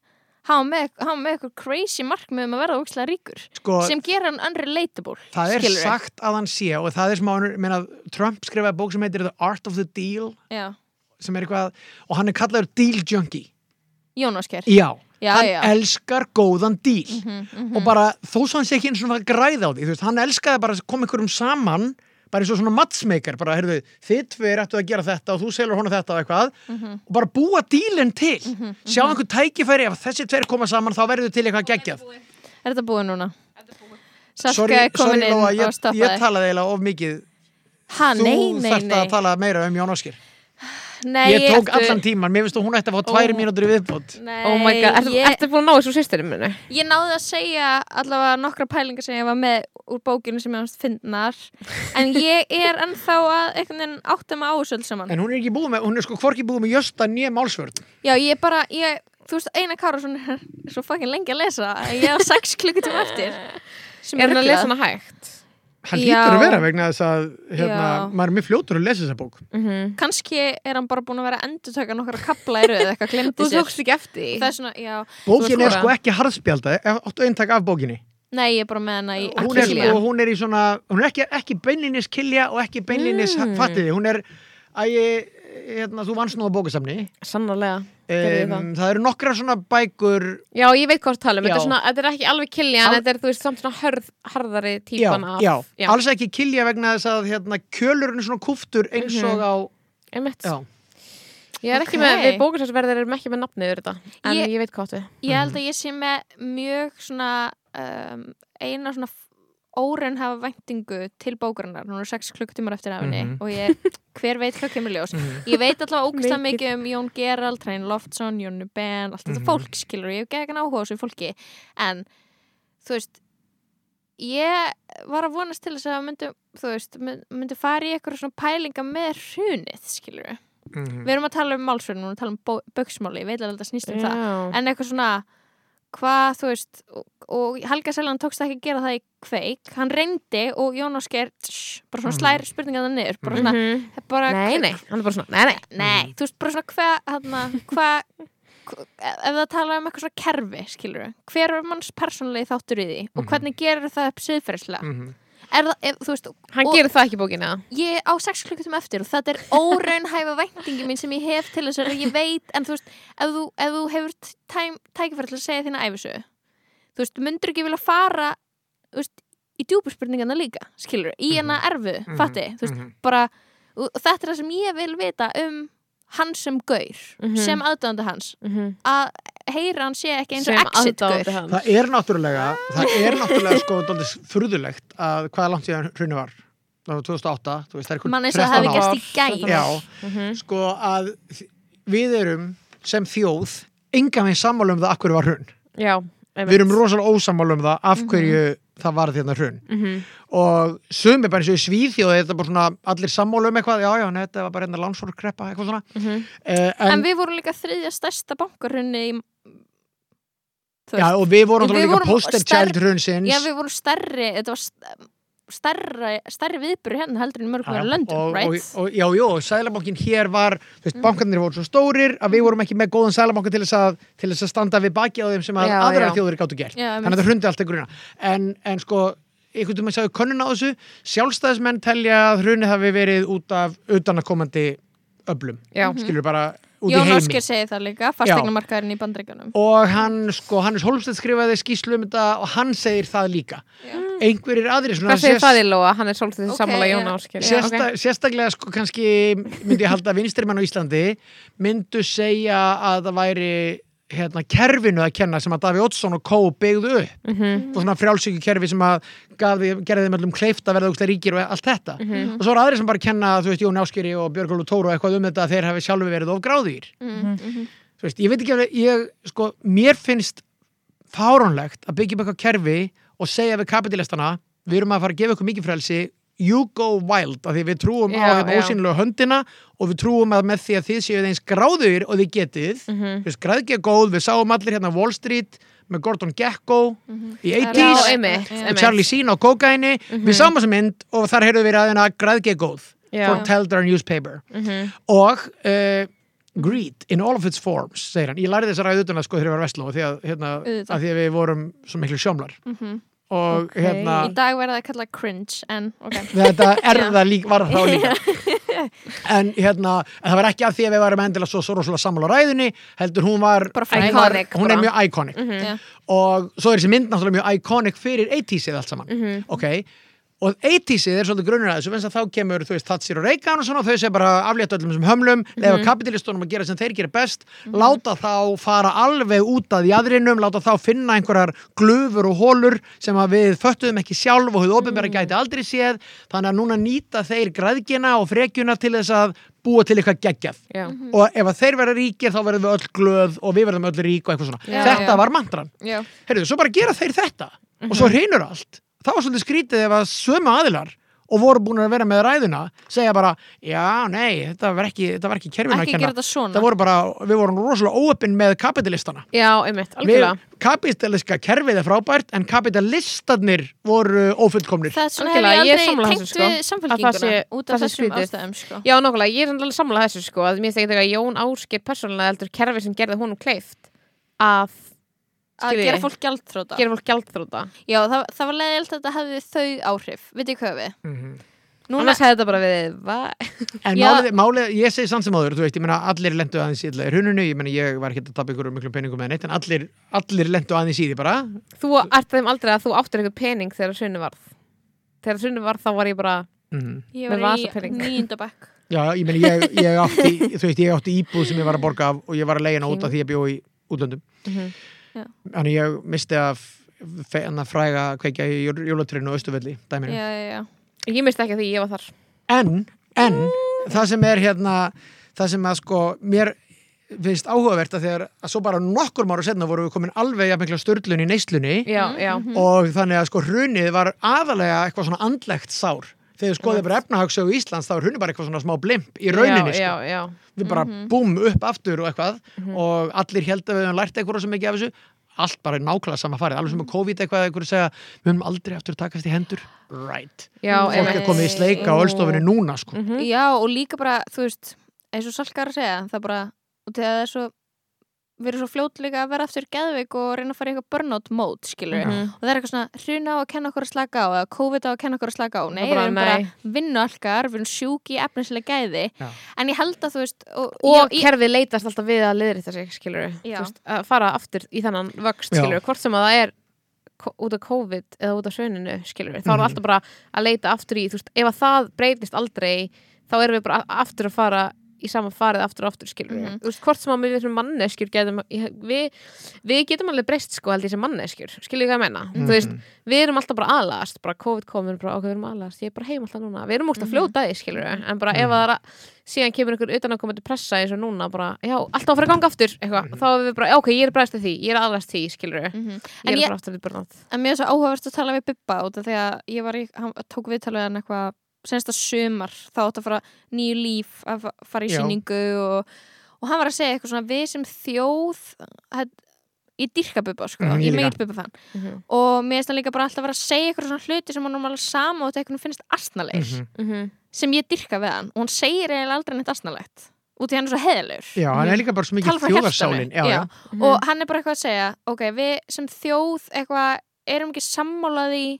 S3: Hann var með- hann var með eitthvað crazy markmið um að verða ógisla ríkur
S4: sko,
S3: sem gera hann unrelatable
S4: það er
S3: skilurðu.
S4: sagt að hann sé og það er sem að hann, meina, Trump skrifaði bók sem heitir The Art of the Deal
S3: Já.
S4: sem er eitthvað, og hann er kallaður deal junkie
S3: Jón Ásker
S4: já,
S3: Já,
S4: hann
S3: já. Mhm,
S4: elskar góðan díl og bara þó svo hann sé ekki eins og hann græði á því, þú veist, hann elskaði bara að koma einhverjum saman, bara eins og svona matchmaker, bara, heyrðu, þið tveir ættu að gera þetta og þú selur honum þetta og eitthvað
S3: Mhm.
S4: og bara búa dílinn til sjá einhver tækifæri, ef þessi tveir koma saman þá verður til eitthvað geggjað
S3: Er þetta búið núna?
S4: Sorry,
S3: Salka er komin
S4: sorry
S3: inn
S4: Lóa,
S3: og
S4: ég,
S3: stoppaði
S4: ég talaði eiginlega of mikið
S3: Ha,
S4: þú
S3: nei, nei,
S4: þarft
S3: nei.
S4: að tala meira um Jón Áskir
S3: nei
S4: ég tók
S3: ertu-
S4: allan tíman, mér finnst að hún ætti að fá tværi
S2: Ó.
S4: mínútur í viðbót
S3: Nei,
S2: Oh my god, ertu,
S3: ég,
S2: ertu búin að ná þessu sýstirinn minni?
S3: ég náði að segja allavega nokkra pælingar sem ég var með úr bókinu sem ég hans fyndnar en ég er ennþá að einhvern veginn átta mig á þessu öll saman
S4: en hún er ekki búið með, hún er sko hvorki búið með jösta nýja málsvörð
S3: Já, ég er bara, ég, þú veist, Einar Kárasson er svo fucking lengi að lesa að ég á sex klukkutum eftir sem
S2: Er hann að
S3: ruglað.
S2: lesa hana hægt?
S4: hann
S3: Já.
S4: hýttur að vera vegna þess að hérna,
S3: Já.
S4: maður er mjög fljótur að lesa þessa bók
S2: Mhm.
S3: Kannski er hann bara búin að vera að endurtöka nokkra kapla í röð eða eitthvað glemdi
S2: Þú
S3: sér
S2: tókst ekki eftir því?
S3: Það er svona, já
S4: bókin
S3: Þú
S4: er
S3: ert
S4: sko ekki harðspjálda áttu eintak af bókinni
S3: Nei, ég er bara með hana í
S4: hún er,
S3: Kiljan.
S4: sko, hún er í svona, hún er ekki, ekki beinlinis kilja og ekki beinlinis mm. fattiði, hún er að ég, hérna, þú vannst nú á bókasamni um,
S2: Sannarlega, gerði ég það.
S4: það eru nokkra svona bækur
S2: Já, ég veit hvað þú tala um, þetta
S4: Já.
S2: er, svona, þetta er ekki alveg Killian,
S4: Al-
S2: þetta er þú veist samt svona hörð, harðari
S4: já,
S2: típan af
S4: já,
S2: já.
S4: alls ekki kilja vegna þess að hérna, kjölurinn er svona kúftur eins
S2: Mhm.
S4: og á
S2: Einmitt.
S4: já.
S2: Ég er ekki
S3: Ok.
S2: með, við bókarsverðir erum ekki með nafnið yfir þetta, en
S3: Ég-
S2: ég, veit hvað þú
S3: Ég held að ég sé með mjög svona um, eina svona órun hafa væntingu til bókarinnar hún er sex klukkutímar eftir af henni
S4: Mhm.
S3: og ég, hver veit hvað kemur í ljós ég veit alltaf ógæslega
S2: Mikið.
S3: mikið um Jón Gerald Reyn Loftsson, Jónu Ben allt þetta
S4: Mhm.
S3: fólk skilur, ég hef gegn áhuga á þessu fólki en, þú veist ég var að vonast til þess að myndi, þú veist, mynd- myndi fara í eitthvað svona pælinga með hrunið skilur,
S4: Mhm.
S2: Mm.
S3: við erum að tala um málsvörn, við erum að tala um bó- bauksmáli ég veit alveg að þetta snýst um það
S2: Já,
S3: en eitthvað svona hvað þú veist og, og Helga Seljan tókst ekki að gera það í kveik hann reyndi og Jón Ásker tss, bara svona
S4: Mhm.
S3: slær spurninga það niður bara svona,
S2: Mm. Mhm.
S3: bara,
S2: Nei, nei, Mm. hann er bara svona, nei, nei
S3: nei, þú veist bara svona hvað hana, hva, hva, ef það tala um eitthvað svona kerfi skilur hver er manns persónulegi þáttur í því og
S2: Mhm.
S3: hvernig gerir það upp siðferðislega
S2: Mm.
S4: Mhm.
S3: er það, ef, þú veist,
S2: Hann
S3: Og-
S2: gerir það ekki í bókinu, eða?
S3: ég á sex klukkutum eftir og þetta er óraunhæfa væntingi mín sem ég hef til þess að ég veit en þú veist, ef þú, ef þú hefur tækifæri til að segja þína æfisögu þú veist, myndur ekki vilja fara þú veist, í djúpuspurningana líka skilur, í hana erfu,
S4: Mhm,
S3: fatti þú veist,
S4: mhm.
S3: bara, og og þetta er það sem ég vil vita um hans sem gaur
S2: Mhm.
S3: sem aðdöndi hans að heyra hann sé ekki eins
S2: Sem
S3: og
S2: aðdáandi
S3: exit gaur
S2: hans.
S4: Það er náttúrulega, það er náttúrulega sko daldið furðulegt að hvað er langt síðan hrunni var. Það var 2008, þú veist, það er
S3: mann
S4: eitthvað
S3: eins og það hefði
S4: 13
S3: gerst
S4: ár.
S3: í gæð
S4: Já,
S2: Mhm.
S4: sko að þi- við erum sem þjóð enga með sammála um það af hverju var hrun.
S2: já
S4: Við erum rosalega ósammála um
S3: Mhm.
S4: það af hverju það var þérna hrun.
S2: -hmm.
S4: Og sumi bara eins og í Svíþjóð, þetta er bara svona allir sammála um eitthvað, já, já, nei, þetta var bara einna lánsfórkreppa, eitthvað svona.
S2: Mhm.
S4: Eh,
S3: en,
S4: en,
S3: við vorum líka þriðja stærsta bankarunni í, þú
S4: já, og við
S3: Við
S4: vorum náttúrulega líka
S3: vorum
S4: poster
S3: stærri-
S4: child hrunsins.
S3: já, við vorum stærri þetta var st- stærri, stærri viðbyrju hérna heldur en í mörgum
S4: Já, já.
S3: verið löndum
S4: og,
S3: right?
S4: og, og, já, já, og sælabankin hér var
S2: Mm.
S4: þú veist, bankarnir voru svo stórir að við vorum ekki með góðan sælabanka til þess að, til þess að standa við baki á þeim sem að
S2: Já,
S4: aðra
S2: já.
S4: þjóður gáttu gert
S3: Já, einmitt.
S4: þannig að það hrundi allt að gruna en, en sko, einhvern veginn sagði könnun á þessu sjálfstæðismenn telja að hrunið hafi verið út af utanakomandi öblum,
S2: Já. Mhm.
S4: skilur bara út í
S3: Jón
S4: heimi
S3: Ásker segi það líka fastegnumarkaðurinn í bandreikunum
S4: og hann, sko, Hannes Holmstedt skrifaði skýslu um þetta og hann segir það líka einhverjir aðrir svona
S2: Hvað segir
S4: sérst-
S2: það í Lóa? Hann er svolítið
S3: Ok,
S2: okay, sammála Jón
S3: já.
S2: Ásker
S4: Sérsta, Sérstaklega sko kannski myndi ég halda að vinstrimenn á Íslandi myndu segja að það væri hérna, kerfinu að kenna sem að Daví Oddsson og Kó byggðu upp
S2: Mhm,
S4: og svona frjálsíku kerfi sem að gaf, því- gerði þeim öllum kleift að verða úkslega ríkir og allt þetta
S2: Mhm.
S4: og svo eru aðrir sem bara kenna, þú veist, Jón Áskeri og Björgólu Tóru og eitthvað um þetta að þeir hafi sjálfi verið of gráðir
S2: Mhm,
S4: þú veist, ég veit ekki alveg, ég, sko, mér finnst fáránlegt að byggja upp eitthvað kerfi og segja við kapitalistana við erum að fara að gefa ykkur mikið frelsi you go wild, af því við trúum á
S2: Já,
S4: hérna
S2: já.
S4: ósynlega höndina og við trúum að með því að þið séu eins gráður og þið getið
S2: mhm.
S4: þú veist, græðgja góð, við sáum allir hérna Wall Street með Gordon Gekko
S3: Mhm.
S4: í
S2: Já,
S4: 80s
S2: einmitt,
S3: Og
S4: og
S2: einmitt.
S4: Charlie Sheen á kókaini við
S3: Mhm.
S4: sáum þessa mynd og þar heyrðum við ræðina græðgeð góð
S2: Já. mhm,
S4: foretell their newspaper og uh, greed in all of its forms segir hann, ég lærði þess að ræða utan að sko þegar ég var vestlum og því að, hérna,
S3: Auðvitað.
S4: að því að við vorum svo miklu sjómlar
S3: Mhm.
S4: og hérna
S3: í dag verða það kallað cringe en ok
S4: þetta er það líka, var það líka en hérna en það var ekki af því að við varum endilega svo, svo rosalega sammála á ræðinni, heldur hún var
S3: Bara Mhm.
S4: hún, var,
S2: iconic
S4: hún er
S2: bara.
S4: mjög iconic
S3: Já.
S4: og svo er þessi mynd náttúrulega mjög iconic fyrir 80sið allt saman
S3: Mhm.
S4: ok Og 80sið er svolítið grunnur að þessu, vegna þess að þá kemur, þú veist, Thatsir og Reagan og svona, og þau sem bara aflétt öllum þessum
S3: Mhm.
S4: hömlum, lefa kapitalistunum að gera sem þeir gera best, láta þá fara alveg út að jæðrinum, láta þá finna einhverjar glufur og hólur sem að við föttuðum ekki sjálf og höfðu
S3: Mhm.
S4: ofinbæra gæti aldrei séð, þannig að núna nýta þeir græðgina og frekjuna til þess að búa til eitthvað geggjað
S2: Já.
S3: Mhm.
S4: og ef að þeir verða ríkir þá verðum við öll glöð og við verðum öll rík og eitthvað svona
S3: Já,
S4: þetta
S3: já.
S4: var mantran,
S3: Já.
S4: heyrðu, svo bara gera þeir þetta
S3: Mhm.
S4: og svo hreinur allt það var svolítið skrítið ef að sömu aðilar og voru búin að vera með ræðuna segja bara, já, nei, þetta var ekki þetta var ekki kerfinu að
S3: ekki gera
S4: kenna
S3: þetta svona
S4: það voru bara, við vorum rosalega óöppin með kapitalistana
S2: Já, einmitt,
S4: Við-
S2: algjörlega
S4: kapitaliska kerfið er frábært en kapitalistarnir voru ófullkomnir
S3: það er svona hef
S2: Algjörlega,
S3: ég
S2: ég er
S3: aldrei
S2: sammála
S3: tengt
S2: þessu, sko.
S3: við
S2: Að það sé-
S3: samfélkinguna út af
S2: það sé
S3: þessum
S2: skrítið.
S3: ástæðum sko.
S2: Já, nokkulega, ég er alveg sammála þessu sko að mér þekkt eitthvað Jón Ásker persónulega heldur kerfi sem gerði honum kleift að
S3: að
S2: Skiljiði.
S3: gera fólk gjaldþróta
S2: gera fólk gjaldþróta
S3: já, það, það var leiðilt að þetta hefði þau áhrif veit ég hvað við
S4: Mhm.
S3: Núna,
S2: annars hefði þetta bara við va-
S4: En
S3: Já.
S4: málið, málið, ég segi samt sem áður, þú veist, ég meina allir lendu aðeins í illa í hruninu, ég meina ég var ekki að tapa ykkur um miklum peningum með neitt, en allir, allir lendu aðeins í því bara.
S2: þú ert þeim aldrei að þú áttir eitthvað pening þegar sunni varð þegar sunni varð þá var ég bara
S4: Mm.
S3: ég
S2: með
S3: var í
S2: vasapening.
S3: nýjöndabæk
S4: Já, ég meina ég, ég átti, þú veist, ég átti íbúð sem ég var að borga af og ég var að leiðina út af því ég bjó í útlöndum.
S2: Mhm.
S3: Já.
S4: Þannig ég misti að hann að fræga kveikja í jól- jólatrinu á Östuvelli, dæminu.
S3: já, já, já.
S2: ég misti ekki að því ég var þar
S4: en, en það sem er hérna það sem að sko mér finnst áhugavert að þegar að svo bara nokkur máru setna voru við komin alveg að mikla störlun í neyslunni
S2: já, já,
S4: og þannig að sko hrunið var aðalega eitthvað svona andlegt sár þegar við skoðum bara efnahagssögu Íslands þá er hrunið bara eitthvað svona smá blimp í rauninni
S2: já, já,
S4: sko.
S2: já.
S4: við bara
S3: Mhm.
S4: búm upp aftur og eitthvað og allir held að við höfum lært eitthvað sem ekki af þessu allt bara er nákvæmlega sama farið, alveg
S3: Mhm.
S4: sem að COVID eitthvað eitthvað segja, við höfum aldrei aftur takast í hendur right,
S2: já
S4: fólk er
S2: einmitt. Mhm,
S4: komið í sleika á ölstofinu núna sko
S3: já, og líka bara, þú veist eins og Salkar að segja, það bara og þegar það er svo við erum svo fljót líka að vera aftur geðveik og reyna að fara í eitthvað burnout mode, skilur við
S2: Mhm.
S3: og það er eitthvað svona, hruna á að kenna okkur að slaka á eða COVID á að kenna okkur að slaka á, nei,
S2: bara,
S3: við erum
S2: nei.
S3: bara vinnualkar, við erum sjúki í efnislega gæði,
S4: Já.
S3: en ég held að þú veist og,
S2: og
S3: ég,
S2: kerfið leitast alltaf við að liðrita sig skilur
S3: Já.
S2: veist, að fara aftur í þannan vöxt
S4: Já.
S2: skilur hvort sem að það er ko- út af COVID eða út af söninu, skilur við, þá erum við alltaf bara að leita aftur í, þú veist, ef að það breytist aldrei, þá erum við bara a- aftur að fara í sama farið aftur og aftur, skilur við
S3: Mhm.
S2: þú veist, hvort sem að við sem manneskjur getum, ég- við, við getum alveg breyst sko held ég sem manneskjur, skilur við hvað ég menna þú veist, við erum alltaf bara aðlast bara COVID komur, bara ok, við erum aðlast, ég er bara heim alltaf núna, við erum ógst að fljóta því, skilur við en bara ef að það er að, síðan kemur einhver utan að koma til pressa eins og núna, bara, já, alltaf að fara að ganga aftur eitthvað, þá erum við bara, já, ok, ég er bregst að því ég er aðlast því, skilur við,
S3: Mhm.
S2: ég
S3: En
S2: er
S3: ég-
S2: bara aftur við börnátt
S3: En mér er svo áhugavert að tala við Bubba út af því að ég var í, hann tók viðtal við hann eitthvað senasta sumar, þá átt að fara nýju líf að fa- fara í
S4: Já.
S3: síningu og, og hann var að segja eitthvað svona við sem þjóð hætt, ég dyrka Bubba sko,
S4: Mhm, ég
S3: ég er
S4: líka.
S3: mikill Bubba fann
S2: Mhm.
S3: og mér finnst hann líka bara alltaf að vera að segja eitthvað svona hluti sem hann normal sama og þetta eitthvað finnst astnalegir
S4: Mhm.
S2: Mhm.
S3: sem ég dyrka við hann og hann segir eiginlega aldrei neitt astnalegt út í hann er svo heðalur
S4: Já, hann er líka bara svo mikið
S3: tala frá hjartanu
S4: þjóðarsálin já, já.
S2: Mhm.
S3: og hann er bara eitthvað að segja ok, við sem þjóð eitthvað erum ekki sammálaði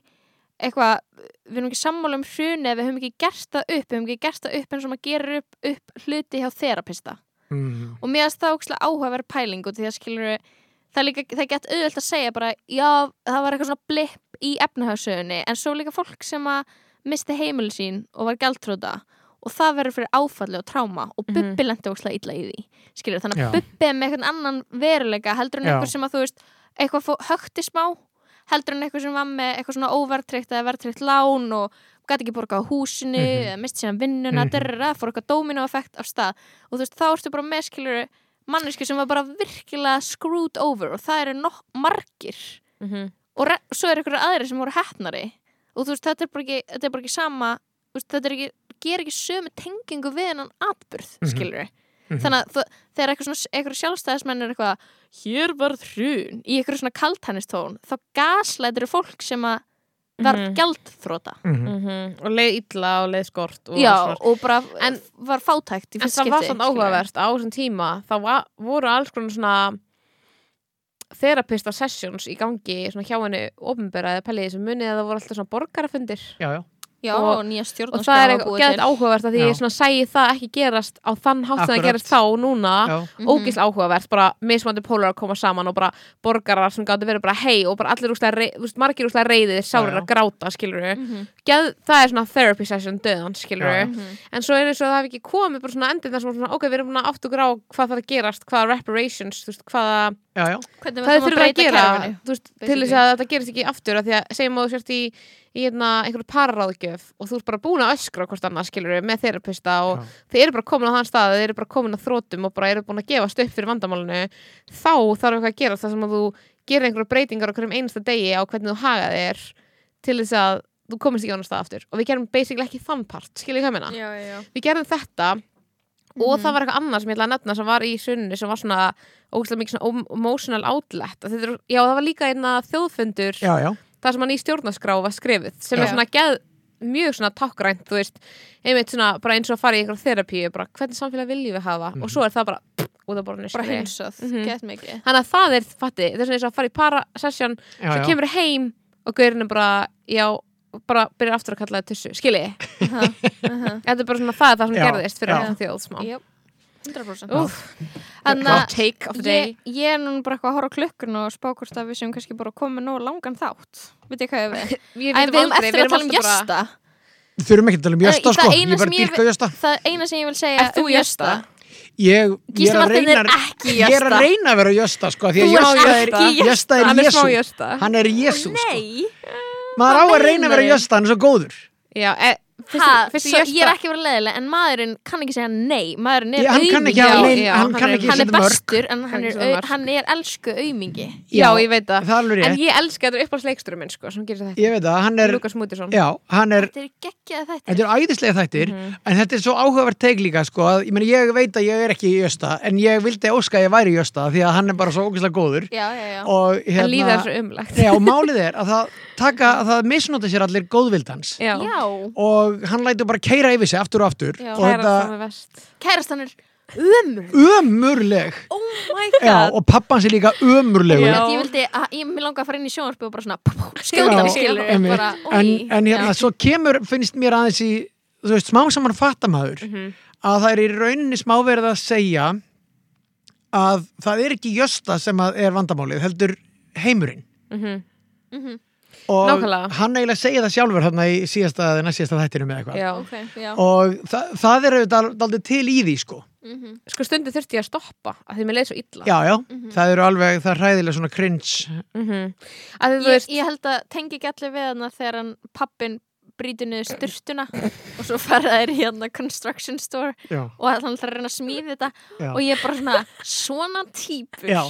S3: eitthvað, við erum ekki sammála um hruni við höfum ekki gert það upp, við höfum ekki gert það upp eins og maður gerir upp, upp hluti hjá þerapista
S4: Mm.
S3: og mér finnst það ógslag áhugaverð pæling út af því að skilur það er líka, það er gett auðvelt að segja bara já, það var eitthvað svona blipp í efnahagssögunni en svo líka fólk sem að misti heimil sín og var gjaldtróta og það verður fyrir áfalli og tráma og
S2: Mhm.
S3: bubbi lendi ógslag illa í því skilur þannig að
S4: Já.
S3: bubbi er með eitthvað annan veruleika heldur en
S4: Já.
S3: eitthvað sem að þú veist eitthvað fó- hökti smá heldur en eitthvað sem var með eitthvað svona óvertrykt eða vertrykt lán og gæti ekki borga á húsinu
S4: Mhm.
S3: eða misti síðan vinnuna, mm -hmm.
S4: Mhm.
S3: derra, fór eitthvað dominoeffekt af stað og þú veist, þá ertu bara með skilur mannesku sem var bara virkilega screwed over og það eru nokk margir
S2: Mhm.
S3: og re- svo eru ykkur aðri sem voru hettnari og þú veist, þetta er bara ekki, þetta er bara ekki sama þú veist, þetta er ekki, ger ekki sömu tengingu við hennan atbyrð,
S4: Mhm.
S3: skilur
S4: Mhm.
S3: þannig að þú- þegar eitthvað svona eitthvað sjálfstæðismenn er eitthvað hér varð hrun í eitthvað svona kaltænistón þá gaslætir fólk sem að var mm
S2: Mhm.
S3: gjaldþróta
S4: Mhm.
S2: Mhm. og leið illa og leið skort og
S3: já,
S2: svona-
S3: og bara
S2: En-
S3: var fátækt í
S2: en
S3: fyrst
S2: það var
S3: skipti,
S2: svona
S3: skilurðu.
S2: áhugavert á þessum tíma þá va- voru alls konar svona therapista sessions í gangi svona hjá henni ofinbera eða pæliði sem munið að það voru alltaf svona borgarafundir
S4: já, já.
S3: já,
S2: og-
S3: og nýja stjórn
S2: og það er gett áhugavert að því
S4: Já.
S2: ég svona sæi það ekki gerast á þann hátt sem það
S4: Akkurat.
S2: gerast þá núna
S3: Ah.
S4: já.
S3: Mhm.
S2: ógísl áhugavert, bara mismandi pólar að koma saman og bara borgarar sem gáttu verið bara hei og bara allir úslega, rei, þú veist, margir úslega reyðir sárir
S4: Já, já.
S2: að gráta, skilur við
S3: Mhm.
S2: það er svona therapy session döðan, skilur
S4: Já, já.
S2: en svo er eins og það hef ekki komið bara svona endir þar sem svona, ok, við erum búin að átt og grá hvað þarf að gerast, hvaða reparations þú veist, hvaða,
S4: já, já.
S3: hvernig
S2: hvað
S3: við
S2: þið þurfa
S3: þurfum
S2: að gera
S3: kerfinu
S2: þú veist, til
S3: basically.
S2: þess að þetta gerist ekki aftur af því að segjum að þú sért í, í hérna, einhverju pararáðgjöf og þú ert bara búin að öskra hvort annað skilur við með þerapista og
S4: Já.
S2: þið eru bara komin á þann stað þið eru bara komin að þrótum og bara eru búin að gefast upp fyrir vandamálinu þá þarf eitthvað að gera það sem að þú gerir einhverju breytingar okkur um einasta degi á hvernig þú haga þér til þess að þú komist ekki á annar stað aftur og við gerum basically ekki þann part, skilur við hvað ég meina
S3: já, já, já.
S2: við gerðum þetta og
S3: Mhm.
S2: það var eitthvað annað sem ég ætla að nefna sem var í sunni sem var svona ógæslega mikið svona om- emotional outlet Að þetta er, já það var líka einna þjóðfundur
S4: já, já.
S2: það sem hann í stjórnarskrá var skrifuð sem er
S3: Já.
S2: svona geð mjög svona tákgrænt þú veist, einmitt svona bara eins og að fara í einhverja þerapíu, bara hvernig samfélag viljum við hafa og svo er það bara pff, út af borðinu
S3: bara
S2: sinni.
S3: hinsað,
S2: Mhm.
S3: gett
S2: þannig
S3: mikið
S2: að það er fatti, þetta er svona eins og að fara í parasessjón
S4: já,
S2: svo
S4: já.
S2: kemur heim og gaurinu bara já, bara byrjar aftur að kalla það tussu skilji,
S3: Aha, aha.
S2: þetta er bara svona það er það sem
S4: Já.
S2: gerðist fyrir
S4: Já.
S2: þessa þjóð smá
S3: Jöp, 100%
S2: Úff.
S3: Þannig
S2: Hot
S3: að
S2: take of the
S3: ég,
S2: day
S3: ég er núna bara eitthvað að horfa á klukkun og spá hvort að við séum kannski bara að koma nóg langan þátt Veit ég hvað ég við?
S2: Ég
S3: Æ,
S2: veit
S3: við
S2: um
S3: erum
S2: aldrei, við
S3: eftir að
S2: erum
S3: tala um
S2: alltaf bara
S3: jösta
S4: þurfum ekki að tala um
S3: Í
S4: jösta
S3: það
S4: sko,
S3: eina
S4: ég
S3: sem
S4: bara
S3: ég
S4: dýrka jösta
S3: Það eina sem ég vil segja
S2: Ert þú
S3: um
S2: Jösta?
S4: ég, ég, er að
S3: Gísli Marteinn er
S4: reyna,
S3: ekki
S4: ég er að
S3: Jösta.
S4: reyna að vera jösta sko, því að
S3: Þú ert
S4: jösta er,
S3: ekki Jösta.
S4: jösta er
S2: Hann er smá
S4: jésu
S2: jösta
S4: hann er jésu sko.
S3: Nei,
S4: maður á
S3: Hvað
S4: að reyna að vera
S3: meinarðu?
S4: jösta, hann er svo góður
S2: Já, e, fyrst,
S3: ha,
S2: fyrst
S3: svo,
S2: jösta
S3: ég er ekki verið leðileg en maðurinn kann ekki segja nei Maðurinn
S4: ég,
S3: er
S4: hann kann ekki
S2: að Já,
S3: aumingi
S4: hafa nein-
S2: já,
S4: hann
S2: hann
S4: kann
S2: er-
S4: ekki
S3: Hann
S4: setja
S3: er
S4: mörk.
S3: bestur en hann
S2: Kann
S3: er,
S2: ekki setja
S3: au,
S2: mörk.
S3: hann er elsku aumingi
S2: Já, ég veit það
S4: það er alveg
S2: En
S4: rétt,
S2: ég elska að þetta er upp á sleiksturum minn sko sem gerir þetta
S4: ég veit það, hann er
S2: Lukas Mútisson
S4: já, hann er
S3: Þetta er geggjað þetta
S4: Þetta er æðislega þættir,
S2: Mhm.
S4: en þetta er svo áhugavert teik líka, sko, að ég, meni, ég veit að ég er ekki í Jösta, en ég vildi óska að ég væri í Jösta, því að hann er bara svo ógeðslega góður.
S3: Já, já, já
S4: Og,
S2: En líða
S4: hérna,
S2: þessu umlagt
S4: Já, og málið er að það, taka, að það misnóti sér allir góðvildans
S2: Já,
S3: Já,
S4: og hann lætur bara keira yfir sig aftur og aftur
S3: Já.
S4: og
S2: kæra
S4: hérna-
S2: það
S4: þetta
S2: með vest
S3: kærast hann er ömur
S4: ömurleg
S3: Oh my
S4: já,
S3: god
S4: og pappan sér líka ömurlegur
S2: Já.
S3: Ég vildi að, ég mig langa að fara inn í sjónvarpi og bara svona
S4: Já,
S3: skjóta mig skilur
S4: einmitt.
S3: bara,
S4: en,
S3: oj,
S4: en hérna,
S3: já.
S4: svo kemur finnst mér aðeins í, þú veist, smá saman fattamaður
S3: Mhm.
S4: að það er í rauninni smá verið að segja að það er ekki jösta sem að er vandamálið, heldur heimurinn
S2: Mhm.
S4: og
S2: Nákvæmlega.
S4: hann eiginlega segir það sjálfur hann í síðasta, næst síðasta þættinu með eitthvað
S2: Já.
S3: ok, já
S4: og þa það er auðvitað aldrei til í því sko
S3: Mhm.
S2: Sko stundu þurfti ég að stoppa að því mér leið svo illa
S4: já, já, það eru alveg, það er hræðilega svona cringe
S2: mm að því þú
S3: ég,
S2: veist
S3: ég held að tengi ekki allir við hana þegar hann pappin brýtur niður styrtuna og svo fara þær í hérna construction store
S4: já,
S3: og að hann ætlar að reyna að smíði þetta
S4: já,
S3: og ég er bara svona, svona típur
S4: já,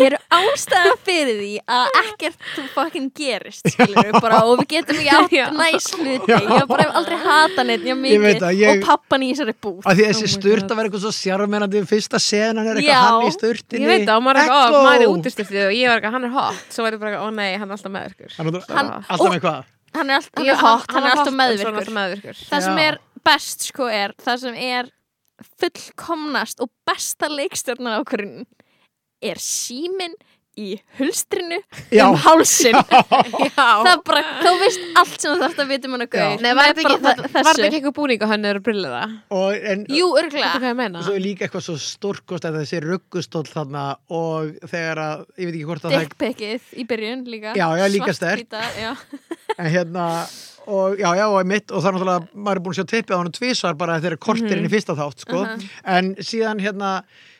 S3: eru ástæða fyrir því að ekkert þú fucking gerist skilur við bara og við getum ekki
S2: Já.
S3: átt næs hluti ég hef bara hef aldrei hata neitt mjög
S4: Ég veit
S3: mikið
S4: það, ég-
S3: og pappan í þessari búð
S4: að því þessi
S2: Oh my
S4: sturt
S2: God.
S4: að vera eitthvað svo sjármennandi fyrsta senan er eitthvað
S3: Já.
S4: hann í sturtinni
S2: Ég veit það, og maður er eitthvað,
S4: Echo!
S2: ó, maður er útistiftið og ég var eitthvað, hann er hot Svo var ég bara, eitthvað, ó nei, hann er alltaf meðvirkur
S4: hann, er
S2: Hann-
S4: alltaf með hvað
S3: hann er, all, hann
S2: Ég-
S3: er hot, hann er
S2: hot, en svo er
S3: alltaf
S2: hann
S3: meðvirkur
S2: alltaf meðvirkur
S3: það sem
S4: Já.
S3: er best sko er það sem er fullkomnast og besta leikstjórnar ákvörðin er símin í hulstrinu
S4: Já.
S3: um hálsin
S2: Já
S3: það bara, þú veist allt sem þú þarfst að vita um manna gauð
S2: Nei, var þetta ekki,
S3: Bara
S2: það, var
S3: þa- þessu.
S2: þetta ekki eitthvað búningahönnur og brillið það?
S4: og
S3: jú,
S4: en,
S2: Þetta er
S3: örglega
S2: hvað ég meina
S4: og svo er líka eitthvað svo stórkost að þessi ruggustól þarna og þegar að, ég veit ekki hvort að það
S3: dickpickið í byrjun líka
S4: Já, já, líka
S3: Svarthvíta, já.
S4: en hérna og já, já, og mitt og það er náttúrulega, maður er búin að sjá tippið á hann tvísvar bara þegar kortirinn
S2: Mhm.
S4: mm í fyrsta þátt, sko
S2: Uh-huh.
S4: en síðan hérna,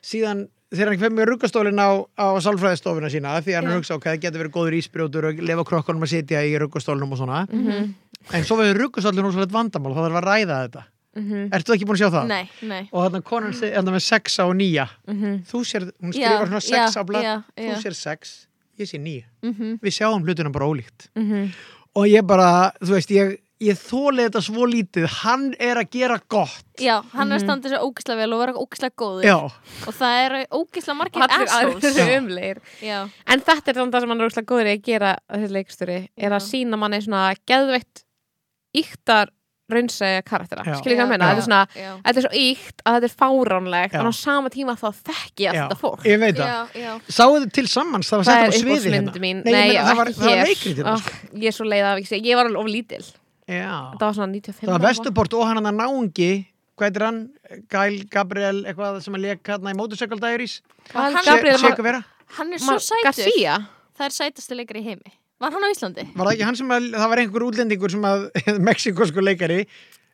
S4: síðan þegar hann fyrir með ruggustólinn á, á sálfræðistofuna sína því að hann
S3: Já.
S4: hugsa, ok, það getur verið góður ísbrjótur og lefa krokkunum að sitja í ruggustólnum og svona
S3: Mhm.
S4: en svo verður ruggustólinn rosalegt vandamál, það þarf að ræða þetta Ertu ekki búin að sjá það?
S3: nei, nei
S4: og þannig konan segir hérna með sexa og nýja þú sér, hún
S3: Já,
S4: skrifar svona
S3: já,
S4: sex á blad
S3: já,
S4: þú
S3: já.
S4: sér sex, ég sé nýja við sjáum hlutina bara ólíkt
S2: Mhm.
S4: og ég bara, þú veist, ég ég þóli þetta svo lítið, hann er að gera gott,
S3: já, hann
S2: Mhm.
S3: er standið sér ógislega vel og verður ógislega góður
S4: já
S3: og það eru ógislega margir
S2: Allir aðrir
S3: assholes
S2: eru
S4: Já.
S2: umlegir
S3: já,
S2: En þetta er þannig það sem hann er úrslega góður í að gera þessi leikstjóri, er að
S3: Já.
S2: sína manni svona geðveitt íktar raunsæja karaktera,
S4: Já.
S2: skilur ég hvað að meina
S4: Já.
S2: þetta er svona,
S3: já,
S2: þetta er svo íkt að þetta er fáránlegt,
S4: Já.
S2: en á sama tíma þá þekki ég
S4: já,
S2: alltaf fólk
S4: ég veit það,
S3: já, já.
S4: sáðu þið til sammans það var
S2: Það
S4: sett
S2: er
S4: upp á sviði
S2: uppáhaldsmynd
S4: hérna
S2: mín
S4: Nei,
S2: og
S4: ég meina, það var-
S2: ekki
S4: það var
S2: hér. Ah.
S4: leikrit hérna,
S2: Ó, Ég er svo leið af ekki segja, ég var alveg of lítil
S4: já,
S2: Þetta var svona 95
S4: það var
S2: ára.
S4: Vesturport og hann að náungi hvað er hann, Gail Gabriel eitthvað sem að leka hérna í Motorcycle Diaries
S2: Hann
S3: Hann-
S2: Gabriel
S4: Sé- Sé- vera.
S3: hann er svo
S2: Ma-
S3: sætur
S2: Garcia
S3: það er sætasti leikari í heimi var hann á Íslandi?
S4: Var það ekki hann sem að, það var einhver útlendingur sem að, mexikosku leikari Er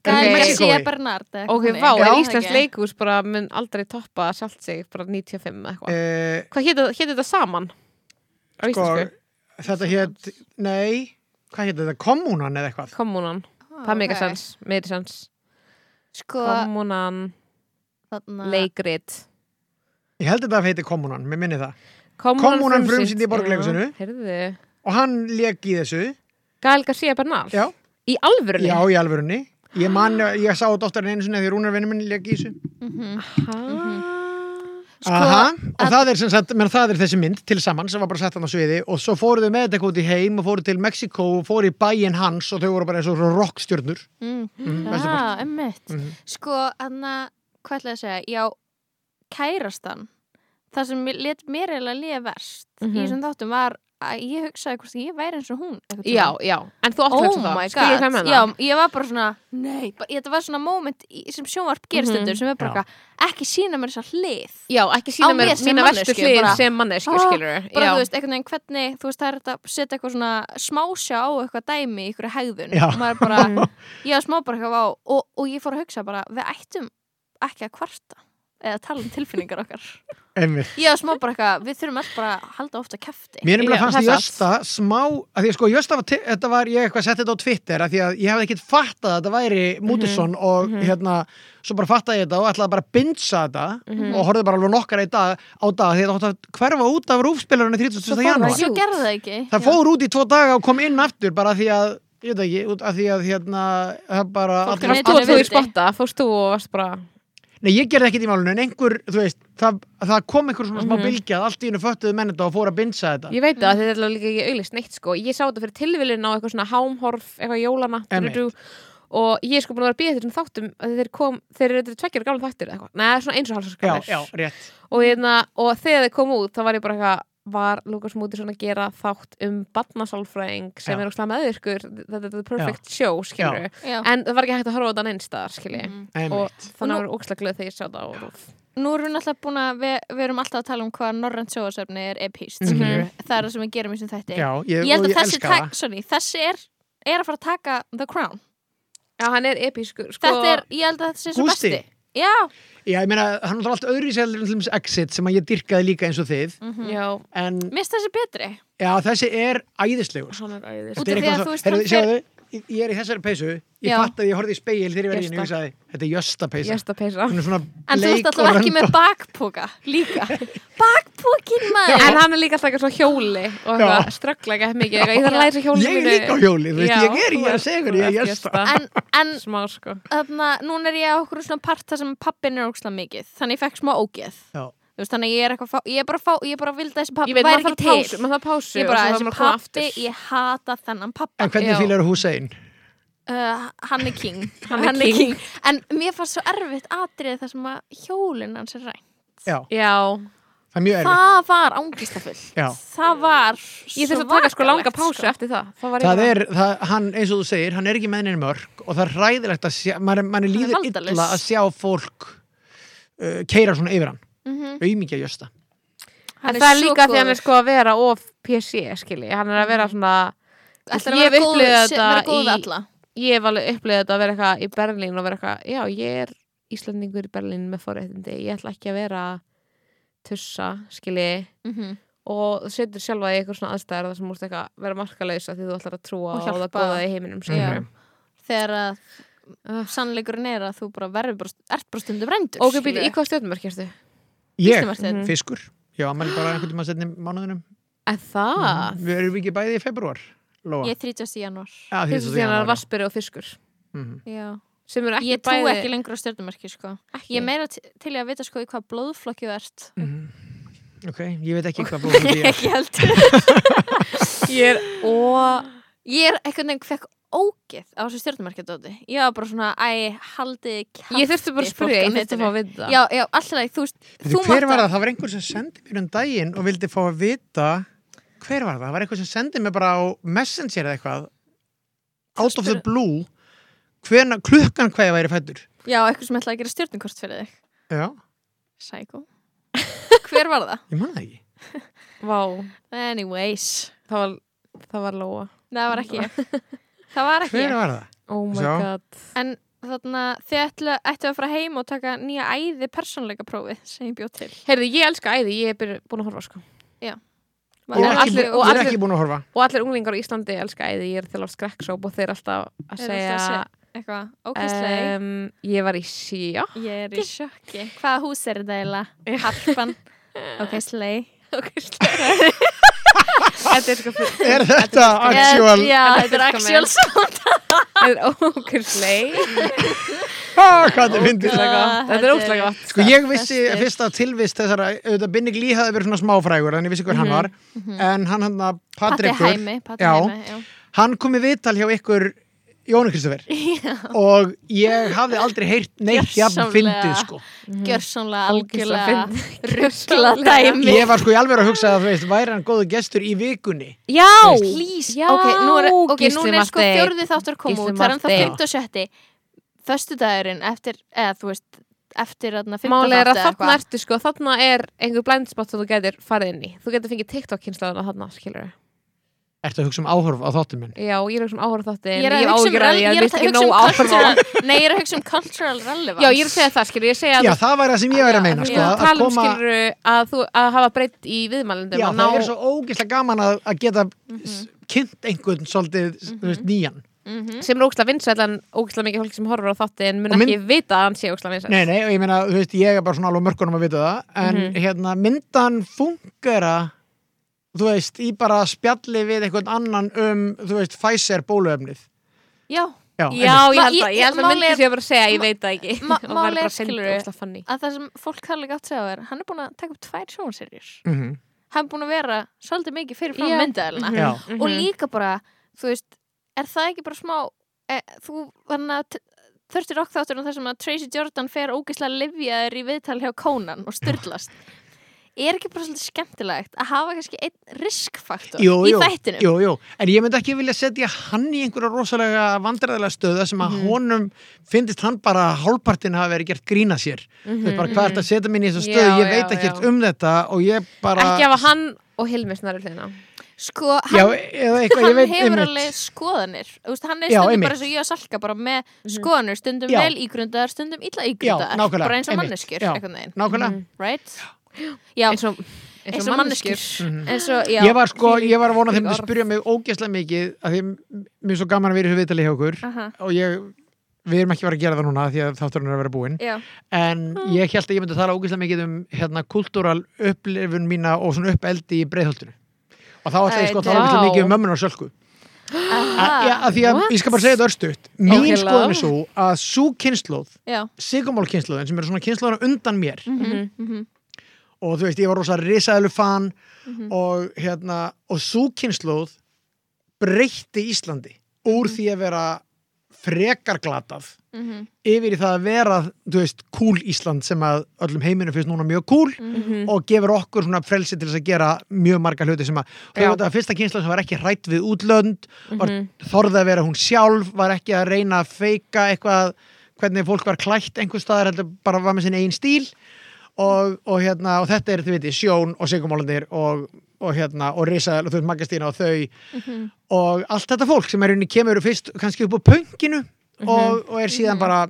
S2: Gael
S4: hann í
S3: Gæði
S4: Mexíkó í?
S3: Garcia Bernard eða
S2: Ok,
S3: eitthvað
S2: vá,
S3: þannig.
S2: er
S3: Já.
S2: Íslands
S3: Ekki.
S2: leikús bara mun aldrei toppa sjálft sig bara 95 eða eitthvað
S4: Eh,
S2: Hvað hétt þetta saman? Á
S4: sko,
S2: íslensku?
S4: þetta hétt, nei, hvað hétt þetta, kommunan eða eitthvað?
S2: Kommunan
S3: Ah,
S2: Það er
S3: ok.
S2: mikið sens, meiri sens
S3: sko,
S2: Kommunan,
S3: þarna-
S2: leikrit
S4: Ég held að þetta heiti kommunan, mér minni það. Kommúnan
S2: Kommunan
S4: frumsýnd í Borgarleikhúsinu.
S2: Hérðu,
S4: Og hann lék í þessu,
S2: Gael Garcia Bernal
S4: já,
S2: Í alvörunni?
S4: já, í alvörunni. Ég man, ég sá dóttarinn einu sinni því Rúnarvinni minn lék í þessu.
S3: Mhm.
S4: Sko, Aha, og það er sem sagt, menn það er þessi mynd til saman sem var bara sett hann á sviði og svo fóruðu með þetta eitthvað út í heim og fóruðu til Mexiko og fóru í bæinn hans og þau voru bara eins og rockstjörnur.
S3: Mm.
S4: Mm, Vesturport.
S3: Ah, emmitt
S4: Mhm.
S3: sko, hann að hvað ætlaði að segja, já kærastan, það sem mér- lét mér eiginlega líða verst
S2: Mhm.
S3: í þessum þáttum var að ég hugsaði hvort ég væri eins og hún einhvern tímann.
S2: Já, já, en þú átt
S3: Oh
S2: hugsa það
S3: my
S2: Skil ég hvað ég
S3: god,
S2: meina?
S3: já, ég var bara svona Nei, bara, þetta var svona moment í, sem sjónvarp gerist
S2: Mhm.
S3: mm sem er bara
S4: Já.
S3: eitthvað, ekki sína mér þessa hlið
S2: Já, ekki sína
S3: Á
S2: mér
S3: mér sem
S2: mína verstu
S3: manneskju,
S2: hlið
S3: bara-
S2: sem mannesku,
S3: Ah,
S2: skilur
S3: bara þú
S2: Já,
S3: veist, einhvern veginn hvernig þú veist, það er þetta að setja eitthvað svona smásjá á eitthvað dæmi í einhverju hegðun
S4: Já.
S3: og maður bara, ég var smá bara eitthvað á og, og ég fór að hugsa bara, við ættum ekki að kvarta eða tala um tilfinningar okkar
S4: Einmitt.
S3: ég var smá bara eitthvað, við þurfum alltaf bara að halda ofta kæfti
S4: Mér nefnilega
S2: Já,
S4: fannst
S2: það er
S4: Jösta smá að því að sko Jösta var, ti- þetta var ég eitthvað setti þetta á Twitter að því að ég hefði ekkert fattað að þetta væri Mútisson og hérna svo bara fattaði ég þetta og ætlaði bara að binsa þetta
S3: Mhm.
S4: og horfði bara alveg nokkar í dag á dag því að þetta átti að hverfa út af rúfspilarunni 31. janúar.
S3: svo gerði það ekki
S4: Það fór út í tvo daga og kom inn aftur bara því að, ég veit ekki, út af því að hérna það bara
S3: Fólk
S4: allir-
S2: Fórst þú
S3: er Nei,
S2: þú í
S3: nei,
S2: spotta, fórst þú og varst bara
S4: Nei, ég gerði ekkert í málunum en einhver, þú veist, það, það kom einhver svona
S3: Mhm.
S4: smá bylgjað, allt í hennu föttuðu menn þetta og fór að binsa þetta.
S2: Ég veit það, þetta er alveg líka ekki auðlist neitt sko Ég sá þetta fyrir tilviljun á eitthvað svona hámhorf eitthvað jólana
S4: Einmitt.
S2: drú, og ég er sko búin að vera að býða þessum þáttum að þeir kom, þeir eru þetta tveggjur gamla þættir eða eitthvað, neða svona eins og
S4: Já,
S2: hálfsarskar
S4: já, rétt.
S2: og, hérna, og þegar þeir kom út þá var ég bara eitthvað var Lukas Mútisson að gera þátt um barnasálfræðing sem
S4: Já.
S2: er óslega meðvirkur þetta er the perfect show skilur
S3: Já.
S2: en það var ekki hægt að horfa á þetta neins staðar skilur
S3: Mhm.
S4: Einmitt.
S2: og þannig að ég var ókslega glöð þegar ég sá það og,
S3: nú erum við náttúrulega búin að við, við erum alltaf að tala um hvað norrönt sjóðasöfni er E epíst
S4: Mhm.
S3: skilurðu. það er það sem við gerum í þessum þætti
S4: Já, ég,
S3: ég held
S4: og
S3: að
S4: ég
S3: þessi,
S4: elska
S3: tak,
S4: það
S3: sorry, þessi er, er að fara að taka The Crown
S2: Já, hann er episkur sko,
S3: þetta er, ég held að þetta sé svo
S4: Gústi.
S3: besti já,
S4: Já, ég meina, hann er alltaf öðru í sér til dæmis Exit sem að ég dyrkaði líka eins og þið
S3: Mhm.
S2: Já,
S4: en
S3: mist þessi betri
S4: já, þessi er æðislegur
S2: hann er æðis
S3: Út-
S4: Þetta er
S3: af því að
S4: eitthvað svo-
S3: þú veist,
S4: Heyrðu,
S3: hann
S4: sjáðu, ég- ég er í þessari peysu ég
S3: Já.
S4: fatt að ég horfði í speil þegar ég var í henni og ég
S2: Jösta.
S4: sagði, þetta er jösta peysa
S2: Jesta peysa
S4: hún er svona
S3: en þú ert
S4: bleik og
S3: alltaf ekki með
S4: röndótt.
S3: bakpoka líka bakpokin maður
S2: En hann er líka alltaf eitthvað svona hjóli og
S4: Já.
S2: eitthvað ströggla ekki mikið eitthvað, Ég þarf að læra þessu hjóli
S4: Ég er líka á hjóli, þú veist,
S2: Já,
S4: ég er í
S2: þú
S4: að
S2: ert-
S4: segja
S2: þú
S4: hverju, ég
S2: ert
S4: er jösta
S2: jesta.
S3: en, en
S2: Smá sko
S3: þarna, núna er ég á okkur svona part þar sem pappin er ógslag mikið þannig ég fekk smá ógeð
S4: Já.
S3: Þú veist, þannig að ég er eitthvað að fá, ég er bara að fá, ég er bara að vilda þessi pappi
S2: Ég veit,
S3: væri
S2: maður þarf
S3: ekki til
S2: pásu Maður þarf pásu
S3: ég
S2: og svo
S3: bara,
S2: þarf
S3: þessi
S2: maður að koma
S3: pappi,
S2: aftur.
S3: ég hata þennan pappa
S4: En hvernig
S2: Já.
S4: fílar Hussein?
S3: uh, hann er king
S2: Hann er king.
S3: en mér fannst svo erfitt atrið þar sem að hjólinn hans er ræn
S4: Já,
S2: Já,
S4: það er mjög erfitt
S3: það var ángistafull
S4: Já.
S3: það var
S2: ég þurfti að taka sko langa
S3: svakalegt,
S2: pásu eftir það Þá var ég
S4: Það
S2: bara-
S4: er, það, hann, eins og þú segir, hann er ekki með henni mörg og það er ræðilegt að sjá, mann, mann
S3: er
S4: líður
S3: valdalaus.
S4: illa að sjá fólk uh, keira svona yfir hann,
S3: Mhm.
S4: auðmikið að jösta.
S2: En það er
S3: svo
S2: líka því hann
S3: góður.
S2: er sko að vera of PC skilji, hann er að vera svona
S3: Ætlar að
S2: Ég hef
S3: vera góður-
S2: upplifað
S3: se- vera
S2: þetta
S3: góð við
S2: í-
S3: alla.
S2: ég hef alveg upplegað þetta að vera eitthvað í Berlín og vera eitthvað, já ég er Íslandingur í Berlín með forréttindi, ég ætla ekki að vera tussa skilji
S3: Mhm.
S2: og þú setur sjálfa í eitthvað svona aðstæðar þar sem múst eitthvað vera markalausa því þú ætlar að trúa
S3: Og
S2: og, Mhm. og það
S3: hjálpa.
S2: góða í heiminum
S3: Já.
S4: Mhm.
S2: skilurðu.
S3: þegar að
S2: Ugh.
S3: sannleikurinn er að þú bara verður bara, ert bara stundum rendur
S2: Ok, býtu, í hvað stjórnumörk hérstu?
S4: Ég,
S3: Kristimartin.
S2: Mhm. hvað-
S4: fiskur, ég var ammæli bara einhvern tímann setni mánuðinum. Mhm.
S2: En það?
S4: Við erum ekki bæði í februar, Lóa.
S3: ég þrítjast í janúar
S4: Sko. Já, því
S2: Fyrstu
S4: þú
S2: síðan
S4: segir
S2: er vasperi hérna og fiskur
S4: Mhm.
S3: Já.
S2: sem eru ekki
S3: ég trú
S2: bæði
S3: ekki lengur á stjörnumarki sko.
S2: Ekki?
S3: ég er meira t- til í að vita sko, í hvað blóðflokki þú ert
S4: Mhm. Ok, ég veit ekki hvað blóðum því er.
S3: ekki held
S2: Ég er og
S3: ég er einhvern veginn fekk ógeð á þessu stjörnumarkadóti ég var bara svona, æ, haldið kjafti,
S2: Ég þurfti bara að
S3: fólk
S2: spyrja,
S3: á
S2: ég þurfti að fá
S3: netinu.
S2: að vita það.
S3: já, já, alltaf leið, þú veist
S4: Þú,
S3: þú
S4: hver
S3: mátt að-
S4: var það? Það var einhver sem sendi mér um daginn og vildi fá að vita hver var það? Það var einhver sem sendi mér bara á Messenger eða eitthvað out of the blue hverna, klukkan hvað ég væri fættur
S3: já, eitthvað sem ætlaði að gera stjörnukort fyrir þig
S4: Já,
S3: Psycho hver var það?
S4: ég man það ekki
S2: Vá,
S3: anyways,
S2: það var, það var Lóa
S3: það var ekki ég það var ekki
S4: Hver
S3: ég
S4: var það?
S2: Oh my
S4: Sjá.
S2: god
S3: en þarna, þið ætla, ættu að fara heim og taka nýja æði persónleika prófið sem ég bjóð til
S2: Heyrðu, ég elska æði, ég er byrju- búin að horfa sko
S3: Var
S4: Ég er
S3: það
S4: ekki,
S2: allir-
S4: allir,
S2: og
S4: ég er
S2: allir-
S4: ekki búin að horfa
S2: Og allir unglingar á Íslandi elska æði, ég er þjóðlega skrekksóp og þeir alltaf að
S3: Eru
S2: segja
S3: alltaf að eitthvað, ókvæslega
S2: um, Ég var í síja
S3: Ég er í sjokki. Hvaða hús er þetta eiginlega? Harpan. ok, slei.
S2: Þetta er sko fyrir
S4: Er þetta actual?
S3: Já, þetta er
S2: Þetta er
S3: actual
S2: komið.
S3: sound.
S2: Þetta er ókursleg
S4: Ah, hvað þetta fyndið
S2: Ógeðslega
S3: Ah,
S2: gott. Þetta er
S3: þetta
S2: ókslega
S3: er-
S2: gott
S4: Sko ég vissi
S3: Bestir.
S4: fyrst að tilvist þessara, auðvitað Binnig Lee hafði verið svona smáfrægur en ég vissi hver hann var en hann hann að
S3: Patti
S4: Patrikur
S3: Hæmi. Patti
S4: Já.
S3: Hæmi, já.
S4: hann kom í viðtal hjá ykkur Jónu Kristofer og ég hafði aldrei heyrt neitt jafn
S3: Gjörsamlega.
S4: fyndið sko
S3: Mhm. Gjörsamlega,
S2: Ógeðslega
S3: algjörlega,
S2: fyndið.
S3: ruggla dæmi.
S4: ég var sko í alveg að hugsa að þú veist væri hann góðu gestur í vikunni
S2: Já,
S3: Please.
S2: já,
S3: ok, nú er, okay,
S2: Gísli
S3: nú er sko
S2: Marteinn.
S3: fjörði þáttur að koma
S2: Gísli
S3: út. Það er ennþá
S2: Marteinn.
S3: 57. Föstudagurinn eftir, eða þú veist, eftir þarna 15.
S2: Máli er að
S3: þátt eða
S2: þarna
S3: eitthvað.
S2: ertu sko, þarna er einhver blindspot sem þú getur farið inn í. Þú getur fengið TikTok-kynslaðuna þarna, skilur við.
S4: Ertu að hugsa um áhorf á þáttum minn?
S2: Já, ég er að hugsa um áhorf þáttin,
S3: Ég er að hugsa um,
S2: áhyggjur af
S3: rel-
S2: því
S3: ég
S2: að
S3: er
S2: mér finnst
S3: að
S2: ekki
S3: hugsa um
S2: nóg áhorf á.
S3: cultural- Nei, ég er að hugsa um cultural relevance.
S2: Já, ég er að segja það, skilur, ég segja
S4: Já,
S2: að
S4: það væri það sem ég væri að meina
S2: þú
S4: sko, að
S2: tala um,
S4: koma,
S2: skilur, að þú að hafa breytt í viðmælundum.
S4: já,
S2: að
S4: það
S2: ná-
S4: er svo ógeðslega gaman að, að geta mm kynnt einhvern svolítið mm veist, nýjan
S3: Mhm.
S2: Sem er ógstlega vinsæll en ógstlega mikið fólk sem horfur á þáttin mun
S4: Og mynd-
S2: ekki vita að hann sé ógstlega vinsæll.
S4: Nei, nei, og ég meina, þú veist, ég er bara svona alveg á mörkunum að vita það en
S2: Mhm.
S4: hérna, myndan fungera þú veist, í bara spjalli við einhvern annan um, þú veist, Pfizer bóluefnið
S3: Já,
S4: Já,
S2: Já, ég held
S4: einmitt.
S3: Ma-
S2: það,
S3: ég-
S2: ég held að
S3: málið
S2: myndi
S3: er-
S2: sé bara að segja, ég veit það ekki.
S3: ma-
S2: Og væri
S3: málið er,
S2: bara að finna
S3: skilurðu,
S2: ógeðslega funny.
S3: að það sem fólk þarf líka átt að segja er hann er búin að taka upp tvær sjónserjur
S4: Mhm.
S3: hann er búin að vera svolítið mikið fyrir frá
S2: Já.
S3: myndaðalina
S4: Já.
S3: Mhm.
S2: Mhm.
S3: og líka bara, þú veist er það ekki bara smá e, þú, þannig að þurftir okk þáttur þar sem að Tracy Jordan fer ógeðslega livjaður í viðtal hjá Conan og styrlast er ekki bara svolítið skemmtilegt að hafa kannski einn riskfaktor
S4: Jú,
S3: í
S4: jú,
S3: þættinum
S4: Jú, jú, en ég myndi ekki vilja setja hann í einhverja rosalega vandræðilega stöða sem
S2: Mhm.
S4: að honum finnist hann bara að hálfpartin hafa verið gert grína sér þú veist bara hvað er þetta að setja mig í þessa stöðu
S2: Mhm, Já,
S4: ég veit
S2: já,
S4: ekkert
S2: já.
S4: um þetta og ég bara
S2: Ekki hafa hann og Hilmi snarur hliðina.
S3: sko,
S4: já,
S3: hann,
S4: eða eitthvað, ég
S3: hann
S4: veit
S3: hefur
S4: einmitt.
S3: alveg skoðanir Þú veist, hann er
S4: Já,
S3: stundum
S4: einmitt.
S3: bara eins og ég og Salka bara með skoðanir, stundum
S4: Já.
S3: vel ígrundaðar stundum illa ígrundaðar,
S4: nákvæmlega,
S3: bara eins og
S4: einmitt.
S3: manneskjur
S4: Já.
S3: einhvern veginn,
S4: nákvæmlega
S2: Mhm.
S3: right? Já,
S2: Eins og,
S3: eins og manneskjur eins og, já,
S4: Mhm. ég var sko,
S2: þvílík-
S4: ég var að vona að þeim
S2: þvílík
S4: að
S2: orð.
S4: spyrja mig ógeðslega mikið af því m- mér er svo gaman að vera í þessu viðtali hjá okkur
S3: Aha.
S4: og ég, við erum ekki að vera að gera það núna því að þátturinn er að vera búinn
S3: já,
S4: en
S2: Mm.
S4: ég held að ég myndi að tala ógeðslega mikið um hérna kultúral upplifun mína og svona uppeldi í breiðholtinu og þá ætla ég sko að tala
S2: Æ,
S4: ógeðslega
S2: vá.
S4: mikið um mömmun og sölku að, já, að því að
S2: what?
S4: ég skal bara segja þetta örstuðt mín
S2: Okay, love.
S4: skoðun er svo að svo kynnslóð
S3: já
S4: sigumálkynnslóðin sem eru svona kynnslóðina undan mér
S3: mhm, mhm,
S4: og þú veist, ég var rosa risaðlu fan og hérna og svo kynnslóð breytti Íslandi úr því að vera frekar glatað
S3: mhm,
S4: yfir í það að vera, þú veist, cool Ísland sem að öllum heiminu finnst núna mjög cool
S2: Mhm.
S4: og gefur okkur svona frelsi til þess að gera mjög marga hluti sem að
S2: Já.
S4: þau
S2: Mhm.
S4: var þetta fyrsta kynnslóð sem var ekki hrætt við útlönd var þorði að vera hún sjálf var ekki að reyna að feika eitthvað hvernig fólk var klætt einhvers staðar heldur bara var með sinn eigin stíl og, og hérna, og þetta er, þú veit, sjón og sigumólandir og, og hérna, og Risa, og þú veist, Magastína og þau
S2: Mhm.
S4: og allt þetta fólk sem er unni kemur fyrst kannski upp á pönginu
S2: Mhm.
S4: og, og er síðan bara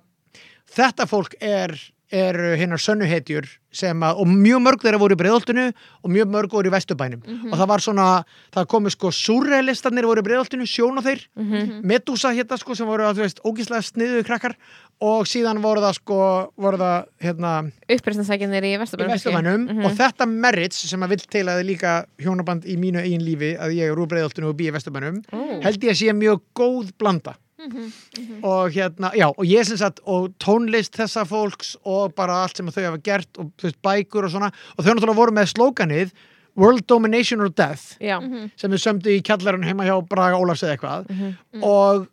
S4: þetta fólk er, er hinnar sönnuhetjur sem að, og mjög mörg þeirra voru í breiðoltinu og mjög mörg voru í vesturbænum og það var svona, það komu sko surrealistarnir voru í breiðoltinu, sjón og þeir
S2: Mhm.
S3: Mhm.
S4: Medusa hérna sko sem voru að þú veist ógíslega sniðu krakkar og síðan voru það sko, voru það hérna
S2: Uppreisnarsækjarnir í
S4: í
S2: Vesturbænum.
S4: vestumannum
S2: Mhm.
S4: og þetta merits sem að vill til að er líka hjónaband í mínu eigin lífi að ég er úr breiðoltinu og bý í vestumannum held ég að sé mjög góð blanda og hérna, já, og ég sem sagt og tónlist þessa fólks og bara allt sem þau hafa gert og þú veist, bækur og svona og þau náttúrulega voru með slókanið World Domination or Death
S2: Já.
S3: Mhm.
S4: sem þau sömdu í kjallarinn heima hjá Braga Ólafs eða eitthvað
S2: Mm.
S4: og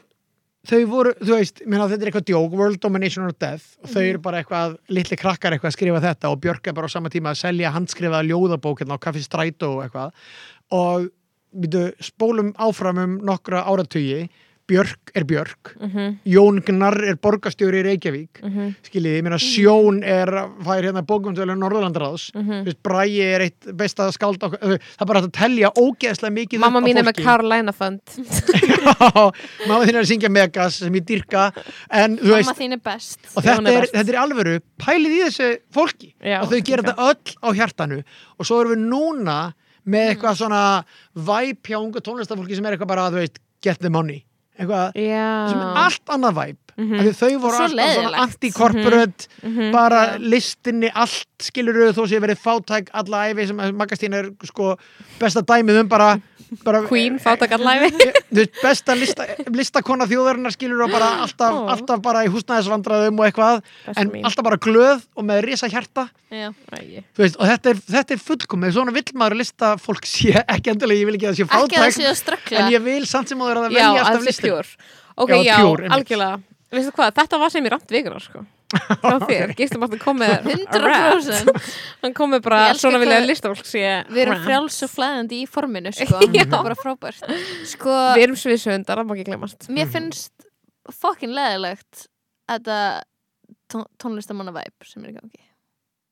S4: þau voru, þú veist, minna þetta er eitthvað djók World Domination or Death og þau eru
S2: Mhm.
S4: bara eitthvað, litli krakkar eitthvað að skrifa þetta og Björk er bara á sama tíma að selja handskrifaða ljóðabók hérna á Kaffi Strætó og eitthvað og við spólum áfram um nokkra áratugi Björk er Björk
S2: Mhm.
S4: Jón Gnarr er borgarstjóri í Reykjavík mm -hmm. skiljið, ég meina
S2: Mhm.
S4: Sjón er fær hérna bókumtölu Norðurlandaráðs mm
S2: Mhm.
S4: -hmm. Bræi er eitt besta skáld okkar, það er bara hægt að telja ógeðslega mikið
S2: Mamma
S4: upp á
S2: mín er með
S4: fólki.
S2: Carolina Fund.
S4: Já, mamma þín er að syngja Megas sem ég dyrka en þú
S3: mamma
S4: veist
S3: þín er best
S4: og
S2: Já, hún er
S4: þetta er,
S2: best.
S4: þetta er alvöru pælið í þessu fólki
S2: Já,
S4: og þau
S2: líka.
S4: gera þetta öll á hjartanu og svo erum við núna með eitthvað svona væp hjá ungu tónlistafólki sem er eitthvað bara, þú veist, get the money eitthvað, sem er
S2: Já.
S4: allt annað væp mm -hmm. þau voru
S3: Svo
S4: alltaf
S3: leiðinlegt.
S4: svona anti-corporate bara listinni allt skilur þó sé verið fátæk alla æfi sem Magastín er sko besta dæmið um bara, bara
S2: Queen, fátakarlæfi.
S4: Ég- þú veist, besta lista, listakona þjóðarinnar skilur og bara alltaf,
S2: Ó.
S4: alltaf bara í húsnæðisvandræðum og eitthvað
S2: Besta
S4: en
S2: mín.
S4: alltaf bara glöð og með risa hjarta
S3: já,
S2: Æi.
S4: Þú veist, og þetta er, þetta er fullkomið svona vill maður lista fólk sé ekki endilega ég vil ekki að það sé
S3: ekki að það
S4: fátæk
S3: séu að ströggla
S4: en ég vil samt sem áður að það
S2: Já,
S4: velja
S2: að
S4: alltaf
S2: það sé
S4: listin
S2: pjór. Ok,
S4: Já,
S2: já,
S4: pure, einmitt.
S2: algjörlega. Veistu hvað, þetta var sem ég rand vikurar, sko. Frá þér, gistum að það komið
S3: 100%
S2: Hann komið bara,
S3: Ég elska
S2: svona vilja
S3: hvað-
S2: listafólk sé
S3: Við erum
S2: rant.
S3: frjáls og flæðandi í forminu sko. Það er bara frábært sko,
S2: Við erum sviðsöndar, það má ekki glemast
S3: Mér finnst fokkin leðilegt þetta tón tónlistamanna væp sem er í gangi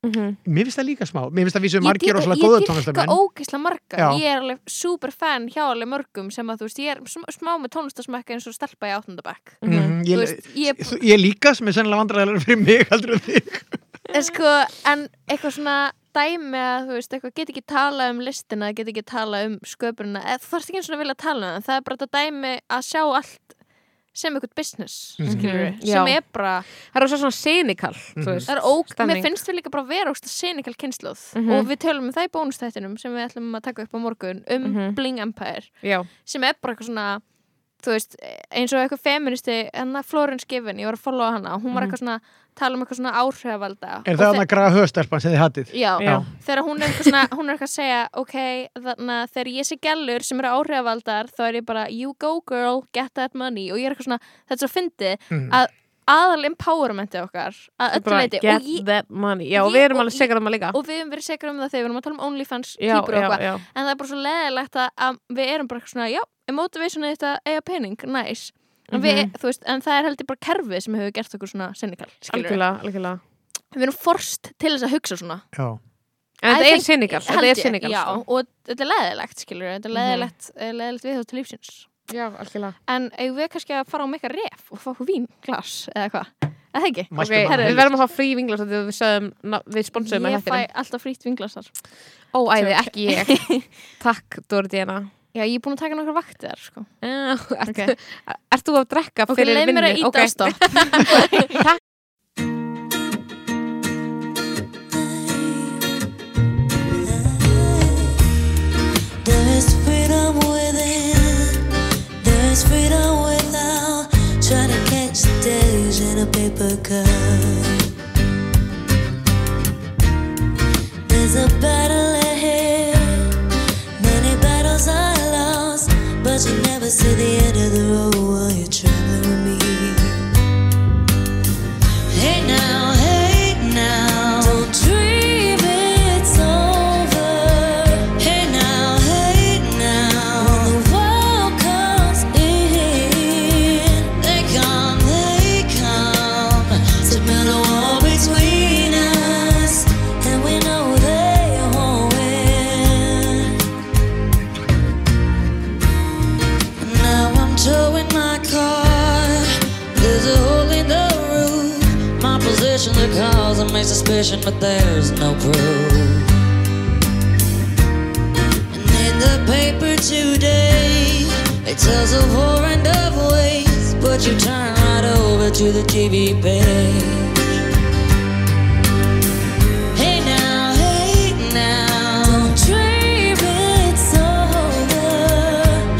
S3: Mhm,
S2: Mhm.
S4: mér finnst það líka smá, mér finnst það vísu
S3: Ég
S4: margir
S3: dýrka-
S4: og svona góða
S3: Ég dyrka
S4: tónlistamenn
S3: ógeðslega marga
S4: Já.
S3: Ég er alveg super fan hjá alveg mörgum sem að þú veist, ég er sm smá með tónlistasmekka eins og stelpa í áttundabæk
S4: Mhm,
S3: Þú
S4: ég,
S3: veist, ég er
S4: þú- ég líka sem er sennilega vandræðilega fyrir mig aldrei þig
S3: En sko, en eitthvað svona dæmi að þú veist, eitthvað get ekki tala um listina, get ekki tala um sköpunina eða þú þarfst ekki eins og að vilja tala um það en það er bara þetta dæmi að sjá allt sem eitthvað business,
S4: Mhm.
S3: skilur
S2: Mhm, já.
S3: sem er bara,
S2: Það er svo svona senikal
S3: Mhm. það er ók
S2: Stemning.
S3: mér finnst við líka bara vera ógst að senikal kynnslóð
S2: Mhm.
S3: og við tölum um það í bónustættinum sem við ætlum að taka upp á morgun um
S2: Mhm.
S3: Bling Empire
S2: Já,
S3: sem er bara eitthvað svona þú veist, eins og eitthvað feministi hennar Florence Given, ég var að followa hana og hún var
S2: Mhm.
S3: eitthvað svona, tala um eitthvað svona áhrifavalda
S4: er
S3: Og
S4: það
S3: þe-
S4: hann að grafa höstelpan sem þið hattið
S3: Já,
S2: Já.
S3: þegar hún er eitthvað svona, hún er eitthvað að segja ok, þannig að þegar ég sé gælur sem eru áhrifavaldar, þá er ég bara you go girl, get that money og ég er eitthvað svona, þetta er svo fyndið
S4: Mhm.
S3: að aðal empowermenti okkar að öllu
S2: Bara
S3: leiti
S2: Get
S3: og, ég,
S2: that money Já,
S3: ég-
S2: við erum
S3: og
S2: alveg
S3: ég-
S2: sikrað maður líka
S3: og við hefum verið segra um það þegar við erum að tala um OnlyFans
S2: Já,
S3: týpur
S2: já,
S3: og eitthvað
S2: já
S3: en það er bara svo leðilegt að, að við erum bara eitthvað svona, já, er motivationið þetta að eiga pening, næs en, við,
S2: Mhm.
S3: þú veist, en það er heldur bara kerfið sem hefur gert okkur svona sinnikal við.
S2: Algjörlega, algjörlega
S3: við erum forst til þess að hugsa svona
S4: Já.
S2: En þetta
S3: I
S2: er
S3: think-
S2: sinningal Þetta
S3: held
S2: er sko.
S3: ég,
S2: sinningal
S3: já, og þetta er leðilegt, skilur við þetta er
S2: Mhm.
S3: leðilegt, mm leðilegt við til lífsins
S2: já, algjörlega
S3: en eigum við kannski að fara á meika ref og fá okkur vínglas eða hvað, eða ekki
S4: Mættu
S2: Ok,
S4: bara
S2: Við
S4: með-
S2: verðum að fá frí vinglas Þegar við sögum, na- við sponsum
S3: ég fæ alltaf frýtt vinglasar
S2: Ó, æði, ekki ég Takk, Dóri Díana
S3: já, ég er búin að taka nokkar vaktir sko.
S2: Ert
S3: okay.
S2: ert þú að drekka
S3: ok,
S2: fyrir
S3: leið
S2: vinnu?
S3: mér að íta á stopp
S5: There's freedom within, there's freedom without. Trying to catch the days in a paper cup. There's a battle ahead, many battles are lost, but you never see the end of the road while you're traveling with me. Hey now, hey now, don't dream it's over. Hey now, hey now, when the world comes in, they come, they come to build a wall between us, and we know they won't win. Now I'm towing my car. There's a hole in the roof. My position the cause of my suspicion, but there's no proof. And in the paper today, it tells of war and of ways, but you turn right over to the TV page. Hey now, hey now, don't dream it's over.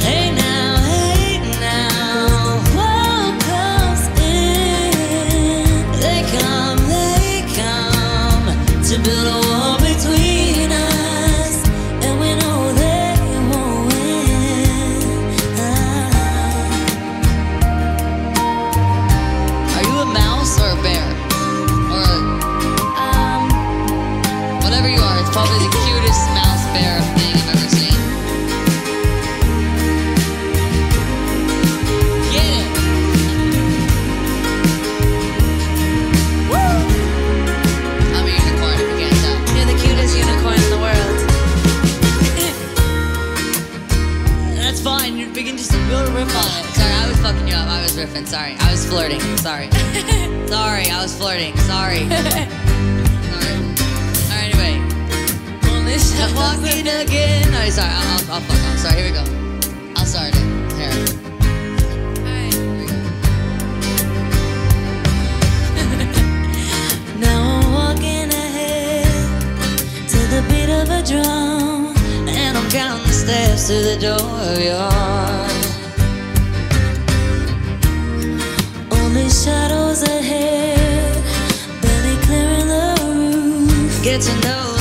S5: Hey now, hey now, world comes in. They come, they come to build a wall between us, and we know they won't win. Are you a mouse or a bear or a? Um. Whatever you are, it's probably the cutest mouse bear thing I've ever seen. Get it! Woo! I'm a unicorn if you can't tell. You're the cutest unicorn in the world. That's fine, you're beginning to build a riff on it. Sorry, I was fucking you up. I was riffing, sorry. I was flirting, sorry. sorry, I was flirting, sorry. Alright, anyway. Only step walking again. No, sorry, I'll, I'll, I'll fuck off. Sorry, here we go. I'll start it. Here. Alright, here we go. Now I'm walking ahead to the beat of a drum, and I'm counting the steps to the door of your heart. Only shadows ahead, barely clearing the roof. Get to know